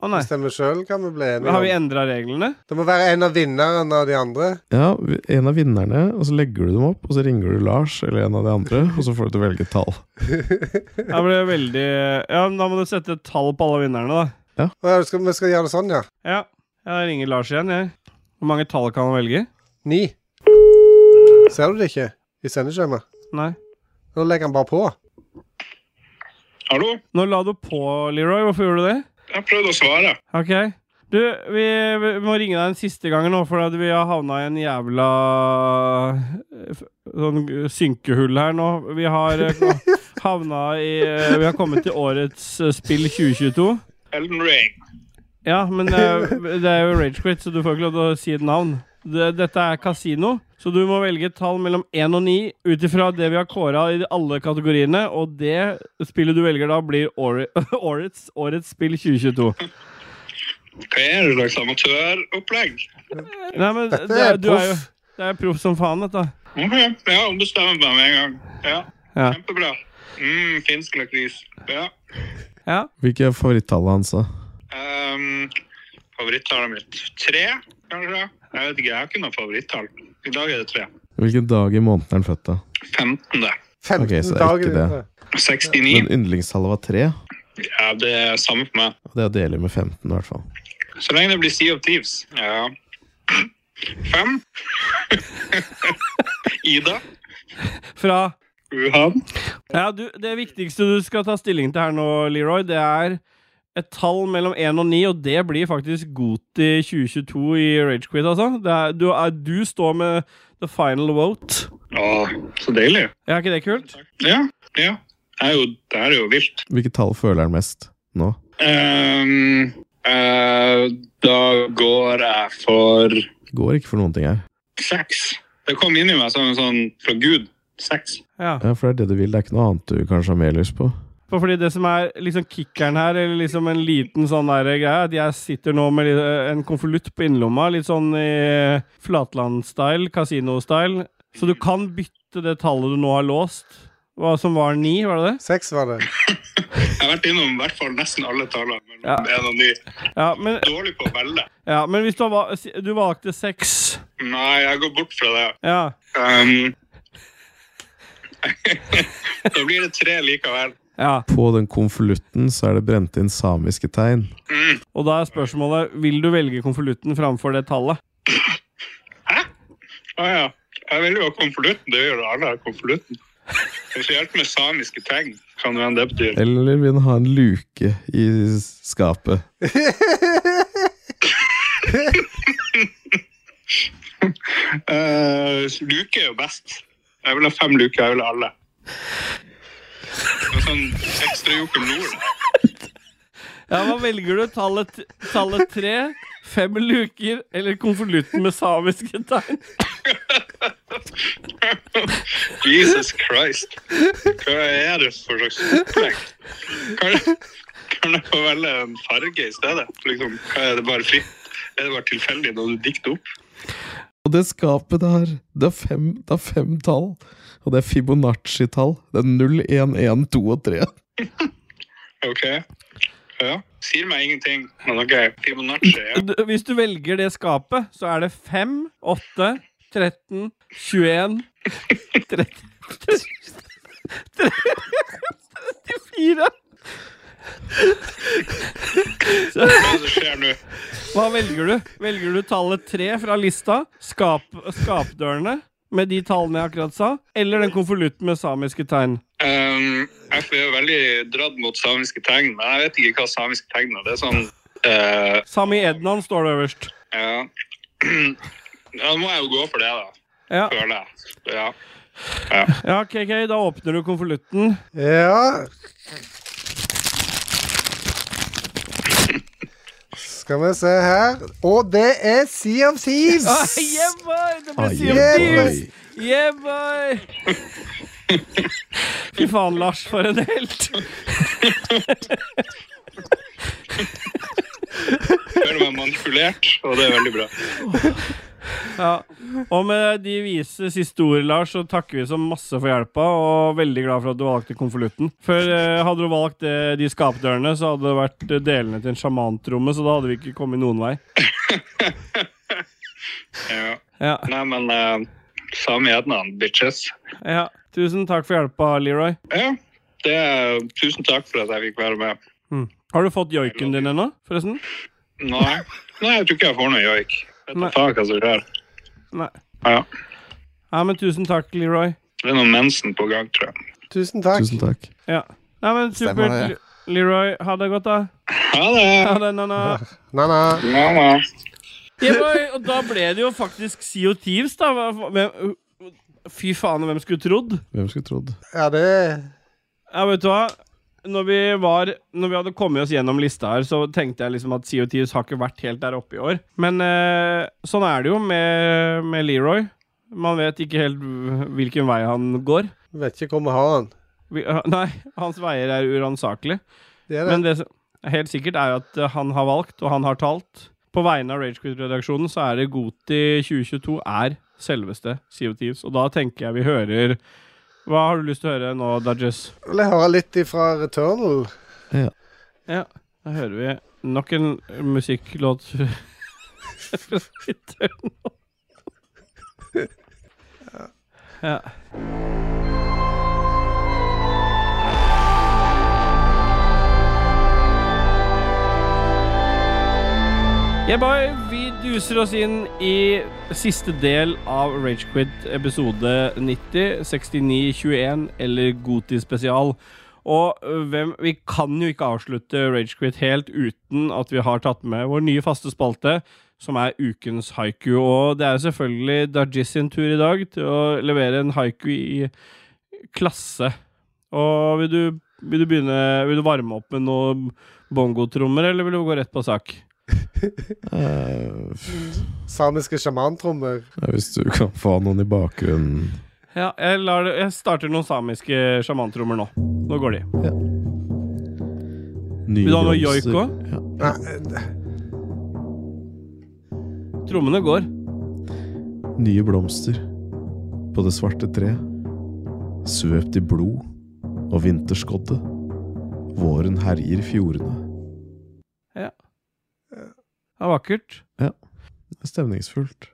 Å nei.
Stemmer sjøl, kan vi bli
Men har vi
enige om.
endra reglene?
Det må være en av vinnerne av de andre.
Ja, en av vinnerne, og så legger du dem opp, og så ringer du Lars eller en av de andre, og så får du til å velge et tall.
Jeg ble veldig Ja, men da må du sette et tall på alle vinnerne, da.
Å, ja, skal, vi skal gjøre det sånn, ja.
Ja. Jeg ringer Lars igjen, jeg. Hvor mange tall kan han velge?
Ni. Ser du det ikke i sendeskjemaet?
Nei.
Nå legger han bare på.
Hallo?
Nå la du på, Leroy. Hvorfor gjorde du det?
Jeg prøvde å svare.
OK. Du, vi, vi må ringe deg en siste gang nå, for at vi har havna i en jævla eh, f- sånn synkehull her nå. Vi har eh, havna i eh, Vi har kommet til årets eh, spill 2022.
Elden Ring.
Ja, men det er, jo- det er jo Ragequit, så du får ikke lov til å si et navn. Det, dette er kasino, så du må velge et tall mellom 1 og 9 ut ifra det vi har kåra i alle kategoriene, og det spillet du velger da, blir åre- årets, årets spill 2022.
Hva er det slags amatøropplegg?
Nei, men
Dette
det,
er
er- du er jo
proff.
det er proff som faen, dette.
Ok, ja, ombestemmer meg med en gang. Ja,
Ja.
kjempebra. Mm, finsk lakris. Ja.
ja.
Hvilke er favorittallet hans, da?
Um, Favorittallet mitt. Tre, kanskje? Jeg vet ikke, jeg har ikke noe favorittall. I dag er det tre.
Hvilken dag i måneden er han født, da?
15.
15
Ok, så det er
dager
ikke det.
videre.
69.
Men yndlingstallet var tre,
Ja, det er samme for meg.
og det er delig med 15, i hvert fall.
Så lenge det blir Sea of Thieves. Ja. Fem. Ida.
Fra
Wuhan.
Ja, du, det viktigste du skal ta stilling til her nå, Leroy, det er et tall mellom 1 og 9, og det blir faktisk Goti 2022 i Ragequid, altså. Det er, du, er, du står med the final vote.
Å, så deilig.
Er ikke det kult?
Ja, ja. Det er jo, det er jo vilt.
Hvilket tall føler han mest nå?
Ehm, eh, da går jeg for
Går ikke for noen ting her.
seks. Det kom inn i meg som en sånn fra Gud. Seks.
Ja.
Ja, For det er det du vil. Det er ikke noe annet du kanskje har mer lyst på.
For fordi det som er liksom kickeren her, eller liksom en liten sånn der greie, at jeg sitter nå med litt, eh, en konvolutt på innlomma, litt sånn i flatland-style, kasino-style. Så du kan bytte det tallet du nå har låst, hva som var ni, var det det?
Seks var det.
Jeg har vært innom i hvert fall nesten alle tallene mellom
Ja.
én og ni.
Ja, men,
Dårlig på å velge.
ja, men hvis du, har, va- si- du valgte seks
Nei, jeg går bort fra det.
Ja.
Ehm, da blir det tre likevel.
ja.
På den konvolutten så er det brent inn samiske tegn.
Og da er spørsmålet vil du velge konvolutten framfor det tallet.
Å ja. Jeg vil jo ha konvolutten. Det gjør jo alle. har konvolutten. Hvis det hjelper med samiske tegn, kan det hende det betyr
Eller vil han ha en luke i skapet?
Eh, Luke er jo best. Jeg vil ha fem luker. Jeg vil ha alle. Det er sånn ekstrajoker nord.
Ja, Hva velger du? Tallet, tallet tre, fem luker eller konvolutten med samiske tegn?
Jesus Christ. Hva er det for slags opplegg? Kan, kan jeg få velge en farge i stedet? Liksom, hva er det bare fritt? Er det bare tilfeldig når du dikter opp?
Og det skapet det har, det har fem, det har fem tall. Og det er Fibonacci-tall. Det er 0, 1, 1, 2 og 3.
OK. Ja. Sier meg ingenting, men OK. Fibonacci, ja.
Du- Hvis du velger det skapet, så er det 5, 8, 13, 21 30, 34
Hva er det som skjer nå?
Hva velger du? Velger du tallet 3 fra lista, skap, skapdørene med de tallene jeg akkurat sa, eller den konvolutten med samiske tegn?
Um, jeg får jo veldig dratt mot samiske tegn, men jeg vet ikke hva samiske tegn er. Det er sånn eh,
Sami Ednan står det øverst.
Ja. Da må jeg jo gå for det, da.
Ja,
Føler jeg. Ja.
ja ok, ok, da åpner du konvolutten.
Ja Skal vi se her. Og det er Sea of Thieves!
Ah, yeah, boy! Det ble
Ai,
Sea of
yeah,
Thieves! Yeah, boy! Fy faen, Lars, for en helt.
Føler meg manipulert, og det er veldig bra.
Ja. Og med de vise siste ord, Lars, så takker vi så masse for hjelpa, og veldig glad for at du valgte konvolutten. For eh, hadde du valgt eh, de skapdørene, så hadde det vært eh, delene til en sjamantromme, så da hadde vi ikke kommet noen vei.
Ja.
Ja,
Nei, men uh, samme gjednan, bitches.
ja. Tusen takk for hjelpa, Leroy.
Ja, det er, tusen takk for at jeg fikk være med.
Har du fått joiken din ennå, forresten?
Nei, nei jeg tror ikke jeg får noe joik. Vet du
Nei.
faen hva som skjer.
Nei.
Ja,
Ja, men tusen takk, Leroy.
det er noen mensen på gang, tror jeg.
Tusen takk.
Tusen takk.
Ja. Nei, men
Stemmer
supert.
det.
Le- Leroy, ha det godt, da.
Ha det!
Ha det, Nanna.
Na-na.
Mamma.
Ja, men- og da ble det jo faktisk CO Thieves, da. Hva- hvem- Fy faen, hvem skulle trodd?
Hvem skulle trodd?
Ja, det
Ja, vet du hva? Når vi, var, når vi hadde kommet oss gjennom lista her, så tenkte jeg liksom at CO Thieves har ikke vært helt der oppe i år. Men eh, sånn er det jo med, med Leroy. Man vet ikke helt hvilken vei han går.
Vet ikke hvor vi har den.
Vi, eh, nei, hans veier er uransakelige.
Det er det.
Men det som er helt sikkert er jo at eh, han har valgt, og han har talt. På vegne av Ragequid-redaksjonen så er det Goti 2022 er selveste CO Thieves. Og da tenker jeg vi hører Hva har du lyst til å høre nå, Dodges?
Vil jeg høre litt ifra Returnal?
Ja, da hører vi nok en musikklåt fra Return. Ja. Yeah, boy, vi duser oss inn i siste del av Ragequid episode 90, 69, 21 eller Goti spesial. Og øh, hvem, vi kan jo ikke avslutte Ragequit helt uten at vi har tatt med vår nye faste spalte, som er ukens haiku. Og det er jo selvfølgelig Dajis sin tur i dag til å levere en haiku i klasse. Og vil du, vil du begynne Vil du varme opp med noen bongotrommer, eller vil du gå rett på sak?
Eh,
Samiske sjamantrommer.
hvis du kan få noen i bakgrunnen
Ja, jeg, lar, det- jeg starter noen samiske sjamantrommer nå. Nå går de.
Nye
Vil du ha noe
bronser.
joiko?
Ja.
Trommene går.
Nye blomster på det svarte tre. Svøpt i blod og vinterskodde. Våren herjer fjordene.
Det er vakkert.
Stemningsfullt.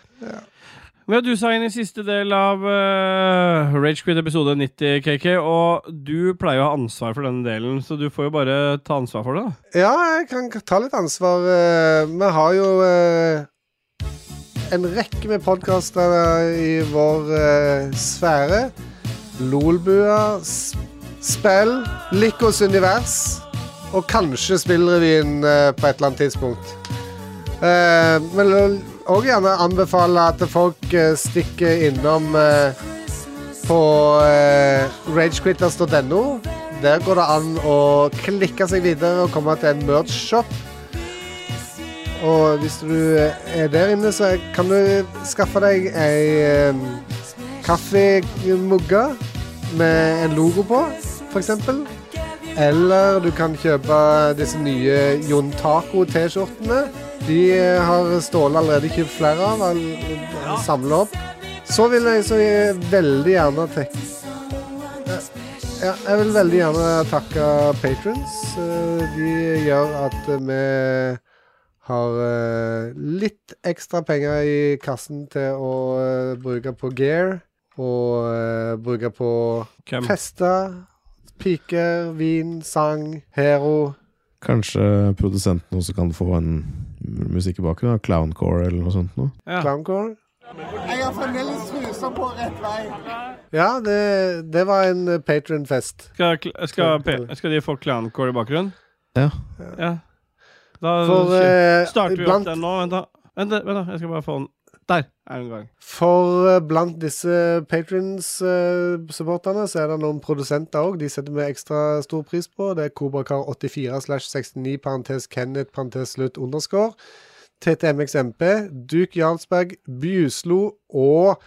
Men ja, du sa inn i siste del av uh, Ragequit episode 90, KK, og du pleier å ha ansvar for denne delen, så du får jo bare ta ansvar for det. da.
Ja, jeg kan ta litt ansvar. eh, Vi har jo eh, en rekke med podkaster i vår eh, sfære. Lolbua, S- Spell, Likos univers og kanskje Spillrevyen eh, på et eller annet tidspunkt. Eh, Men òg gjerne anbefale at folk eh, stikker innom eh, på eh, ragequitters.no. Der går det an å klikke seg videre og komme til en merch-shop. Og hvis du er der inne, så kan du skaffe deg ei um, kaffemugge med en logo på, f.eks. Eller du kan kjøpe disse nye Jon Taco-T-skjortene. De eh, har Ståle allerede kjøpt flere av. Han han samler opp. Så vil jeg så jeg veldig gjerne takke ja, Jeg vil veldig gjerne takke patrons. Eh, De gjør at vi har eh, litt ekstra penger i kassen til å eh, bruke på gear. Og eh, bruke på
Hvem?
fester, piker, vin, sang, hero.
Kanskje produsenten også kan få en musikk i bakgrunnen? da? Clowncore eller noe sånt? Noe.
Ja.
Clowncore. Jeg har fremdeles trusa på rett vei. Ja, det, det var en eh, patronfest.
Skal, kl- skal, pe- skal de få clowncore i bakgrunnen?
Ja.
ja. Da
For eh,
starter vi
blant,
opp den nå. Vent, da. Vent, da, vent da. Jeg skal bare få den. Der er den i gang.
for eh, blant disse patrons-supporterne så er det noen produsenter òg. De setter vi ekstra stor pris på. Det er Kobrakar84 slash 69 parentes Kenneth parentes slutt underscore. TTMXMP, Duke Jarlsberg, Bjuslo og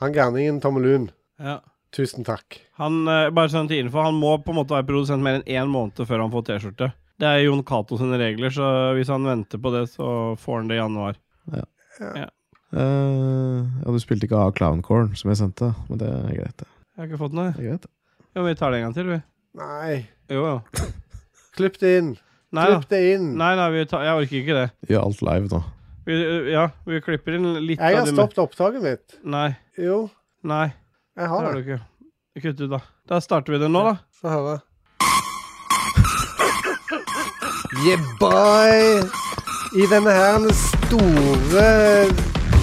han gærningen Tommelun.
Ja.
Tusen takk.
Han, eh, bare sånn til info, han må på en måte være produsent mer enn én måned før han får T-skjorte. Det er Jon Cato sine regler, så hvis han venter på det, så får han det i januar.
Eh, ja, du spilte ikke av Clowncore, som jeg sendte, men det er greit, det.
Jeg har ikke fått noe.
det, er greit.
Jo, vi tar det en gang til, vi.
Nei,
Jo, jo.
klipp det inn.
Nei da.
Klipp det inn.
Nei, nei, vi tar, jeg orker ikke det.
Gjør alt live, da.
Vi, ja, vi klipper inn litt
Jeg har
av det
stoppet opptaket mitt.
Nei.
Jo,
Nei,
jeg
det
har
har
det.
du ikke. Kutt ut, da. Da starter vi det nå, da.
Få høre. Yeah, boy! I denne her store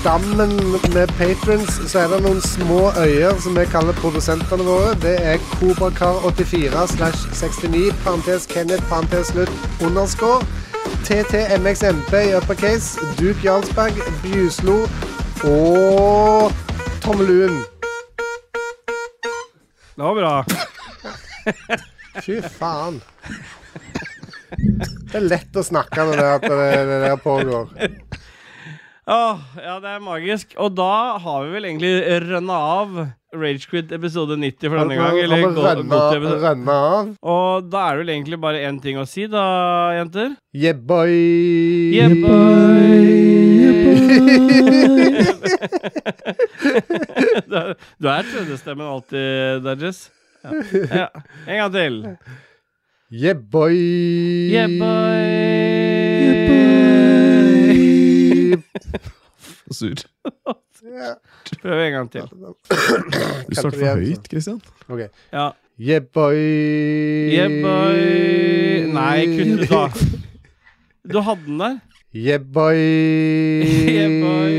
dammen med patrons, så er det noen små øyer som vi kaller produsentene våre. Det er Kobrakar84 slash 69, parentes Kenneth, parentes slutt, underscore. TTMXMP i uppercase, Duke Jarlsberg, Bjuslo og Tommeluen.
Det var bra.
Fy faen. Det er lett å snakke når det, at det, det der pågår.
Åh, ja, det er magisk. Og da har vi vel egentlig rønna av Ragequit episode 90 for denne gang. Eller
Han må
gå, gå til
rønne,
episode
rønne av.
Og da er det vel egentlig bare én ting å si, da, jenter.
Yeah, boy.
du er du er trønderstemmen alltid, Dudges. Ja. ja. En gang til.
Yeah, boy.
Yeah, boy.
Sur.
Ja.
Prøv en gang til.
Du starter for høyt, Christian.
Ja.
Yeah, boy.
Yeah, boy. Nei, kutt ut, da. Du hadde den der.
Yeah, boy.
Yeah, boy.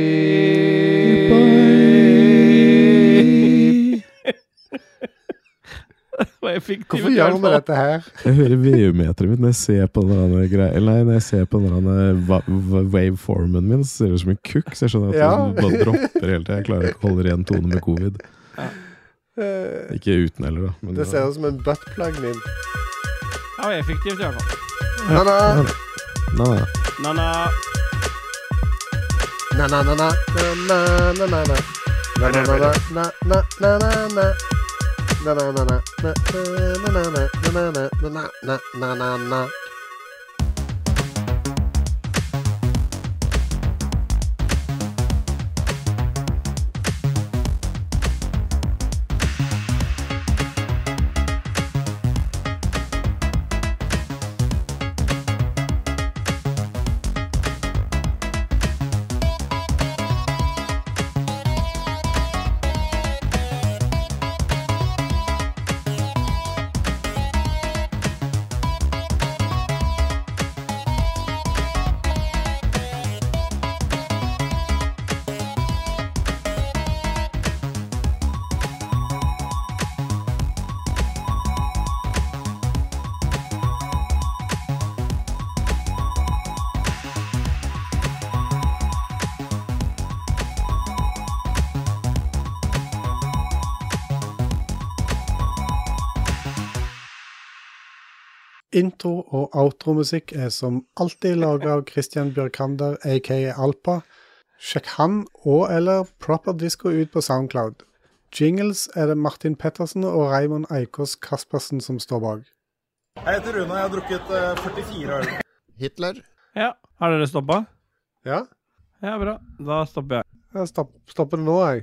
var effektivt.
Hvorfor gjør vi dette her?
Jeg hører VU-meteret mitt når jeg ser på den der greia Eller Nei, når jeg ser på den der va- va- waveformen min, så ser det ut som en kukk. Så jeg skjønner at
Ja.
den bare dropper hele tida. Jeg klarer ikke å holde ren tone med covid.
Eh,
Ikke uten heller, da. Men
Det ser ut som en buttplug min.
Det var effektivt, i hvert fall.
Na-na,
Nei, nei.
Na-na.
na-na-na-na, na-na-na-na-na. Na-na-na-na, na-na-na-na. Na-na-na-na, na-na-na-na, na-na-na-na, na-na-na-na. Intro- og outromusikk er som alltid laga av Christian Bjørkander, aka Alpa. Sjekk han og eller Proper Disco ut på Soundcloud. Jingles er det Martin Pettersen og Raymond Eikås Kaspersen som står bak.
Hitler?
Ja. Har dere stoppa?
Ja,
Ja, bra. Da stopper jeg.
jeg stopp, stopper det nå, jeg.